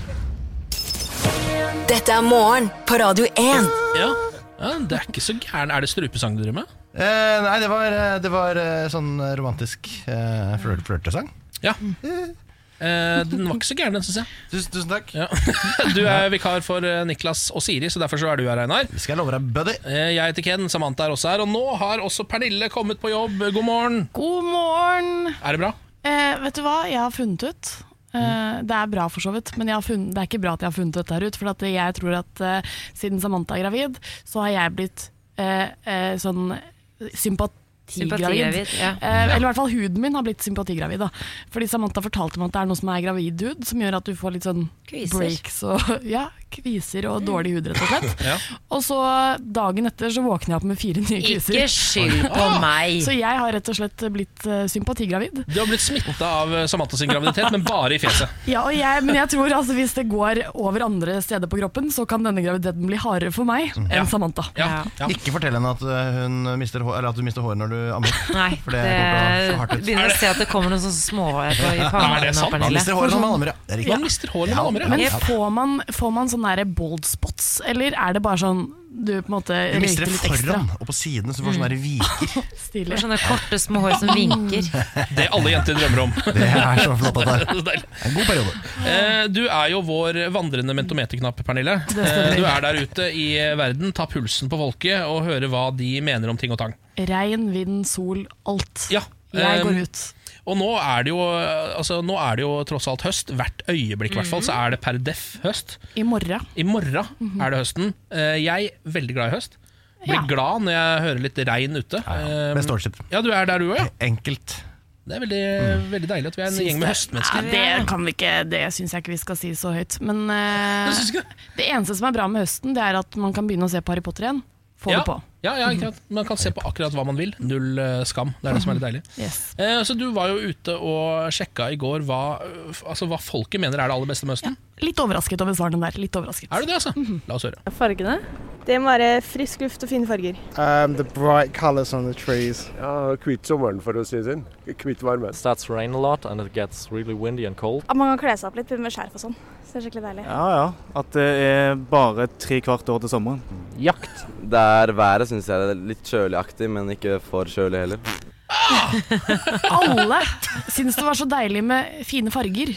S4: Dette er morgen på Radio 1.
S2: Ja. Ja, det er ikke så gæren. Er det strupesang du driver med?
S1: [LAUGHS] Eh, nei, det var, eh, det var eh, sånn romantisk eh, flør flørtesang.
S2: Ja. Eh, den var ikke så gæren, den, syns jeg.
S1: Tusen, tusen takk.
S2: Ja. Du er vikar for eh, Niklas og Siri, så derfor så er du her, Einar.
S1: Det skal jeg love deg, buddy.
S2: Eh, Jeg heter Ken, Samantha er også her, og nå har også Pernille kommet på jobb. God morgen.
S10: God morgen!
S2: Er det bra?
S10: Eh, vet du hva, jeg har funnet ut eh, Det er bra for så vidt, men jeg har funnet, det er ikke bra at jeg har funnet dette her ut. For at jeg tror at eh, siden Samantha er gravid, så har jeg blitt eh, eh, sånn sympatigravid.
S3: Sympatigravid. Ja.
S10: Eh, eller i hvert fall huden min har blitt sympatigravid. Da. Fordi Samantha fortalte meg at det er noe som er gravid hud, som gjør at du får litt sånn
S3: Kviser.
S10: breaks og ja, kviser og dårlig hud, rett og slett.
S2: Ja.
S10: Og så dagen etter så våkner jeg opp med fire nye eh, kviser.
S3: Ikke skyld på meg!
S10: Så jeg har rett og slett blitt eh, sympatigravid.
S2: Du har blitt smitta av eh, Samantha sin graviditet, men bare i fjeset.
S10: Ja, og jeg, men jeg tror altså, hvis det går over andre steder på kroppen, så kan denne graviditeten bli hardere for meg enn
S2: Ja.
S10: Samantha.
S2: Ja, ja.
S1: Ikke fortell henne at, eh, hun mister hår, eller at du mister håret når du ammer.
S3: Nei,
S1: For
S3: det
S1: det går bra. Hardt ut.
S3: begynner å se at det kommer noen sånne små på i
S2: Er
S3: pannen
S2: det
S3: nå,
S2: sant?
S1: Man
S3: Pernille.
S1: mister håret når man ammer, ja. Det er riktig.
S2: Man mister håret når man ammer.
S10: Men
S2: ja.
S10: får man, får man sånne der bold spots, eller er det bare sånn du på en måte
S1: Du mister
S10: røyker
S1: det
S10: litt ekstra?
S1: foran og på siden, så du får sånn der viker.
S3: Det
S10: Stilig.
S3: er Sånne korte, små hår som vinker.
S2: Det alle jenter drømmer om. [LAUGHS]
S1: Det er så flott at det er.
S2: Så deilig.
S1: Det er En god periode.
S2: Eh, Du er jo vår vandrende mentometerknapp, Pernille. Eh, Du er der ute i verden, ta pulsen på folket og høre hva de mener om ting og tang.
S10: Regn, vind, sol, alt.
S2: Ja,
S10: Jeg
S2: ehm,
S10: går ut.
S2: Og nå er det jo, altså, nå er det jo tross alt høst. Hvert øyeblikk i hvert fall,
S10: Mhm.
S2: så er det per deff høst.
S10: I morgen.
S2: I morgen er det høsten. Eh, Jeg er veldig glad i høst. Blir
S10: Mhm. Ja.
S2: glad når jeg hører litt regn ute. Eh,
S1: Med stålsett.
S2: Ja, du er der du òg, ja.
S1: Enkelt.
S2: Det er veldig, veldig deilig at vi er en gjeng med høstmennesker.
S10: Ja, det kan vi ikke, det syns jeg ikke vi skal si så høyt. Men eh,
S2: Jeg synes ikke det.
S10: det eneste som er bra med høsten, det er at man kan begynne å se på Harry Potter igjen. Få
S2: Ja,
S10: det på.
S2: ja, ja, ikke sant. Man kan se på akkurat hva man vil. Null eh, skam. Det er det som er litt deilig.
S10: Yes.
S2: Eh, Så du var jo ute og sjekka i går hva, eh, f- altså, hva folket mener er det aller beste med høsten.
S10: Litt overrasket Mhm. over svarene der. Litt overrasket.
S2: Er du det, altså? La oss høre.
S7: Fargene?
S11: Det må være frisk luft og fine farger.
S12: Um, the bright colors on the trees. Ja, kvitt sommeren, for å si det sånn. Kvitt varmen.
S13: starts rain a lot and it gets really windy and cold.
S11: At man kan kle seg opp litt med skjerf og sånn. Så det er skikkelig deilig.
S14: Ja, ja. At det er bare tre kvart år til sommeren.
S15: Jakt. Der været syns jeg er litt kjøligaktig, men ikke for kjølig heller.
S10: Alle syns det var så deilig med fine farger.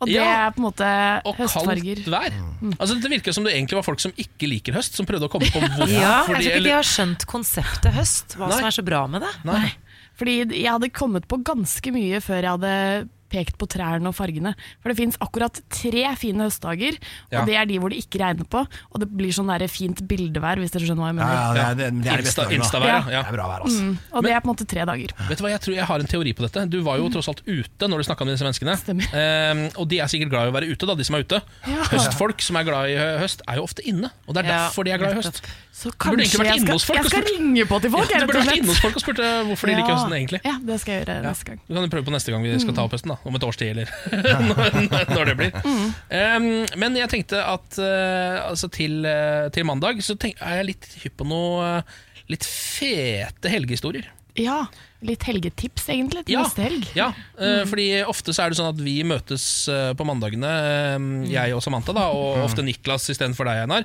S10: Og det
S2: Ja.
S10: er på en måte høstfarger. Mm.
S2: Kaldt vær. Altså, det virker som det egentlig var folk som ikke liker høst, som prøvde å
S10: [LAUGHS]
S2: komme på hvorfor.
S3: Ja, jeg tror
S2: fordi-
S3: ikke de
S2: eller-
S3: har skjønt konseptet høst, hva som er så bra med det.
S10: Nei. Fordi jeg hadde kommet på ganske mye før jeg hadde pekt på trærne og fargene. For det fins akkurat tre fine høstdager, og
S1: Ja.
S10: det er de hvor det ikke regner på. Og det blir sånn der fint bildevær, hvis dere skjønner hva jeg mener.
S1: Ja, ja, det er- det- det er de beste dagene,
S2: Insta-
S1: da.
S2: Instavær, ja.
S1: Det er bra vær, altså.
S10: Mm, og det er på en måte tre dager.
S2: Vet du hva, Jeg tror jeg har en teori på dette. Du var
S10: Mm.
S2: jo tross alt ute når du snakka med disse menneskene. Ehm, og de er sikkert glad i å være ute, da, de som er ute.
S10: Ja.
S2: Høstfolk som er glad i hø- høst, er jo ofte inne. Og det er
S10: Ja,
S2: derfor de er glad i høst.
S10: Så
S2: Du burde egentlig
S10: kanskje
S2: vært
S10: jeg
S2: inne
S10: skal,
S2: hos folk
S10: jeg
S2: og
S10: skal
S2: spurt.
S10: ringe på til folk, jeg,
S2: Ja, du
S10: rett
S2: burde
S10: og
S2: vært inne hos
S10: slett.
S2: folk og spurt eh, hvorfor de liker høsten egentlig.
S10: Ja, det skal jeg gjøre neste gang.
S2: Du kan jo prøve på neste gang vi skal ta opp høsten, da. Om et års tid, eller [LAUGHS] når, når det blir.
S10: Mm.
S2: Ehm, men jeg tenkte at eh, altså til, eh, til mandag så tenk, er jeg litt hypp på noe eh, litt fete helgehistorier.
S10: Ja, litt helgetips egentlig til neste helg.
S2: Ja, eh,
S10: Mm.
S2: fordi ofte så er det sånn at vi møtes eh, på mandagene, eh, jeg og Samantha, da,
S10: Mm.
S2: og ofte Niklas istedenfor deg, Einar.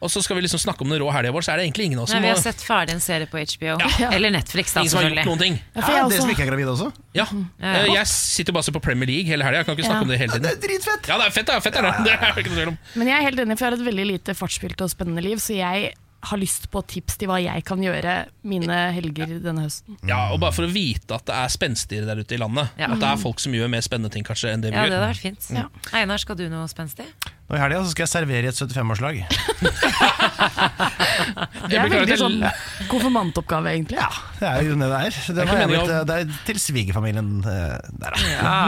S2: Og så skal vi liksom snakke om den rå helga vår, så er det egentlig ingen av oss
S3: Nei,
S2: som
S3: vi har
S2: må-
S3: sett ferdig en serie på HBO. [LAUGHS] Eller Netflix, da,
S2: Ingen som har gjort noen ting.
S3: Ja, for jeg også-
S1: er gravide også?
S2: Ja.
S3: Ja.
S2: Eh, Jeg sitter bare og ser på Premier League hele helga. Jeg kan ikke
S10: Mm.
S2: snakke
S10: Ja.
S2: om det hele tiden.
S10: Ja,
S1: det er dritfett!
S2: Ja, det er fett, det er fett, det er [LAUGHS] det. Det er det ikke noe tvil om.
S10: Men jeg er helt enig, for jeg har et veldig lite fartsfylt og spennende liv, så jeg har lyst på tips til hva jeg kan gjøre mine helger denne høsten.
S2: Ja, og bare for å vite at det er spenstigere der ute i landet.
S3: Ja.
S2: At det er folk som gjør mer spennende ting kanskje enn det vi
S3: Ja, det
S2: gjør.
S3: hadde vært fint.
S1: Ja.
S3: Einar, skal du noe spenstig?
S1: Nå i helga så skal jeg servere i et
S10: [LAUGHS]
S1: 75-årslag.
S10: Det er
S1: blir
S10: veldig
S1: klart
S10: sånn konfirmantoppgave, egentlig.
S1: Det er jo det det er.
S2: er
S1: Det,
S2: ikke
S1: var jeg
S2: meningen
S1: blitt, eh,
S2: å-
S1: det er til svigerfamilien eh, der, da.
S2: Du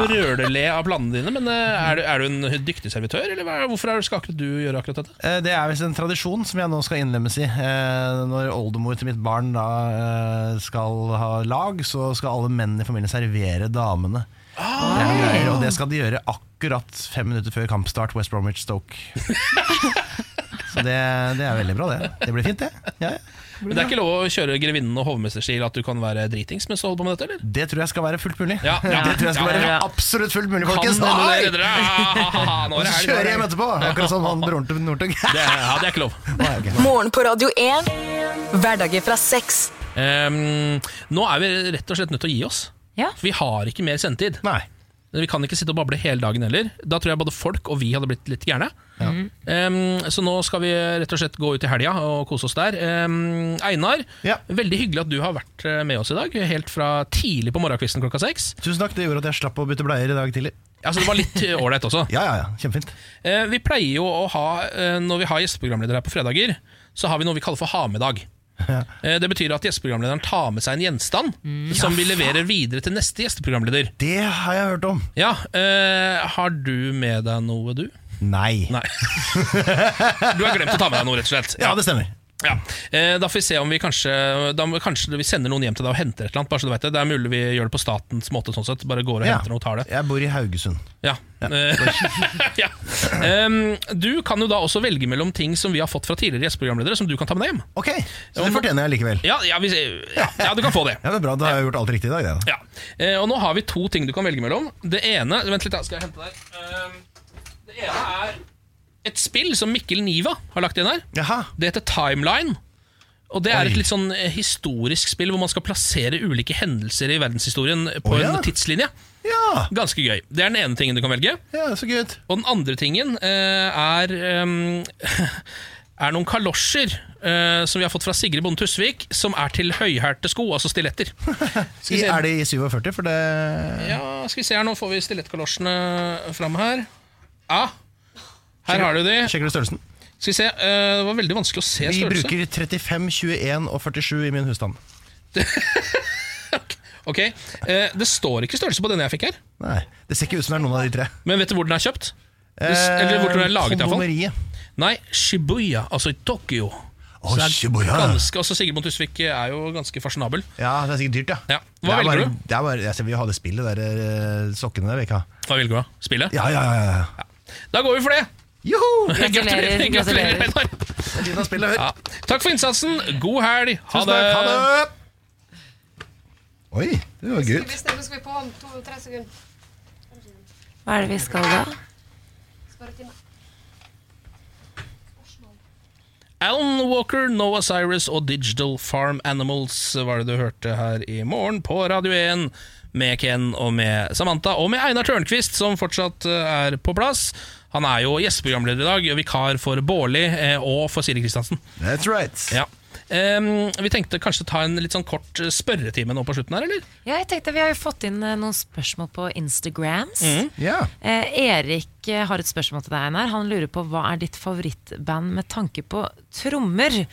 S2: Brøler-le av planene dine, men eh, er du, er du en dyktig servitør, eller hva- hvorfor er- skal akkurat du gjøre akkurat dette?
S1: Eh, Det er visst en tradisjon som jeg nå skal innlemmes i. Eh, Når oldemor til mitt barn da eh, skal ha lag, så skal alle mennene i familien servere damene. Det er greier, og det skal de gjøre akkurat fem minutter før kampstart West Bromwich [LAUGHS] Stoke. Så det, det er veldig bra, det. Det blir fint, det. Ja, ja.
S2: Men det er ikke lov å kjøre grevinnen og hovmesterstil at du kan være dritings mens du holder på med dette, eller?
S1: Det tror jeg skal være fullt mulig.
S2: Ja, ja.
S1: Det tror jeg skal
S2: Ja,
S1: være
S2: ja.
S1: absolutt fullt mulig,
S2: Kan
S1: folkens.
S2: dere
S1: Nei!
S2: dere? Ah, ah, ah, ah, nå er
S1: Og
S2: det
S1: så
S2: helg, nå er
S1: kjører
S2: det
S1: jeg hjem
S2: helg.
S1: etterpå, akkurat som han broren til Northug.
S2: [LAUGHS] Det, er- ja, det er ikke lov.
S1: Nei, ok.
S4: Morgen på Radio 1. Hverdager fra seks.
S2: Ehm, nå er vi rett og slett nødt til å gi oss. For vi har ikke mer sendetid. Vi kan ikke sitte og bable hele dagen heller. Da tror jeg både folk og vi hadde blitt litt gærne. Ehm, så nå skal vi rett og slett gå ut i helga og kose oss der. Ehm, Einar, veldig hyggelig at du har vært eh, med oss i dag. Helt fra tidlig på morgenkvisten klokka seks.
S1: Tusen takk, det gjorde at jeg slapp å bytte bleier i dag tidlig.
S2: Altså, det var litt eh, ålreit også.
S1: [LAUGHS] Ja, ja, ja, kjempefint
S2: Eh, Vi pleier jo å ha, eh, når vi har gjesteprogramledere her på fredager, så har vi noe vi kaller for ha-med-dag. Eh, Det betyr at gjesteprogramlederen tar med seg en gjenstand som vi leverer videre til neste gjesteprogramleder.
S1: Det har jeg hørt om.
S2: Ja, eh, Har du med deg noe, du?
S1: Nei.
S2: Du har glemt å ta med deg noe, rett og slett.
S1: Ja, det stemmer.
S2: Ja. Eh, Da får vi se om vi kanskje Da må- kanskje vi sender noen hjem til deg og henter et eller annet. Bare så du vet det. det er mulig vi gjør det på statens måte, sånn sett. Bare går og
S1: Ja.
S2: henter noe og tar det.
S1: Jeg bor i Haugesund.
S2: Ja. Eh, [LAUGHS] ja. Em, du kan jo da også velge mellom ting som vi har fått fra tidligere gjesteprogramledere, som du kan ta med deg hjem.
S1: Ok, Så det fortjener jeg likevel.
S2: Ja, ja, hvis, ja, ja du kan få det.
S1: Ja, det er bra, Da har jeg gjort alt riktig i dag. Det, da.
S2: Ja. Eh, og nå har vi to ting du kan velge mellom. Det ene Vent litt, da, skal jeg hente der. Em, det ene er et spill som Mikkel Niva har lagt inn her. Det heter Timeline. Og Det er et litt sånn eh, historisk spill hvor man skal plassere ulike hendelser i verdenshistorien på
S1: Å, ja.
S2: en tidslinje. Ganske gøy. Det er den ene tingen du kan velge.
S1: Ja, så gøy
S2: Og den andre tingen eh, er eh, [LAUGHS] Er noen kalosjer eh, som vi har fått fra Sigrid Bonde Tusvik, som er til høyhælte sko, altså
S1: [LAUGHS]
S2: stiletter. Skal vi
S1: I,
S2: se.
S1: er det i 47? For det
S2: Ja, skal vi se her, Nå får vi stilettkalosjene fram her. Ja, her har du de.
S1: Sjekker du størrelsen?
S2: Skal vi se, eh, Det var veldig vanskelig å se
S1: Vi
S2: størrelse.
S1: bruker 35, 21 og 47 i min husstand.
S2: Ok, eh, Det står ikke størrelse på denne jeg fikk her.
S1: Nei, Det ser ikke ut som det er noen av de tre.
S2: Men vet du hvor den er kjøpt? Det s-
S1: Eh,
S2: Eller hvor den er laget,
S1: kondomeriet.
S2: iallfall. Nei, Shibuya, altså i Tokyo.
S1: Å,
S2: det er
S1: Shibuya.
S2: Ganske, altså Sigrid Bonde Tusvik er jo ganske fasjonabel.
S1: Ja, Det er sikkert dyrt, ja.
S2: Hva
S1: det er
S2: velger
S1: bare, Det er bare, jeg ser vi har det spillet der, eh, sokkene der, vi ikke har.
S2: Hva velger du, da? Spillet?
S1: Ja, ja, ja, ja.
S2: Da går vi for det!
S1: Joho!
S2: Gratulerer. Gratulerer,
S3: Gratulerer,
S2: [LAUGHS] Einar.
S3: gratulerer.
S1: resten av tiden av spillet. Hør.
S2: Ja. Takk for innsatsen. God helg. Ha
S1: Tusen
S2: det.
S1: takk. Ha det. Oi, det var gøy.
S16: Hvis det nå skal vi på om to-tre sekunder.
S3: Hva er det vi skal da?
S16: Spørretime.
S2: Alan Walker, Noah Cyrus og Digital Farm Animals var det du hørte her i morgen på Radio 1. Med Ken og med Samantha og med Einar Tørnquist, som fortsatt eh, er på plass. Han er jo gjesteprogramleder i dag, vikar for Bårli eh, og for Siri Kristiansen.
S1: That's right.
S2: Ja. Em, vi tenkte kanskje ta en litt sånn kort eh, spørretime nå på slutten her, eller?
S3: Ja, jeg tenkte Vi har jo fått inn eh, noen spørsmål på Instagrams.
S2: Mhm.
S3: Eh, Erik eh, har et spørsmål til deg, Einar. Han lurer på hva er ditt favorittband med tanke på trommer?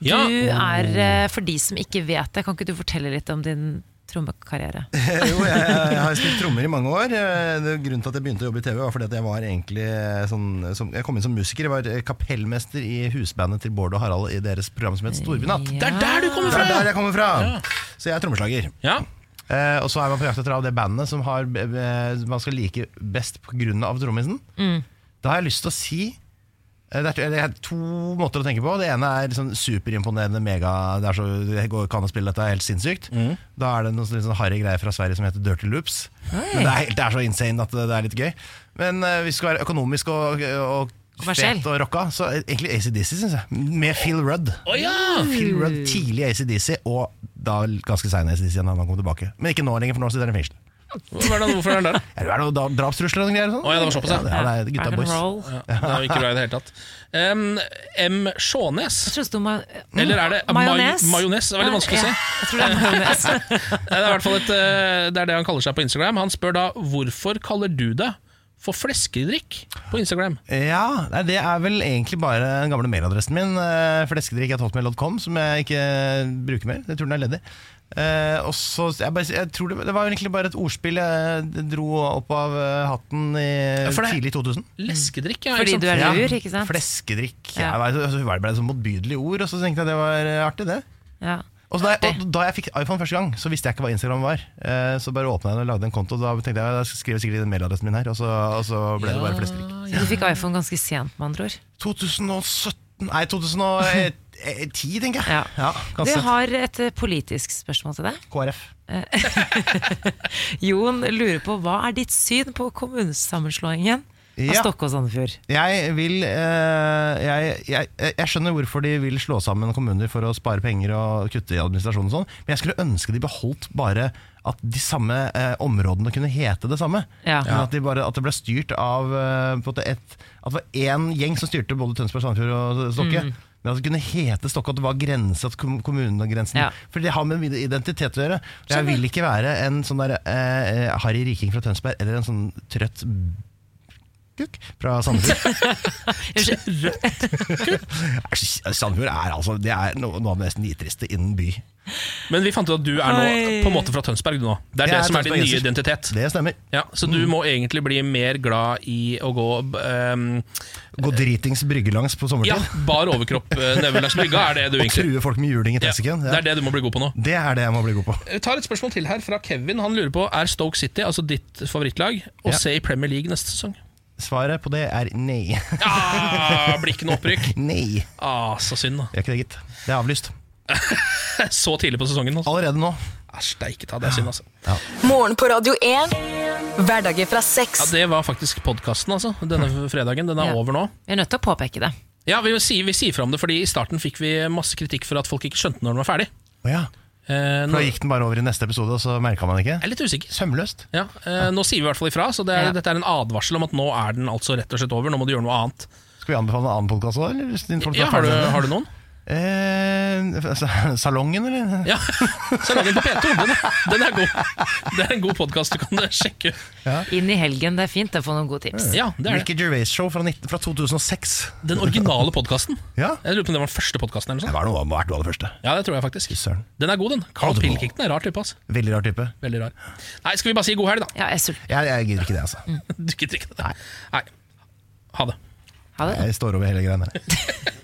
S2: Ja. Oh.
S3: Du er, eh, For de som ikke vet det, kan ikke du fortelle litt om din trommekarriere?
S1: jo, jeg, jeg har spilt trommer i mange år. Eh, det- Grunnen til at jeg begynte å jobbe i TV, var fordi at jeg var egentlig eh, sånn som, Jeg kom inn som musiker. Jeg var eh, kapellmester i husbandet til Bård og Harald i deres program som het Storbynatt.
S2: Det er der du kommer fra!
S1: Det er der jeg kommer fra!
S2: Ja.
S1: Så jeg er trommeslager.
S2: Ja.
S1: Eh, og så er man på jakt etter av det bandet som har, eh, man skal like best pga. trommisen.
S3: Mm.
S1: Da har jeg lyst til å si eh, det er, to- det er to måter å tenke på. Det ene er sånn superimponerende mega Det er så, jeg går, kan å spille dette, er helt sinnssykt. Da er det noen sånn, litt sånn harry greier fra Sverige som heter Dirty Loops.
S3: Hei.
S1: Men det er, helt- det er så insane at det, det er litt gøy. Men eh, hvis du skal være økonomisk og, og
S3: Kommersiell.
S1: fet og rocka, så er egentlig ACDC, syns jeg. Med Phil Rudd.
S2: Å ja!
S1: Phil Rudd
S3: Mm.
S1: tidlig ACDC, og da ganske sein ACDC igjen da han kom tilbake. Men ikke nå lenger, for nå sitter han i fengsel.
S2: Hva er det- Hvorfor er den der?
S1: Ja, Det er noe da- drapstrusler og noen greier. og sånn.
S2: Å ja, det var såpass, ja.
S1: Ja, det er gutta boys.
S2: Ja, det var ikke bra i det hele tatt. Em, M. Sjånes. Eller er det
S3: mm, [LAUGHS] Majones?
S2: Majones? Majones? Det er veldig vanskelig å si.
S3: Jeg tror det er majones.
S2: [LAUGHS] det er i hvert fall et, eh, det er det han kaller seg på Instagram. Han spør da hvorfor kaller du deg for fleskedrikk på Instagram.
S1: Ja, nei, det er vel egentlig bare den gamle mailadressen min, eh, fleskedrikk.hotmail.com, som jeg ikke bruker mer. Jeg tror den er ledig. Eh, og så, jeg bare, jeg tror det, det var egentlig bare et ordspill jeg dro opp av eh, hatten i
S2: Ja, for det-
S1: tidlig 2000.
S2: Leskedrikk, ja.
S3: Fordi
S2: ikke sant?
S3: du er lur, ikke sant?
S1: Fleskedrikk.
S3: Ja.
S1: Ja. Jeg vet, altså, det ble et sånt motbydelig ord, og så tenkte jeg det var eh, artig, det.
S3: Ja.
S1: Og så da, jeg, og da jeg fikk iPhone første gang, så visste jeg ikke hva Instagram var. Eh, Så bare åpna jeg den og lagde en konto. Da tenkte jeg jeg skriver sikkert i den mailadressen min her, og så, og så ble det bare flesterik.
S3: Så du fikk iPhone ganske sent, med andre ord.
S1: 2017 Nei, 2010, eh, tenker jeg.
S3: Ja.
S1: Ja,
S3: Du
S1: kanskje.
S3: har et eh, politisk spørsmål til deg.
S1: KrF.
S3: Jon lurer på hva er ditt syn på kommunesammenslåingen av
S1: Ja.
S3: Stokke og Sandefjord?
S1: Jeg vil eh, jeg, jeg, jeg skjønner hvorfor de vil slå sammen kommuner for å spare penger og kutte i administrasjon og sånn, men jeg skulle ønske de beholdt bare at de samme eh, områdene kunne hete det samme.
S3: Ja.
S1: Men at, de bare, at det ble styrt av eh, på en måte et, At det var én gjeng som styrte både Tønsberg, Sandefjord og Stokke.
S3: Mm.
S1: Men at det kunne hete Stokke, at det var grense, at kom- kommunegrensen
S3: Ja.
S1: For det har med min identitet å gjøre. Jeg
S3: Skjønner.
S1: vil ikke være en sånn der eh, eh, harry riking fra Tønsberg eller en sånn trøtt kukk fra Sandefjord. Æsj, Sandefjord er altså Det er noe, noe av det mest nitriste innen by.
S2: Men vi fant ut at du er nå
S1: Oi.
S2: på en måte fra Tønsberg. Du nå. Det er
S1: Jeg
S2: det
S1: er
S2: som er din nye
S1: tønsbergenser.
S2: identitet.
S1: Det stemmer.
S2: Ja, så du må egentlig bli mer glad i å gå ehm,
S1: Gå dritings bryggelangs på
S2: Ja,
S1: sommertid.
S2: bar overkropp eh, nedover langs brygga er det du
S1: og
S2: egentlig
S1: true folk med juling i tessiken.
S2: Det
S1: Ja.
S2: er det du må bli god på nå.
S1: Det er det jeg må bli god på.
S2: Vi tar et spørsmål til her fra Kevin. Han lurer på er Stoke City, altså ditt favorittlag, å
S1: Ja.
S2: se i Premier League neste sesong.
S1: Svaret på det er nei. [LAUGHS]
S2: Ah, blir ikke noe opprykk.
S1: nei.
S2: Ah, så synd, da.
S1: [LAUGHS] Det er ikke det, gitt. Det er avlyst.
S2: Så tidlig på sesongen. Altså.
S1: Allerede nå.
S2: Æsj, steike ta, det er synd, altså.
S4: Morgen på Radio 1. Hverdager fra seks.
S2: Ja, Det var faktisk podkasten, altså. Denne fredagen. Den er over nå.
S3: Vi er nødt til å påpeke det.
S2: Ja, vi sier, vi sier fra om det, fordi i starten fikk vi masse kritikk for at folk ikke skjønte når den var ferdig.
S1: Å ja.
S2: Eh,
S1: For
S2: nå,
S1: da
S2: jeg
S1: gikk den bare over i neste episode, og så merka man ikke?
S2: er litt usikker.
S1: Sømløst.
S2: Ja, eh, nå sier vi i hvert fall ifra, så det er,
S1: Ja.
S2: dette er en advarsel om at nå er den altså rett og slett over. Nå må du gjøre noe annet.
S1: Skal vi anbefale en annen podkast òg?
S2: Ja, har du, har du noen?
S1: Eh, sa- salongen, eller?
S2: Ja, Salongen på P2. Den, er- den er god. Det er en god podkast du kan sjekke ut.
S3: Inn i helgen, det er fint å få noen gode tips.
S2: Ja, det er det.
S1: Ricky Gervais Show fra, 19, fra 2006.
S2: Den originale podkasten.
S1: Ja.
S2: Jeg lurer på om det var den første podkasten.
S1: Det var noe av hvert du hadde første.
S2: Ja, det tror jeg faktisk. Den er god, den. Carl Pilkington er rar type. Altså.
S1: Veldig rar type.
S2: Veldig rar. Nei, skal vi bare si god helg, da? [LAUGHS]
S3: Ja, jeg er sulten.
S1: Jeg, jeg gidder ikke det, altså.
S2: Du gidder ikke det? Nei. Ha det.
S1: Jeg står over hele greia der.